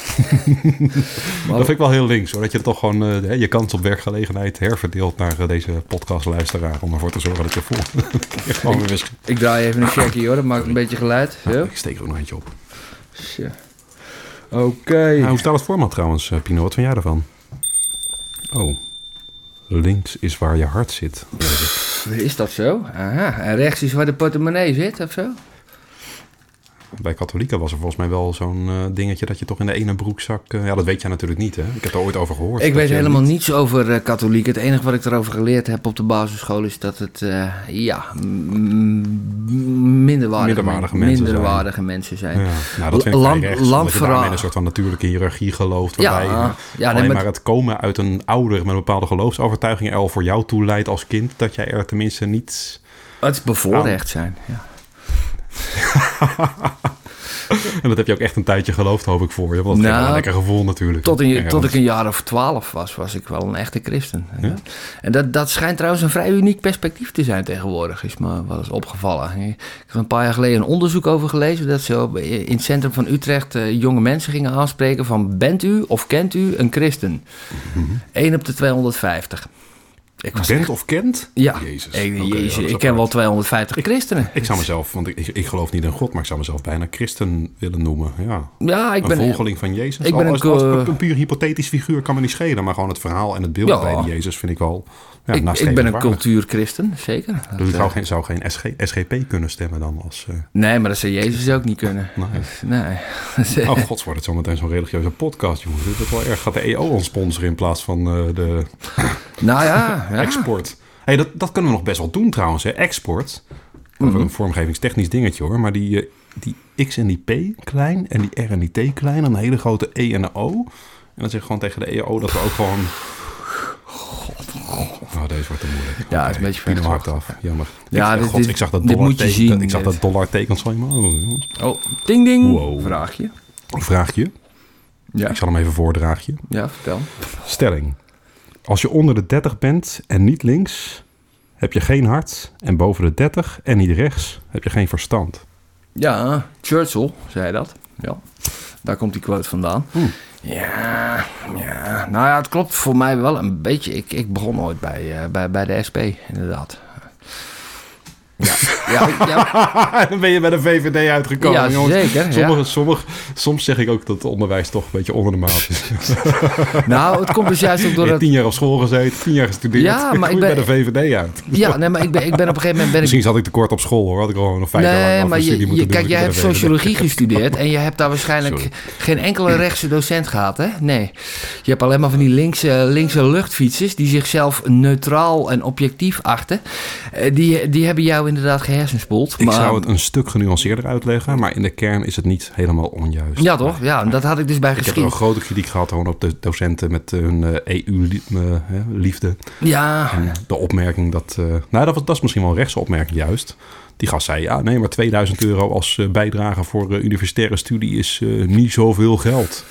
S2: dat vind ik wel heel links, hoor. Dat je toch gewoon eh, hè, je kans op werkgelegenheid herverdeelt naar eh, deze podcastluisteraar. Om ervoor te zorgen dat je volgende keer gewoon weer mis-
S3: Ik draai even een checkie hoor, dat maakt een beetje geluid. Ja.
S2: Ik steek er ook nog eentje op.
S3: Zo. Oké.
S2: Nou, hoe staat het format trouwens, eh, Pino? Wat vind jij ervan? Oh, links is waar je hart zit.
S3: Is dat zo? Aha. En rechts is waar de portemonnee zit of zo?
S2: Bij katholieken was er volgens mij wel zo'n eh, dingetje dat je toch in de ene broekzak... eh, ja, dat weet jij natuurlijk niet, hè? Ik heb er ooit over gehoord.
S3: Ik
S2: dat
S3: weet
S2: je
S3: helemaal niets over eh, katholiek. Het enige wat ik erover geleerd heb op de basisschool is dat het eh, ja, m- minderwaardige,
S2: Minderwaardige mensen
S3: minderwaardige mensen zijn.
S2: Ja, nou, dat vind ik
S3: Land-
S2: vrij rechts, omdat je
S3: landverraad.
S2: daarmee in een soort van natuurlijke hiërarchie gelooft, waarbij eh,
S3: Ja, ja, nee,
S2: alleen
S3: maar-
S2: maar het komen uit een ouder met een bepaalde geloofsovertuiging er al voor jou toe leidt als kind, dat jij er tenminste niet...
S3: Het is
S2: Nou.
S3: bevoorrecht zijn. Ja.
S2: En dat heb je ook echt een tijdje geloofd, hoop ik, voor je, want dat
S3: Nou,
S2: geeft wel een lekker gevoel natuurlijk.
S3: Tot, in,
S2: Ja,
S3: tot ik
S2: want-
S3: een jaar of twaalf was, was ik wel een echte christen. En dat, dat schijnt trouwens een vrij uniek perspectief te zijn tegenwoordig, is me wel eens opgevallen. Ik heb een paar jaar geleden een onderzoek over gelezen dat ze op- in het centrum van Utrecht eh, jonge mensen gingen aanspreken van bent u of kent u een christen?
S2: Mhm.
S3: 1 op de 250. Ik was
S2: Bent of kent?
S3: ja,
S2: Jezus.
S3: ik,
S2: Oké, ja,
S3: Jezus,
S2: dat is
S3: ik ken wel
S2: apart.
S3: 250 christenen.
S2: Ik zou mezelf, want ik, ik, ik geloof niet in God, maar ik zou mezelf bijna christen willen noemen. Ja.
S3: ja, ik
S2: een
S3: ben
S2: volgeling van Jezus.
S3: ik ben
S2: Al-
S3: een
S2: als, als,
S3: ko-
S2: een puur hypothetisch figuur kan me niet schelen, maar gewoon het verhaal en het beeld
S3: Ja.
S2: bij die Jezus vind ik wel ja,
S3: ik, ik ben een
S2: nastrevenswaardig.
S3: cultuurchristen, zeker.
S2: Dus ik
S3: Dat,
S2: zou
S3: eh,
S2: geen, zou geen SG, SGP kunnen stemmen dan als... eh,
S3: Nee, maar dat zou Jezus ook niet kunnen.
S2: Nee.
S3: Nee.
S2: Oh god, wordt het zometeen zo'n religieuze podcast, jongen. Dat is wel erg. Gaat de EO ons sponsoren in plaats van eh, de
S3: nou ja, ja.
S2: export. hey, dat, dat kunnen we nog best wel doen trouwens, hè. Export. Of
S3: Mhm.
S2: een vormgevingstechnisch dingetje, hoor. Maar die, eh, die X en die P klein en die R en die T klein... en een hele grote E en een O. En dan zeg ik gewoon tegen de EO dat we ook gewoon... Oh, deze wordt te moeilijk. Ja,
S3: is een beetje
S2: Pino hakt
S3: vergezocht.
S2: af. Jammer.
S3: Ja,
S2: ik,
S3: dit-
S2: god,
S3: dit-
S2: ik zag dat
S3: dit moet je
S2: dollarteken.
S3: zien,
S2: Ik zag
S3: dit.
S2: dat dollartekens van je. Oh, jongens.
S3: Oh, ding ding.
S2: Wow.
S3: Vraagje.
S2: Vraagje.
S3: Ja.
S2: Ik zal hem even voordraagje.
S3: ja, vertel.
S2: Stelling. Als je onder de 30 bent en niet links, heb je geen hart. En boven de 30 en niet rechts, heb je geen verstand.
S3: Ja, Churchill zei dat. Ja, daar komt die quote vandaan. Ja, ja, nou ja, het klopt voor mij wel een beetje. Ik, ik begon ooit bij, eh, bij, bij de SP, inderdaad. Ja. Ja, ja,
S2: dan ben je bij de VVD uitgekomen,
S3: ja,
S2: jongens.
S3: zeker. ja.
S2: Sommige, sommige, soms zeg ik ook dat het onderwijs toch een beetje onder de maat is.
S3: Nou, het komt dus juist ook door
S2: Je hebt
S3: het...
S2: tien jaar op school gezeten, tien jaar gestudeerd.
S3: Ja, maar
S2: kom je
S3: ik ben-
S2: bij de VVD uit.
S3: Ja, nee, maar ik ben, ik ben op een gegeven moment... Ben ik
S2: Misschien zat ik tekort op school hoor. Had ik gewoon nog vijf jaar lang
S3: Nee,
S2: af
S3: maar
S2: een studie
S3: je, je,
S2: moeten doen,
S3: kijk,
S2: dat
S3: jij hebt
S2: ik bij de VVD
S3: sociologie gestudeerd en je hebt daar waarschijnlijk
S2: Sorry.
S3: geen enkele rechtse docent gehad, hè? Nee. Je hebt alleen maar van die linkse, linkse luchtfietsers die zichzelf neutraal en objectief achten. Eh, Die, die hebben jou inderdaad gehersenspoeld.
S2: Ik
S3: maar-
S2: zou het een stuk genuanceerder uitleggen, maar in de kern is het niet helemaal onjuist.
S3: Ja, toch? Ja, en dat had ik dus bij
S2: Ik heb er een
S3: geschiedenis.
S2: grote kritiek gehad gewoon op de docenten met eh, hun E EU-liefde.
S3: Ja,
S2: eh, De opmerking dat... eh, nou, dat, was, dat is misschien wel een rechtse opmerking juist. Die gast zei, ja, nee, maar 2000 euro als eh, bijdrage voor eh, universitaire studie is eh, niet zoveel geld.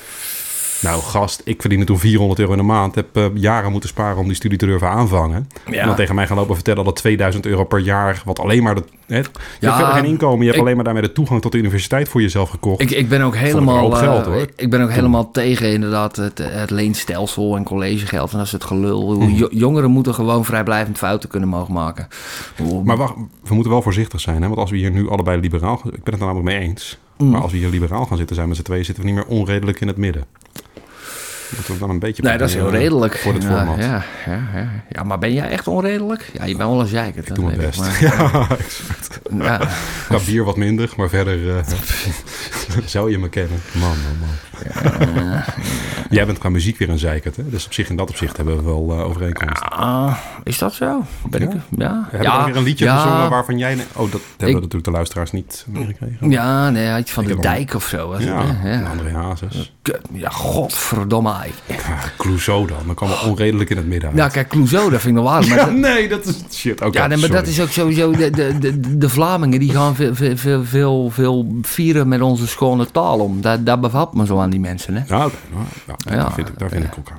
S2: Nou, gast, ik verdiende toen 400 euro in de maand. Heb eh, jaren moeten sparen om die studie te durven aanvangen.
S3: Ja.
S2: En dan tegen mij gaan lopen vertellen dat 2000 euro per jaar, wat alleen maar... De, hè, je
S3: Ja,
S2: hebt verder geen inkomen, je hebt
S3: ik-
S2: alleen maar daarmee de toegang tot de universiteit voor jezelf gekocht.
S3: ik, ik ben ook
S2: een hoop
S3: helemaal, eh,
S2: geld, hoor.
S3: Ik ben ook helemaal tegen inderdaad het, het leenstelsel en collegegeld en dat is het gelul.
S2: Hm.
S3: Jo- Jongeren moeten gewoon vrijblijvend fouten kunnen mogen maken.
S2: Maar wacht, we moeten wel voorzichtig zijn. Hè? Want als we hier nu allebei liberaal... gaan- Ik ben het er namelijk mee eens.
S3: Mm.
S2: Maar als we hier liberaal gaan zitten zijn met z'n tweeën... zitten we niet meer onredelijk in het midden. Moeten we dan een beetje...
S3: Nee, dat is heel
S2: proberen
S3: redelijk.
S2: Voor het
S3: ja,
S2: format.
S3: Ja, ja, ja. ja, maar ben jij echt onredelijk? Ja, je bent wel een zeiker.
S2: Ik doe mijn best.
S3: Maar,
S2: Ja, exact.
S3: ja,
S2: Qua bier wat minder, maar verder eh, zou je me kennen. Man, man, man. Jij bent qua muziek weer een zeikert, hè? Dus op zich in dat opzicht hebben we wel eh, overeenkomst.
S3: Ah, is dat zo? Ben ik, ja.
S2: Hebben we
S3: ja,
S2: dan weer een liedje
S3: ja,
S2: gezongen waarvan jij... Oh, dat hebben we
S3: Ik-
S2: natuurlijk de luisteraars niet meegekregen.
S3: Ja, nee, iets van
S2: Ik
S3: de
S2: heb hem.
S3: dijk of zo. was het,
S2: Ja,
S3: hè?
S2: en
S3: ja.
S2: André Hazes.
S3: Kut, ja, godverdomme. ei.
S2: Ja, Clouseau dan. Dan kwam er onredelijk in het midden uit.
S3: Nou, kijk, Clouseau, dat vind ik nog waar. Maar
S2: Ja,
S3: dat-
S2: nee, dat is shit. Oké,
S3: Ja, nee, maar dat
S2: sorry.
S3: is ook sowieso. De, de, de, de Vlamingen die gaan veel, veel, veel, veel, veel vieren met onze schone taal om. Daar, daar bevalt me zo aan die mensen. Hè?
S2: Ja, oké, nou, ja, nee,
S3: Ja,
S2: daar vind ik, daar vind ik ook aan.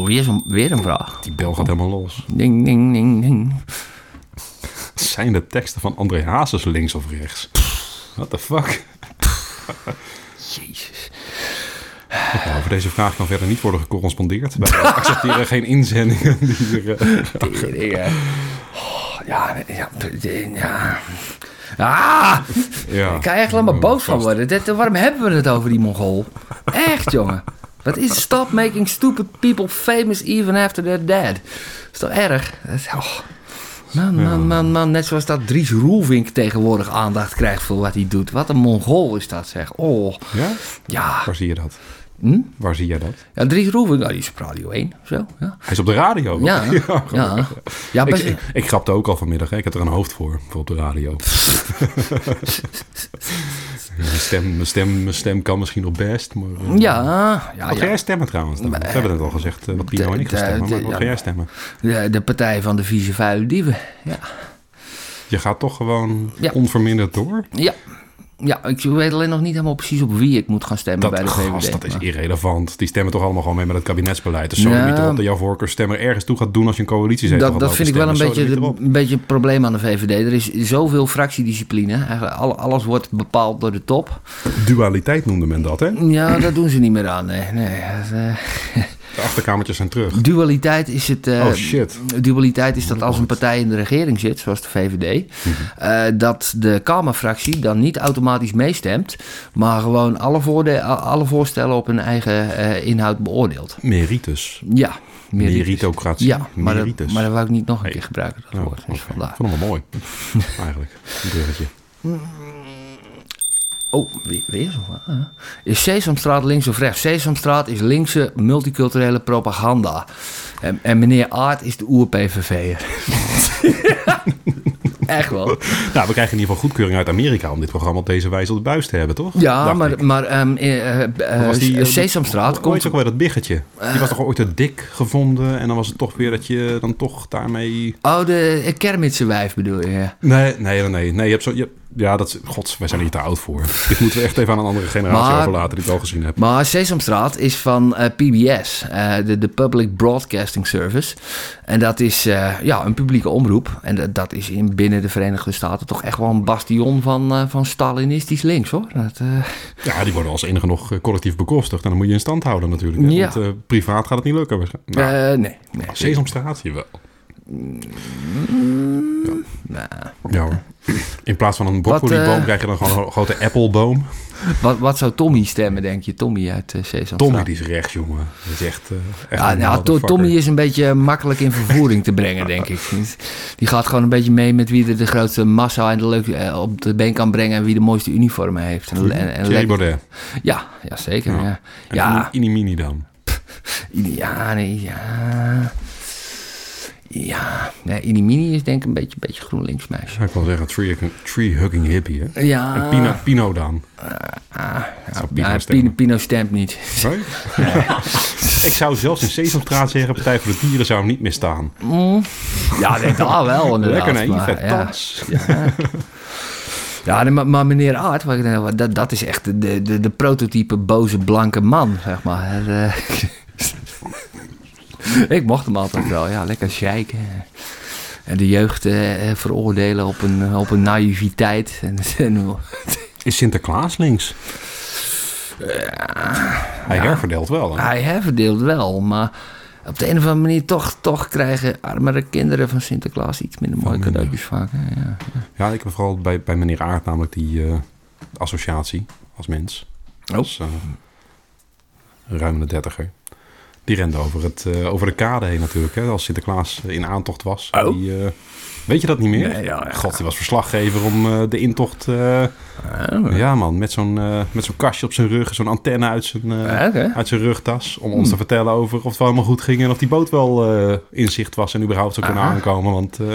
S3: Oh, weer, zo'n- weer een vraag.
S2: Die bel gaat helemaal los.
S3: Ding, ding, ding, ding.
S2: Zijn de teksten van André Hazes links of rechts? What the fuck?
S3: Jezus.
S2: Nou, over deze vraag kan verder niet worden gecorrespondeerd. Wij accepteren geen inzendingen. Die er, eh,
S3: Tering, hè. Oh, ja, ja, ja. Ah!
S2: ja.
S3: Ik kan echt alleen maar boos van worden. Dit, waarom hebben we het over die Mongool? Echt, jongen. Wat is stop making stupid people famous even after they're dead? is toch erg? Dat is- oh. Man, man, man, man. Net zoals dat Dries Roelvink tegenwoordig aandacht krijgt voor wat hij doet. Wat een Mongool is dat, zeg. Oh,
S2: Ja?
S3: ja.
S2: Waar zie je dat?
S3: Hm?
S2: Waar zie jij dat?
S3: ja Dries Roelvink, nou, die is op Radio 1 of zo. Ja,
S2: Hij is op de radio.
S3: ja. ja.
S2: goed.
S3: ja.
S2: ik,
S3: Ah, best-
S2: ik, ik grapte ook al vanmiddag. Hè. Ik had er een hoofd voor, voor op de radio. mijn, stem, mijn, stem, mijn stem kan misschien nog best, maar... eh,
S3: ja, ja,
S2: Wat ga
S3: ja.
S2: jij stemmen trouwens? Dan? We hebben het al gezegd, eh, wat Pino en ik gaan
S3: de-
S2: stemmen. Maar
S3: de-
S2: wat
S3: ja.
S2: ga jij stemmen?
S3: De, de partij van de vieze vuile dieven. Ja.
S2: Je gaat toch gewoon
S3: Ja.
S2: onverminderd door?
S3: Ja. Ja, ik weet alleen nog niet helemaal precies op wie ik moet gaan stemmen bij
S2: Dat,
S3: de VVD.
S2: gast, dat is
S3: maar-
S2: irrelevant. Die stemmen toch allemaal gewoon mee met het kabinetsbeleid. Dus zo
S3: Ja.
S2: niet erop dat jouw voorkeurstemmer ergens toe gaat doen als je een coalitie zet.
S3: dat, dat vind ik wel een beetje, de- een beetje een probleem aan de VVD. Er is zoveel fractiediscipline. Eigenlijk al- alles wordt bepaald door de top.
S2: Dualiteit noemde men dat, hè?
S3: Ja, dat doen ze niet meer aan. Nee, nee. Dat, eh,
S2: De achterkamertjes zijn terug.
S3: dualiteit is het... eh,
S2: Oh, shit. Oh,
S3: Dualiteit is dat als een partij in de regering zit, zoals de VVD,
S2: Mhm.
S3: eh, dat de Kamerfractie dan niet automatisch meestemt, maar gewoon alle, voorde- alle voorstellen op hun eigen eh, inhoud beoordeelt.
S2: Meritus.
S3: Ja, meer
S2: Meritocratie.
S3: Ja, maar dat,
S2: Meritus.
S3: maar dat wou ik niet nog een
S2: Hey.
S3: keer gebruiken, dat
S2: Oh,
S3: woord. Dus
S2: oké.
S3: vandaar.
S2: Ik vond hem wel mooi, eigenlijk. Een bruggetje.
S3: Oh, weer, weer zo. ah. Is Sesamstraat links of rechts? Sesamstraat is linkse multiculturele propaganda. En, en meneer Aart is de oer-PVV'er. Echt wel.
S2: Nou, we krijgen in ieder geval goedkeuring uit Amerika om dit programma op deze wijze op de buis te hebben, toch?
S3: Ja,
S2: Dacht ik.
S3: maar, maar ehm, eh, eh, eh,
S2: Was die, eh,
S3: Sesamstraat
S2: Hoe heet
S3: komt...
S2: ook weer dat biggetje? Die was toch ooit te dik gevonden en dan was het toch weer dat je dan toch daarmee...
S3: Oh, de eh, Kermitse wijf bedoel je. ja.
S2: Nee, nee, nee, nee. nee je hebt zo, je, ja, dat is, gods, wij zijn hier te oud voor. Dit moeten we echt even aan een andere generatie
S3: Maar-
S2: overlaten die het al gezien hebt.
S3: Maar Sesamstraat is van eh, PBS, eh, de, de Public Broadcasting Service. En dat is eh, ja, een publieke omroep. En dat, dat is in binnen de Verenigde Staten toch echt wel een bastion van, eh, van Stalinistisch links hoor. Dat, eh,
S2: Ja, die worden als enige nog eh, collectief bekostigd en dan moet je in stand houden natuurlijk. hè,
S3: Ja.
S2: Want eh, privaat gaat het niet lukken. waarschijnlijk. Nou,
S3: eh, nee, nee.
S2: Sesamstraat, jawel.
S3: Nou,
S2: Ja hoor. In plaats van een broccoliboom
S3: eh,
S2: krijg je dan gewoon een grote appelboom.
S3: wat, wat zou Tommy stemmen, denk je? Tommy uit eh Sesam.
S2: Tommy die is rechts, jongen. Dat is echt, eh, echt
S3: Ja,
S2: een
S3: nou, To-
S2: motherfucker.
S3: Tommy is een beetje makkelijk in vervoering te brengen, denk ik. Die gaat gewoon een beetje mee met wie er de grootste massa en de leuk eh, op de been kan brengen en wie de mooiste uniformen heeft. En, en, en
S2: Thierry
S3: lekker-
S2: Baudet.
S3: ja, ja, zeker.
S2: Ja.
S3: Ja,
S2: En
S3: ja.
S2: Ini Mini dan.
S3: ja nee, ja. Ja, nee, Inimini is denk ik een beetje, beetje groenlinks meisje.
S2: Zou ik wel zeggen, tree- tree-hugging hippie, hè?
S3: Ja, Eh,
S2: En Pino, Pino dan. zou Pino
S3: nou,
S2: stemmen.
S3: Pino, Pino stemt niet.
S2: Nee? ik zou zelfs in Sesamstraat zeggen, Partij voor de Dieren zou hem niet meer staan.
S3: Ja, dat ah, wel inderdaad.
S2: Lekker naïef,
S3: maar,
S2: hè?
S3: ja.
S2: Tans.
S3: Ja, nee, maar, maar meneer Aard, wat ik net al- dat, dat is echt de, de, de prototype boze blanke man, zeg maar. Hè, eh. ik mocht hem altijd wel, ja, lekker zeiken. En de jeugd eh, eh, veroordelen op een, op een naïviteit. En, en-
S2: Is Sinterklaas links?
S3: Eh,
S2: Hij herverdeelt wel, hè?
S3: hij herverdeelt wel, maar op de een of andere manier toch, toch krijgen armere kinderen van Sinterklaas iets minder mooie
S2: minder.
S3: cadeautjes vaak. hè, Ja.
S2: Ja, ik heb vooral bij, bij meneer Aard namelijk die eh, associatie als mens.
S3: Oh.
S2: Als eh, ruim de dertiger. Die rende over, het, eh, over de kade heen natuurlijk, hè, als Sinterklaas in aantocht was.
S3: Oh.
S2: Die, eh, weet je dat niet meer?
S3: Nee, ja, ja.
S2: God, die was verslaggever om eh, de intocht... eh,
S3: Oh.
S2: ja man, met zo'n eh, met zo'n kastje op zijn rug, zo'n antenne uit zijn, eh,
S3: Ja, oké.
S2: uit zijn rugtas. Om ons te vertellen over of het wel helemaal goed ging en of die boot wel eh, in zicht was en überhaupt zou kunnen
S3: Aha.
S2: aankomen. Want eh,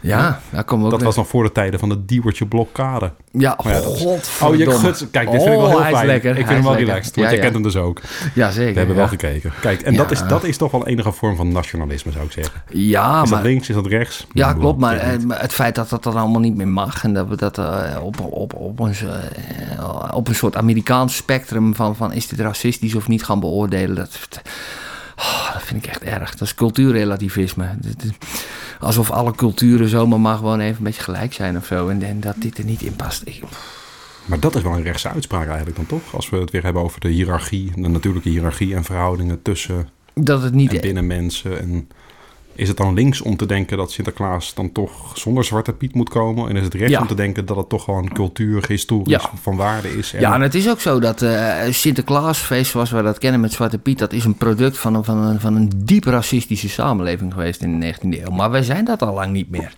S3: Ja, daar komen we ook
S2: dat
S3: nog-
S2: was nog voor de tijden van de diewertje blokkade. Oh,
S3: Ja,
S2: Maar ja, dat- Oh,
S3: godverdomme. Oh,
S2: je gut. Kijk, dit vind ik wel heel
S3: hij is
S2: fijn.
S3: lekker.
S2: ik vind
S3: hij
S2: hem
S3: is
S2: wel
S3: lekker.
S2: relaxed, want
S3: ja,
S2: jij
S3: ja.
S2: kent hem dus ook.
S3: Ja, zeker.
S2: We hebben
S3: ja.
S2: wel gekeken. Kijk, en dat,
S3: Ja.
S2: is, dat is toch wel enige vorm van nationalisme, zou ik zeggen. Is
S3: Ja, maar...
S2: dat links, is dat rechts? Nou,
S3: Ja,
S2: Ik
S3: klopt. Maar
S2: bedoel,
S3: eh, maar het feit dat dat dan allemaal niet meer mag en dat we dat eh, op, op, op, ons, eh, op een soort Amerikaans spectrum van, van is dit racistisch of niet gaan beoordelen, dat, Oh, dat vind ik echt erg. Dat is cultuurrelativisme. Dit is Alsof alle culturen zomaar maar gewoon even een beetje gelijk zijn of zo. En, en dat dit er niet in past. Ik-
S2: Maar dat is wel een rechtse uitspraak eigenlijk dan toch? Als we het weer hebben over de hiërarchie, de natuurlijke hiërarchie en verhoudingen tussen
S3: dat het niet
S2: en binnen mensen. En is het dan links om te denken dat Sinterklaas dan toch zonder Zwarte Piet moet komen? En is het rechts
S3: Ja.
S2: om te denken dat het toch gewoon cultuur, historisch
S3: Ja.
S2: van waarde is? En
S3: Ja, en het is ook zo dat eh Sinterklaasfeest, zoals we dat kennen met Zwarte Piet, dat is een product van een, van een, van een diep racistische samenleving geweest in de 19e eeuw. Maar wij zijn dat al lang niet meer.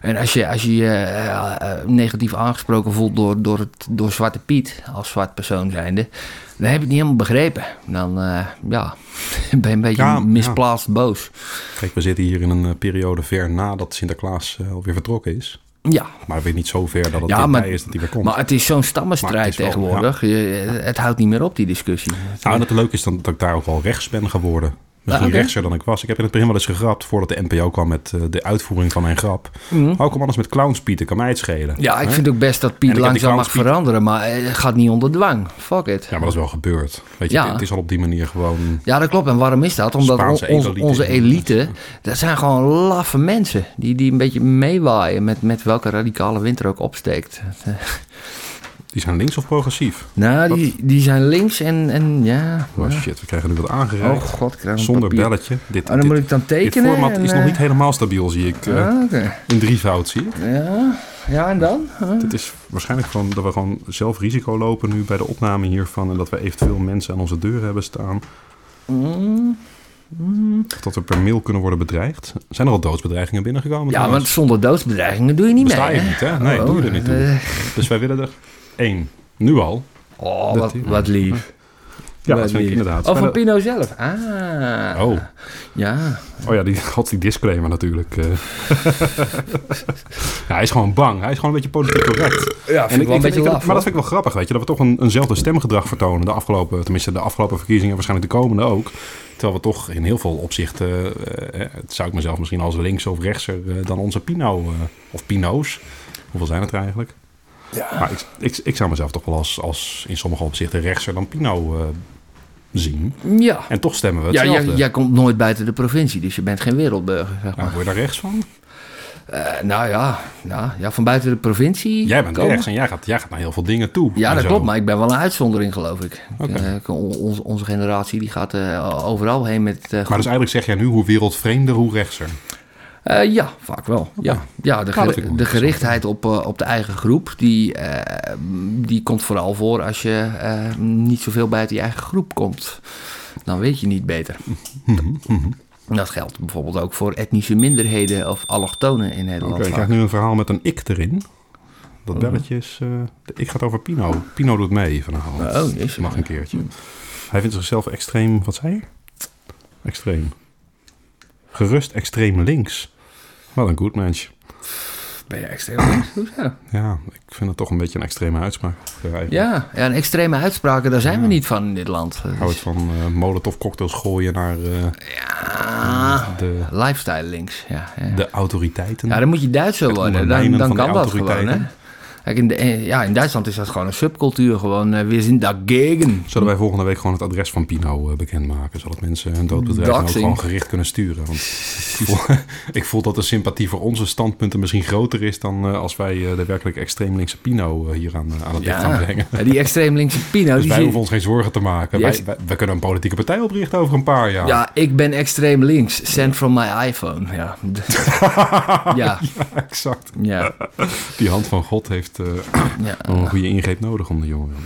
S3: En als je als je, je eh, eh, negatief aangesproken voelt door, door, het, door Zwarte Piet, als zwart persoon zijnde, dan heb je het niet helemaal begrepen. Dan eh, ja, ben je een beetje
S2: Ja, ja.
S3: misplaatst boos.
S2: Kijk, we zitten hier in een eh, periode ver nadat Sinterklaas eh, alweer vertrokken is.
S3: Ja,
S2: Maar weer niet zo ver dat het
S3: Ja,
S2: dichtbij
S3: maar-
S2: is dat hij weer komt.
S3: maar het is zo'n
S2: Maar
S3: stammenstrijd
S2: het is wel-
S3: tegenwoordig. Je- het houdt niet meer op, die discussie.
S2: nou, en het leuke is dan dat ik daar ook wel rechts ben geworden. Misschien
S3: Ah, oké.
S2: rechtser dan ik was. Ik heb in het begin wel eens gegrapt voordat de NPO kwam met eh, de uitvoering van mijn grap. Ook om anders met clownspieten, kan mij het schelen.
S3: Mhm. Ja, ik
S2: Hè?
S3: vind ook best dat
S2: En
S3: Piet
S2: ik heb die
S3: langzaam mag
S2: clowns Piet-
S3: veranderen, maar eh, het gaat niet onder dwang. Fuck it.
S2: Ja, maar dat is wel gebeurd. Weet je,
S3: Ja.
S2: het, het is al op die manier gewoon...
S3: Ja, dat klopt. En waarom is dat? Omdat
S2: Spaanse
S3: on- onze-
S2: elite.
S3: onze elite, dat zijn gewoon laffe mensen. Die, die een beetje meewaaien met, met welke radicale wind er ook opsteekt. Eh,
S2: Die zijn links of progressief?
S3: Nou, die, die zijn links en, en ja.
S2: Oh shit, we krijgen nu wat
S3: Oh
S2: aangereikt.
S3: god, ik krijg een
S2: Zonder
S3: papier.
S2: belletje. Dit,
S3: Oh, dan
S2: dit-
S3: moet ik dan
S2: dit
S3: tekenen.
S2: format
S3: en,
S2: is nog
S3: eh,
S2: niet helemaal stabiel, zie ik. eh,
S3: ah, Oké.
S2: in drievoud, zie ik.
S3: Ja. ja, en dan?
S2: Het is waarschijnlijk gewoon dat we gewoon zelf risico lopen nu bij de opname hiervan. En dat we eventueel mensen aan onze deur hebben staan. Of dat we per mail kunnen worden bedreigd. Zijn er al doodsbedreigingen binnengekomen?
S3: Ja,
S2: trouwens?
S3: want zonder doodsbedreigingen doe je niet
S2: Besta
S3: mee.
S2: je
S3: hè?
S2: niet, hè? Nee, doe je er niet toe.
S3: eh,
S2: Dus wij willen er één. Nu al.
S3: Oh, wat, wat lief.
S2: Ja,
S3: Wat
S2: dat vind ik
S3: lief.
S2: inderdaad.
S3: Oh,
S2: Bijna-
S3: van Pino zelf. Ah.
S2: Oh,
S3: Ja.
S2: oh ja, die, god, die disclaimer natuurlijk. eh. ja, hij is gewoon bang. Hij is gewoon een beetje politiek correct.
S3: Ja,
S2: En ik, ik- ik-
S3: laf,
S2: maar dat vind ik wel grappig, weet je. Dat we toch een, eenzelfde stemgedrag vertonen. De afgelopen, tenminste de afgelopen verkiezingen, waarschijnlijk de komende ook. Terwijl we toch in heel veel opzichten... eh, eh, het zou ik mezelf misschien als links of rechtser eh, dan onze Pino... eh, of Pino's. Hoeveel zijn het er eigenlijk? Maar ik, ik, ik zou mezelf toch wel als, als in sommige opzichten rechtser dan Pino eh, zien.
S3: hoor. Ja.
S2: En toch stemmen we
S3: Ja,
S2: hetzelfde.
S3: jij, jij komt nooit buiten de provincie, dus je bent geen wereldburger, zeg maar.
S2: Nou, word je daar rechts van?
S3: Eh, nou ja, ja, ja, van buiten de provincie.
S2: Jij bent
S3: komen.
S2: rechts en jij gaat, jij gaat naar heel veel dingen toe.
S3: Ja,
S2: En
S3: dat
S2: zo.
S3: klopt, maar ik ben wel een uitzondering, geloof ik.
S2: Oké.
S3: Eh, ik- on- onze- onze generatie die gaat eh, overal heen met. eh,
S2: Maar
S3: goed-
S2: dus eigenlijk zeg jij nu hoe wereldvreemder, hoe rechtser.
S3: Eh, ja, vaak wel. Ja,
S2: Nou,
S3: ja de,
S2: dat
S3: geri-
S2: vind ik wel
S3: de gerichtheid op, eh, op de eigen groep, die, eh, die komt vooral voor als je eh, niet zoveel bij die eigen groep komt. Dan weet je niet beter. Dat geldt bijvoorbeeld ook voor etnische minderheden of allochtonen in
S2: Oké,
S3: Nederland.
S2: ik
S3: vaak.
S2: krijg nu een verhaal met een ik erin. Dat
S3: Oh.
S2: belletje is... eh, de ik gaat over Pino. Pino doet mee vanavond.
S3: Oh, jezus.
S2: Mag een keertje. Hij vindt zichzelf extreem... Wat zei je? Extreem. Gerust extreem links. Wat een goed mens.
S3: Ben je extreem links? Hoezo?
S2: Ja, ik vind het toch een beetje een extreme uitspraak. Ja. Ik
S3: Ja, ja, en extreme uitspraken, daar zijn we niet van in dit land. Dat
S2: hou
S3: is-
S2: het van eh molotov cocktails gooien naar eh,
S3: Ah,
S2: de,
S3: lifestyle links, ja. ja.
S2: de autoriteiten.
S3: Ja, dan moet je Duitser worden. Dan,
S2: ondermijnen
S3: dan
S2: van
S3: kan
S2: de
S3: dat gewoon, hè?
S2: autoriteiten.
S3: Kijk, in, de- eh, ja, in Duitsland is dat gewoon een subcultuur. Gewoon, eh, we zijn dagegen.
S2: Zullen wij volgende week gewoon het adres van Pino eh, bekendmaken? Zodat mensen hun doodbedrijf ook
S3: Doxing.
S2: gewoon gericht kunnen sturen. Want ik, voel, ik voel dat de sympathie voor onze standpunten misschien groter is dan eh, als wij eh, de werkelijk extreem linkse Pino eh, hier aan, eh, aan het licht gaan
S3: Ja,
S2: brengen.
S3: Ja, die extreem linkse Pino.
S2: Dus
S3: die
S2: wij
S3: zit-
S2: hoeven ons geen zorgen te maken.
S3: Die
S2: Wij,
S3: ex-
S2: wij- wij kunnen een politieke partij oprichten over een paar jaar.
S3: ja, ik ben extreem links. Send from my iPhone. Ja, ja,
S2: exact.
S3: ja.
S2: Die hand van God heeft eh,
S3: ja.
S2: wel een goede ingreep nodig om de jongeren.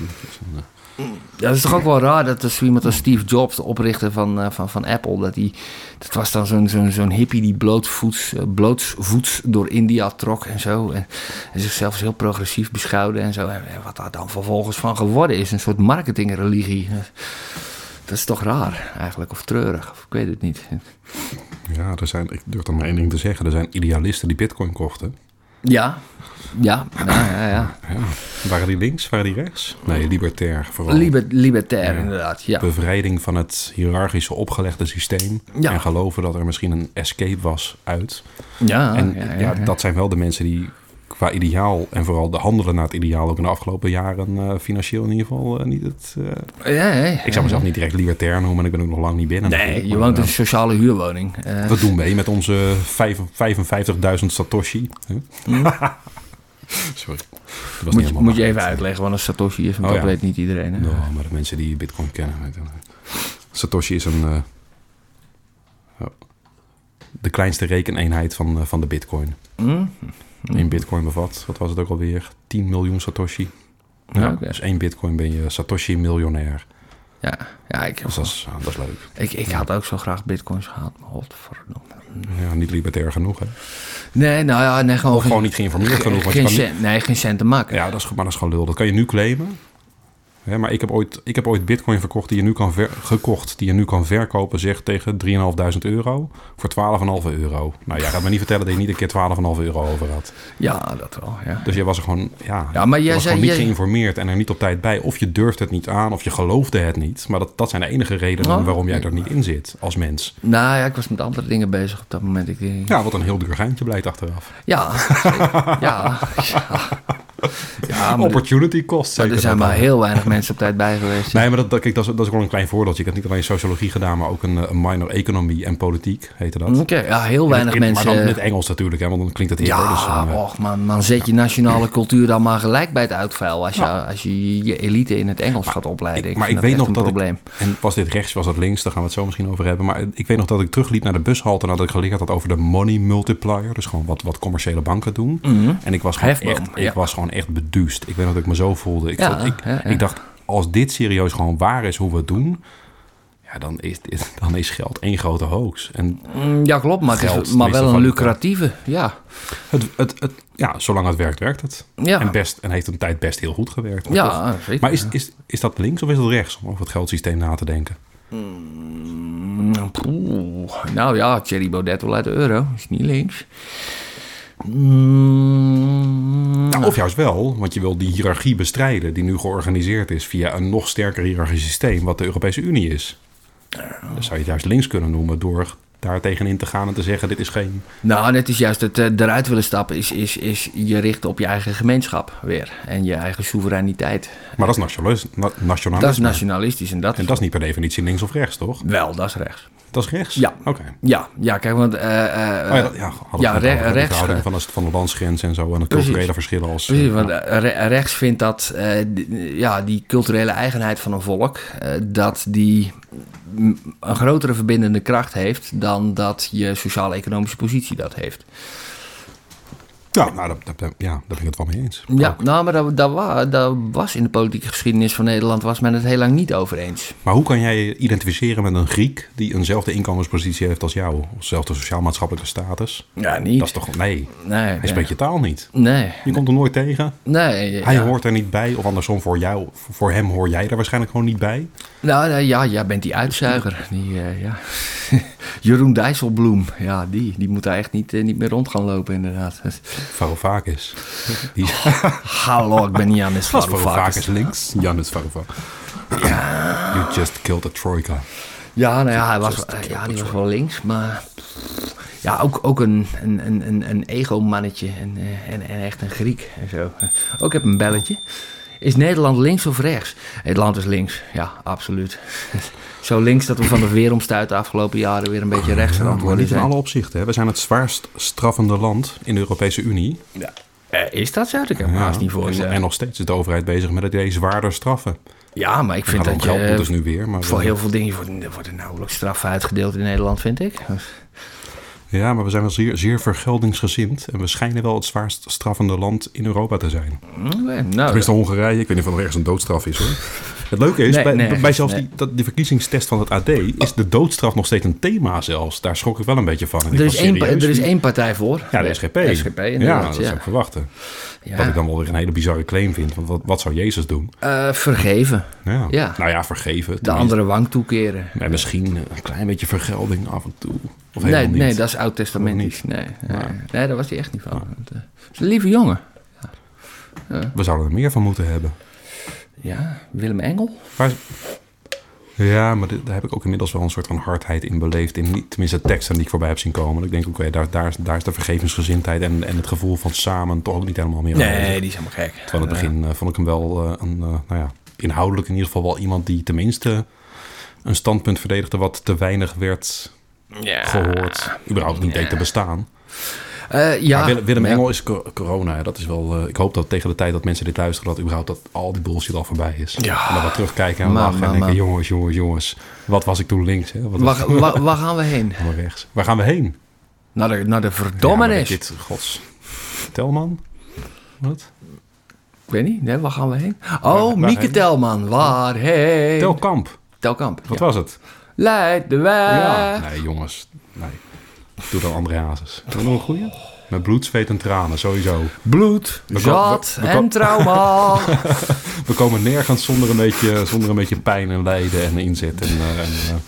S2: Eh,
S3: Ja, dat is toch ook wel raar dat er zo iemand als Steve Jobs, de oprichter van, eh, van, van Apple, dat, die, dat was dan zo'n zo'n zo'n hippie die blootvoets, eh, blootsvoets door India trok en zo. En, en zichzelf als heel progressief beschouwde en zo. En, en wat daar dan vervolgens van geworden is, een soort marketingreligie. Dat is toch raar eigenlijk, of treurig, of ik weet het niet.
S2: Ja, er zijn, ik durf dan maar één ding te zeggen. Er zijn idealisten die bitcoin kochten.
S3: Ja, ja, ja, ja. ja.
S2: Ja. Waren die links? Waren die rechts? Nee, libertair vooral.
S3: Liber- libertair
S2: Ja.
S3: inderdaad, ja.
S2: Bevrijding van het hiërarchische opgelegde systeem.
S3: Ja.
S2: En geloven dat er misschien een escape was uit.
S3: Ja,
S2: en
S3: Ah, ja,
S2: ja,
S3: ja, ja.
S2: dat zijn wel de mensen die qua ideaal en vooral de handelen naar het ideaal ook in de afgelopen jaren eh, financieel in ieder geval eh, niet het... eh,
S3: Ja, ja, ja.
S2: ik zou mezelf niet direct libertair noemen en ik ben ook nog lang niet binnen.
S3: Nee,
S2: natuurlijk,
S3: je
S2: maar,
S3: woont in
S2: eh,
S3: een sociale huurwoning. Eh,
S2: We doen mee met onze vijf- 55.000 Satoshi. Huh? Sorry. Dat was niet
S3: Mm. Moet je,
S2: helemaal
S3: moet je
S2: waar.
S3: even uitleggen wat een Satoshi is, want
S2: Oh,
S3: dat
S2: ja.
S3: weet niet iedereen. Hè?
S2: Ja, maar de mensen die Bitcoin kennen. weten het. Satoshi is een. eh, oh, de kleinste rekeneenheid van, eh, van de Bitcoin.
S3: Mm?
S2: In Bitcoin bevat, wat was het ook alweer? 10 miljoen Satoshi. Ja,
S3: Ja, oké.
S2: Dus één Bitcoin ben je Satoshi-miljonair.
S3: ja, ja ik,
S2: Dus dat is, dat is leuk.
S3: ik, ik had ook zo graag bitcoins gehad, maar godverdomme.
S2: Ja, niet libertair genoeg, hè?
S3: Nee, nou ja, nee, gewoon,
S2: Of gewoon niet geïnformeerd genoeg. want je
S3: geen
S2: kan niet-
S3: cent, nee, geen cent te maken.
S2: Ja, dat is, goed, maar dat is gewoon lul. Dat kan je nu claimen. Hè, maar ik heb, ooit, ik heb ooit bitcoin verkocht die je nu kan ver- gekocht, die je nu kan verkopen, zeg tegen 3.500 euro voor 12,5 euro. Nou, jij gaat me niet vertellen dat je niet een keer 12,5 euro over had.
S3: Ja, dat wel, ja.
S2: Dus je was er gewoon, ja,
S3: Ja, maar
S2: je
S3: jij
S2: was
S3: zei-
S2: gewoon niet
S3: jij-
S2: geïnformeerd en er niet op tijd bij. Of je durfde het niet aan, of je geloofde het niet. Maar dat, dat zijn de enige redenen
S3: Oh.
S2: waarom jij er niet in zit als mens.
S3: Nou ja, ik was met andere dingen bezig op dat moment. Ik, denk-
S2: Ja, wat een heel duur geintje blijkt achteraf.
S3: ja, zeker. ja, ja. Ja, Ah, maar er-
S2: Opportunity cost.
S3: maar
S2: zeker
S3: er zijn
S2: dat
S3: maar
S2: dan.
S3: heel weinig mensen op tijd bij geweest.
S2: Nee, maar dat, dat, kijk, dat, is, dat is gewoon een klein voordeeltje. Ik heb niet alleen sociologie gedaan, maar ook een, eh, een minor economie en politiek heette dat.
S3: Oké, ja, heel weinig
S2: In- in-
S3: mensen.
S2: Maar dan in het Engels natuurlijk, hè, want dan klinkt het heel
S3: Ja, oh,
S2: dus, eh,
S3: och man, man, zet je nationale cultuur dan maar gelijk bij het uitvuil. Als je, als je je elite in het Engels gaat opleiden.
S2: ik- maar ik
S3: vind
S2: weet nog
S3: echt
S2: dat
S3: een probleem.
S2: ik... En was dit rechts, was dat links? Daar gaan we het zo misschien over hebben. Maar ik weet nog dat ik terugliep naar de bushalte... nadat ik geleerd had over de money multiplier. Dus gewoon wat, wat commerciële banken doen.
S3: Mhm.
S2: En ik was gewoon,
S3: Hefboom,
S2: echt,
S3: ja.
S2: ik was gewoon echt beduust. Ik weet nog dat ik me zo voelde. Ik,
S3: Ja,
S2: vond- ik,
S3: ja, ja.
S2: ik dacht, als dit serieus gewoon waar is hoe we het doen... Ja, dan is, dit- dan is geld één grote hoax. En
S3: Mm, Ja, klopt, maar, het is-
S2: Geld,
S3: maar
S2: meestal
S3: wel een
S2: valuta.
S3: lucratieve. Ja.
S2: Het, het, het, ja, zolang het werkt, werkt het.
S3: Ja.
S2: En, best, en heeft een tijd best heel goed gewerkt.
S3: Ja, eh,
S2: Toch?
S3: zeker.
S2: Maar is, is, is dat links of is dat rechts? Om over het geldsysteem na te denken.
S3: Mm, poeh. Nou ja, Thierry Baudet wil uit de euro. Is niet links. Mm,
S2: Nou, of juist wel, want je wil die hiërarchie bestrijden... die nu georganiseerd is via een nog sterker hiërarchisch systeem... wat de Europese Unie is. Dan zou je het juist links kunnen noemen door daar tegenin te gaan... en te zeggen, dit is geen...
S3: Nou, net is juist het eh, eruit willen stappen. Is, is, is je richten op je eigen gemeenschap weer. En je eigen soevereiniteit.
S2: Maar dat is nationalis- na- nationalisme.
S3: Dat is nationalistisch en dat
S2: En
S3: is.
S2: dat is niet per definitie links of rechts, toch?
S3: Wel, dat is rechts.
S2: Dat is rechts?
S3: Ja.
S2: Oké.
S3: Ja, ja kijk, want. eh, eh,
S2: Oh ja, dat- ja, hadden we
S3: ja,
S2: het
S3: re-
S2: net over, hè,
S3: rechts-
S2: de verhouding van, de- van de landsgrens en zo... en de
S3: Precies.
S2: culturele verschillen als...
S3: Precies, want eh, re- rechts vindt dat eh, d- ja, die culturele eigenheid van een volk, eh, dat die mm, een grotere verbindende kracht heeft dan dan dat je sociaal-economische positie dat heeft.
S2: Ja, nou, daar, daar- daar- ja, daar ben ik het wel mee eens.
S3: Ja, nou, maar daar, daar, wa- daar was in de politieke geschiedenis van Nederland was men het heel lang niet over eens.
S2: Maar hoe kan jij je identificeren met een Griek die eenzelfde inkomenspositie heeft als jou? Of dezelfde sociaal-maatschappelijke status?
S3: Ja,
S2: Dat is
S3: niet.
S2: toch... Nee,
S3: Nee,
S2: hij spreekt je taal niet.
S3: nee,
S2: Je komt hem nooit tegen.
S3: nee. ja.
S2: Hij hoort er niet bij. Of andersom, voor, jou, voor hem hoor jij er waarschijnlijk gewoon niet bij.
S3: Nou, nee, ja, jij bent die uitzuiger. Die, eh, ja. Jeroen Dijsselbloem, ja, die, die moet daar echt niet, eh, niet meer rond gaan lopen, inderdaad.
S2: Varoufakis. Die is
S3: Hallo, ik ben niet aan het
S2: Varoufakis links. Janus Varoufakis. You just killed a troika.
S3: Ja, nou ja, hij was, ja, die was wel links, maar ja, ook, ook een, een, een, een, een ego-mannetje en, eh, en, en echt een Griek en zo. Ook heb een belletje. Is Nederland links of rechts? Het land is links, ja, absoluut. Zo links dat we van de weeromstuit de afgelopen jaren weer een beetje rechts aan het
S2: Oh, maar
S3: worden
S2: niet in
S3: zijn.
S2: alle opzichten. Hè. We zijn het zwaarst straffende land in de Europese Unie.
S3: Eh, is dat zo? Ik heb me haast niet voor.
S2: en, en nog steeds is de overheid bezig met het idee zwaarder straffen. Nou,
S3: Ja, maar eh, ik vind
S2: Gaat om
S3: dat
S2: geld,
S3: je... eh,
S2: dat is dus nu weer. Maar,
S3: Voor heel veel dingen wordt- er worden nauwelijks straffen uitgedeeld in Nederland, vind ik. Hm,
S2: Ja, maar we zijn wel zeer, zeer vergeldingsgezind. En we schijnen wel het zwaarst straffende land in Europa te zijn.
S3: Oké, nou,
S2: Tenminste, Hongarije. Ik weet niet of er ergens een doodstraf is hoor. Het leuke is,
S3: Nee,
S2: bij,
S3: nee,
S2: bij
S3: ergens,
S2: zelfs
S3: nee.
S2: die, dat, die verkiezingstest van het AD... is de doodstraf nog steeds een thema zelfs. Daar schrok ik wel een beetje van. En ik
S3: er,
S2: was
S3: is één, pa-
S2: serieus,
S3: er is
S2: wie-
S3: één partij voor.
S2: Ja, de SGP.
S3: SGP,
S2: ja,
S3: inderdaad.
S2: dat
S3: Ja,
S2: zou ik verwachten.
S3: Ja.
S2: Wat ik dan wel weer een hele bizarre claim vind. Want wat, wat zou Jezus doen?
S3: Eh, vergeven.
S2: Ja.
S3: Ja.
S2: Nou ja, vergeven.
S3: De andere wang toekeren.
S2: En misschien een klein beetje vergelding af en toe. Of helemaal
S3: Nee,
S2: niet.
S3: nee, dat is oud-testamentisch. Nee, nee, nee, daar was hij echt niet van. Want, eh, het is een lieve jongen.
S2: We zouden er meer van moeten hebben.
S3: Ja, Willem Engel.
S2: Waar is- Ja, maar dit- daar heb ik ook inmiddels wel een soort van hardheid in beleefd. In, niet- tenminste, de teksten die ik voorbij heb zien komen. Ik denk, oké, daar, daar, is- daar is de vergevensgezindheid en, en het gevoel van samen toch ook niet helemaal meer aanwezig.
S3: die is helemaal gek.
S2: Terwijl in het begin eh, vond ik hem wel eh, een, eh, nou ja, inhoudelijk in ieder geval wel iemand die tenminste een standpunt verdedigde wat te weinig werd
S3: Ja.
S2: gehoord. Überhaupt niet deed te bestaan.
S3: Eh, ja.
S2: Maar Willem, Willem
S3: Ja.
S2: Engel is co- corona. Dat is wel, eh, ik hoop dat tegen de tijd dat mensen dit luisteren, dat überhaupt dat al die bullshit al voorbij is.
S3: Ja.
S2: En dan wat terugkijken en
S3: Maar,
S2: lachen
S3: maar,
S2: en denken,
S3: maar.
S2: jongens, jongens, jongens. Wat was ik toen links? Hè? Wat was
S3: Waar, waar, waar gaan we heen?
S2: ik toen rechts? Waar gaan we heen?
S3: Naar de, naar de
S2: Ja, maar
S3: verdommenis.
S2: dit, gods. Telman? Wat?
S3: Ik weet niet, nee, waar gaan we heen? Oh,
S2: waar
S3: Mieke
S2: heen?
S3: Telman, waarheen?
S2: Telkamp.
S3: Telkamp.
S2: Wat
S3: ja. Eh.
S2: was het?
S3: Leid de weg.
S2: Ja. Nee, jongens. Nee. Doe dan André Hazes. Doe nog een goeie? Met bloed, zweet en tranen, sowieso.
S3: Bloed,
S2: We
S3: zat
S2: ko- we- we
S3: en
S2: ko-
S3: trauma.
S2: We komen nergens zonder een beetje, zonder een beetje pijn en lijden en inzet en, eh, en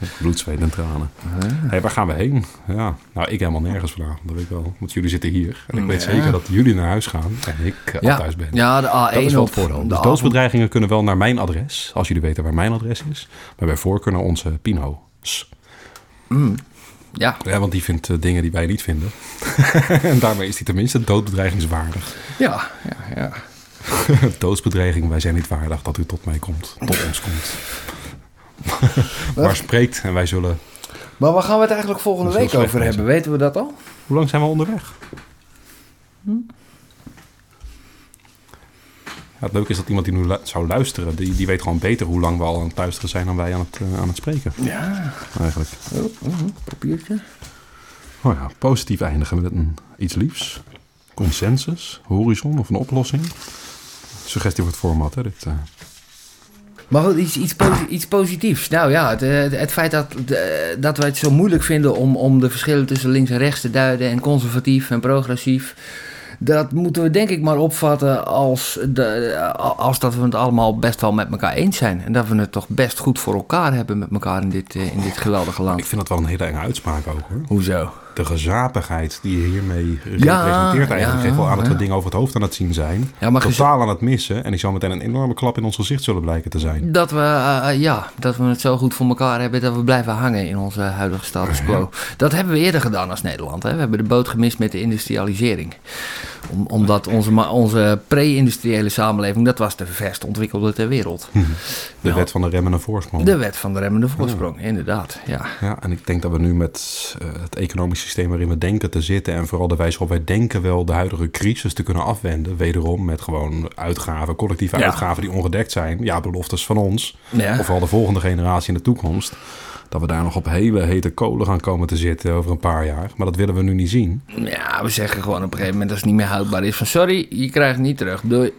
S2: eh, bloed, zweet en tranen. Hey, waar gaan we heen? Ja, nou, ik helemaal nergens vandaag, dat weet ik wel. Want jullie zitten hier. En ik weet
S3: Ja.
S2: zeker dat jullie naar huis gaan en ik eh, al
S3: ja.
S2: thuis ben.
S3: ja, de A1
S2: Dat is wel
S3: op
S2: het voordeel.
S3: de
S2: Dus
S3: A-
S2: doodsbedreigingen kunnen wel naar mijn adres, als jullie weten waar mijn adres is. Maar bij voorkeur naar onze Pino's.
S3: Ja.
S2: Ja, want die vindt eh, dingen die wij niet vinden. en daarmee is die tenminste doodbedreigingswaardig.
S3: Ja, ja, ja.
S2: Doodsbedreiging, wij zijn niet waardig dat u tot mij komt, tot ons komt. maar spreekt en wij zullen...
S3: Maar waar gaan we het eigenlijk volgende
S2: Dat is
S3: week
S2: heel
S3: over
S2: slecht,
S3: hebben? Weten we dat al?
S2: Hoe lang zijn we onderweg? Ja, het leuke is dat iemand die nu lu- zou luisteren, die, die weet gewoon beter hoe lang we al aan het luisteren zijn dan wij aan het, eh, aan het spreken.
S3: Ja.
S2: Eigenlijk.
S3: Papiertje.
S2: Oh ja, positief eindigen met een iets liefs. Consensus, horizon of een oplossing. Suggestie voor het format, hè? Dit, eh.
S3: Maar goed, iets, iets, posi- iets positiefs. Nou ja, het, eh, het feit dat, de- dat wij het zo moeilijk vinden om, om de verschillen tussen links en rechts te duiden en conservatief en progressief. Dat moeten we denk ik maar opvatten als, de, als dat we het allemaal best wel met elkaar eens zijn. En dat we het toch best goed voor elkaar hebben met elkaar in dit, eh, in dit geweldige
S2: Ik
S3: land.
S2: vind dat wel een hele enge uitspraak ook, hoor.
S3: Hoezo?
S2: De gezapigheid die je hiermee
S3: Ja,
S2: representeert eigenlijk...
S3: ja,
S2: geeft wel aan dat we
S3: ja.
S2: dingen over het hoofd aan het zien zijn.
S3: Ja, maar gez-
S2: totaal aan het missen. En die zo meteen een enorme klap in ons gezicht zullen blijken te zijn.
S3: Dat we, eh, eh, ja, dat we het zo goed voor elkaar hebben dat we blijven hangen in onze huidige status quo. Dat hebben we eerder gedaan als Nederland. Hè? We hebben de boot gemist met de industrialisering. Om, omdat onze, ma- onze pre-industriële samenleving, dat was de verst ontwikkelde ter wereld.
S2: Mhm. De wet van de remmen en voorsprong.
S3: De wet van de remmende voorsprong, inderdaad. Ja.
S2: Ja, en ik denk dat we nu met eh, het economisch systeem waarin we denken te zitten en vooral de wijze waarop wij denken wel de huidige crisis te kunnen afwenden, wederom met gewoon uitgaven, collectieve
S3: Ja.
S2: uitgaven die ongedekt zijn, ja, beloftes van ons,
S3: Ja.
S2: of vooral de volgende generatie in de toekomst, dat dat we daar nog op hele hete kolen gaan komen te zitten over een paar jaar. Maar dat willen we nu niet zien.
S3: Ja, we zeggen gewoon op een gegeven moment als het niet meer houdbaar is van sorry, je krijgt het niet terug. Doei.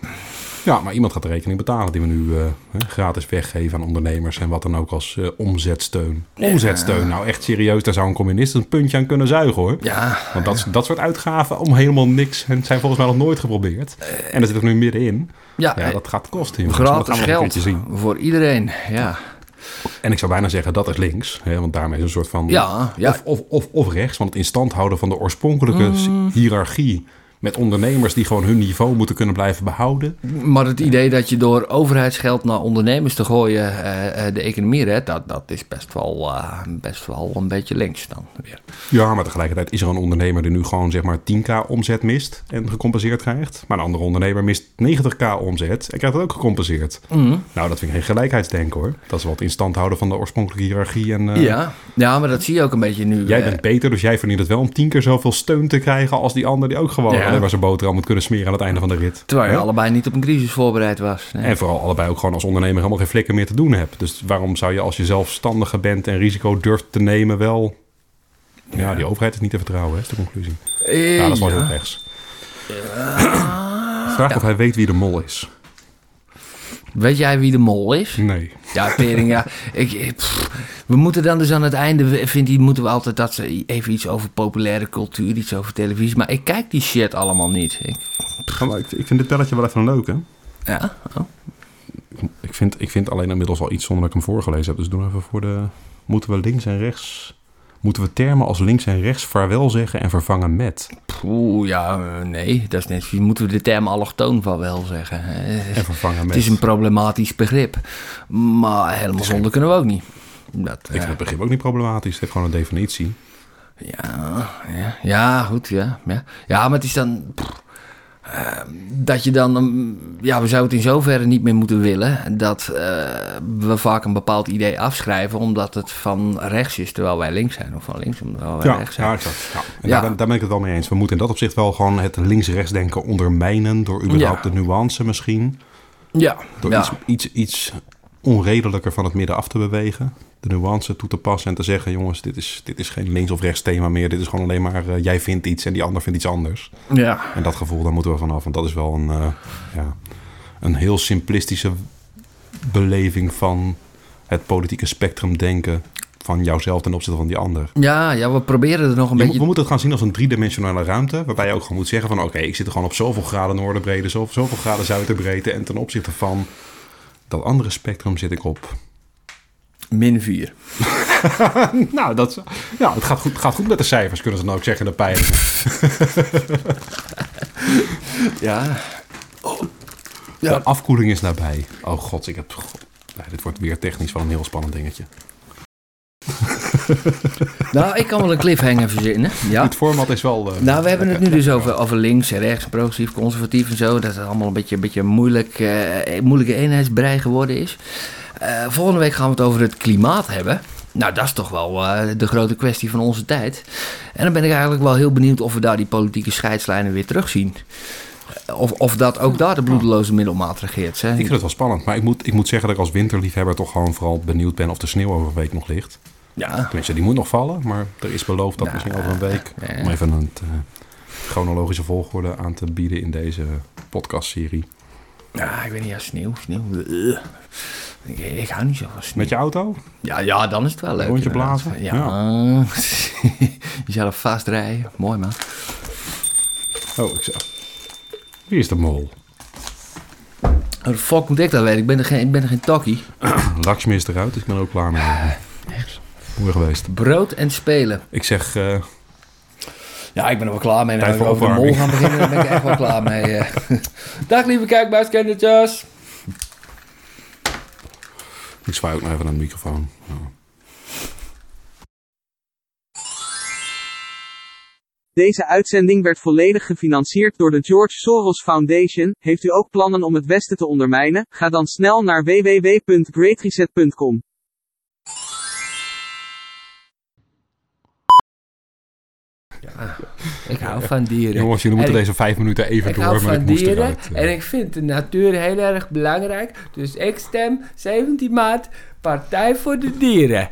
S2: Ja, maar iemand gaat de rekening betalen die we nu eh, hè, gratis weggeven aan ondernemers en wat dan ook als eh, omzetsteun. Omzetsteun, nou echt serieus, daar zou een communist een puntje aan kunnen zuigen hoor.
S3: Ja,
S2: Want dat, dat soort uitgaven om helemaal niks en zijn volgens mij nog nooit geprobeerd. En dat zit er nu middenin.
S3: ja,
S2: Ja, dat gaat kosten. jongens. Maar dat
S3: Eh, gratis
S2: gaan we nog een
S3: geld
S2: keertje zien.
S3: voor iedereen. Ja,
S2: En ik zou bijna zeggen dat is links, hè, want daarmee is een soort van.
S3: Ja, ja.
S2: Of, of, of, of rechts, want het in stand houden van de oorspronkelijke
S3: Mm.
S2: hiërarchie. Met ondernemers die gewoon hun niveau moeten kunnen blijven behouden.
S3: maar het idee dat je door overheidsgeld naar ondernemers te gooien eh, eh, de economie redt, dat, dat is best wel, eh, best wel een beetje links dan weer.
S2: Ja, maar tegelijkertijd is er een ondernemer die nu gewoon zeg maar 10k omzet mist en gecompenseerd krijgt. Maar een andere ondernemer mist 90k omzet en krijgt dat ook gecompenseerd.
S3: Mhm.
S2: Nou, dat vind ik geen gelijkheidsdenken hoor. Dat is wat in stand houden van de oorspronkelijke hiërarchie. En, eh,
S3: Ja, ja, maar dat zie je ook een beetje nu.
S2: Jij
S3: eh,
S2: bent beter, dus jij verdient het wel om tien keer zoveel steun te krijgen als die ander die ook gewoon
S3: Ja.
S2: alleen maar zijn boterham moet kunnen smeren aan het einde van de rit.
S3: terwijl je
S2: Hè?
S3: allebei niet op een crisis voorbereid was. Nee.
S2: En vooral allebei ook gewoon als ondernemer helemaal geen flikker meer te doen hebt. Dus waarom zou je als je zelfstandige bent en risico durft te nemen wel... Ja, die overheid is niet te vertrouwen, hè, is de conclusie.
S3: Eh,
S2: Ja, dat is wel heel rechts. Vraag of hij weet wie de mol is.
S3: Weet jij wie de mol is?
S2: Nee.
S3: Ja, Pering, ja. Ik, ik- pff. we moeten dan dus aan het einde, we- vindt die, moeten we altijd dat ze even iets over populaire cultuur, iets over televisie. Maar ik kijk die shit allemaal niet. Ik,
S2: ik, vind dit belletje wel even leuk, hè?
S3: ja, oh.
S2: Ik vind, ik vind alleen inmiddels al iets zonder dat ik hem voorgelezen heb. Dus doe even voor de... Moeten we links en rechts... Moeten we termen als links en rechts vaarwel zeggen en vervangen met?
S3: Poeh, ja, eh, nee, dat is net. zoiets. Moeten we de term allochtoon van wel zeggen? Eh,
S2: En vervangen met...
S3: Het is een problematisch begrip. Maar helemaal zonder kunnen we ook niet. Dat,
S2: Ik
S3: eh,
S2: vind het begrip ook niet problematisch. Het heeft gewoon een definitie.
S3: Ja, ja, ja goed, ja, ja. Ja, maar het is dan... pff, eh, dat je dan... mm, ja, we zouden het in zoverre niet meer moeten willen... dat eh, we vaak een bepaald idee afschrijven... omdat het van rechts is, terwijl wij links zijn. Of van links, terwijl wij
S2: Ja,
S3: rechts zijn.
S2: ja, exact. Ja. En
S3: Ja.
S2: Daar, daar ben ik het wel mee eens. We moeten in dat opzicht wel gewoon het links-rechts denken ondermijnen. Door überhaupt
S3: Ja.
S2: de nuance misschien.
S3: Ja,
S2: Door
S3: ja.
S2: iets, iets, iets onredelijker van het midden af te bewegen. De nuance toe te passen en te zeggen... jongens, dit is, dit is geen links- of rechts thema meer. Dit is gewoon alleen maar eh, jij vindt iets en die ander vindt iets anders.
S3: ja.
S2: En dat gevoel, daar moeten we vanaf. Want dat is wel een, eh, ja, een heel simplistische beleving van het politieke spectrum denken... van jouzelf ten opzichte van die ander.
S3: Ja, ja, we proberen er nog een
S2: Je moet-
S3: beetje...
S2: we moeten het gaan zien als een driedimensionale ruimte. Waarbij je ook gewoon moet zeggen van oké, ik zit er gewoon op zoveel graden noorderbreedte, zoveel, zoveel graden zuiderbreedte. En ten opzichte van dat andere spectrum zit ik op.
S3: Min 4.
S2: Nou, dat, ja, het gaat goed, gaat goed met de cijfers, kunnen ze dan ook zeggen, de peilingen.
S3: Ja.
S2: De afkoeling is nabij. Oh god, ik heb... god. Nee, dit wordt weer technisch wel een heel spannend dingetje.
S3: Nou, ik kan wel een cliffhanger verzinnen. Ja.
S2: Het format is wel... eh,
S3: Nou, we hebben het nu
S2: lekker,
S3: dus
S2: lekker.
S3: over, over links en rechts, progressief, conservatief en zo. Dat het allemaal een beetje een beetje moeilijk, eh, moeilijke eenheidsbrei geworden is. Eh, volgende week gaan we het over het klimaat hebben. Nou, dat is toch wel eh, de grote kwestie van onze tijd. En dan ben ik eigenlijk wel heel benieuwd of we daar die politieke scheidslijnen weer terugzien. Eh, Of, of dat ook daar de bloedeloze middelmaat regeert. Hè?
S2: Ik vind het wel spannend, maar ik moet, ik moet zeggen dat ik als winterliefhebber toch gewoon vooral benieuwd ben of de sneeuw over een week nog ligt.
S3: Ja.
S2: Tenminste, die moet nog vallen, maar er is beloofd dat
S3: Nou,
S2: misschien over
S3: eh,
S2: een week.
S3: nee.
S2: Om even een eh, chronologische volgorde aan te bieden in deze podcastserie.
S3: ja, ik weet niet, ja, sneeuw, sneeuw. eh. Ik, ik hou niet zo van sneeuw.
S2: Met je auto?
S3: Ja, ja, dan is het wel leuk.
S2: Rondje
S3: inderdaad.
S2: blazen?
S3: Ja. Jezelf vastrijden. Mooi man.
S2: Oh, ik zag. Wie is de mol?
S3: Hoe de fuck moet ik dat weten? Ik ben er geen, ik ben er geen tokkie.
S2: Lakshmi is eruit, dus ik ben er ook klaar mee.
S3: Ah,
S2: Mooi geweest.
S3: Brood en spelen.
S2: Ik zeg, eh,
S3: Ja, ik ben er wel klaar mee.
S2: Tijd
S3: Als we
S2: voor
S3: over de mol gaan
S2: opwarming.
S3: beginnen, dan ben ik echt wel klaar mee. eh. Dag lieve kijkbuiskendertjes.
S2: ik zwaai ook nog even naar de microfoon. Ja.
S4: Deze uitzending werd volledig gefinancierd door de George Soros Foundation. Heeft u ook plannen om het Westen te ondermijnen? Ga dan snel naar www.greatreset.com.
S3: Ik hou van dieren.
S2: Jongens, jullie moeten
S3: En ik-
S2: deze vijf minuten even
S3: Ik
S2: door,
S3: hou
S2: maar
S3: van
S2: ik moest
S3: dieren
S2: eruit. eh.
S5: En ik vind de natuur heel erg belangrijk. Dus ik stem 17 maart Partij voor de Dieren.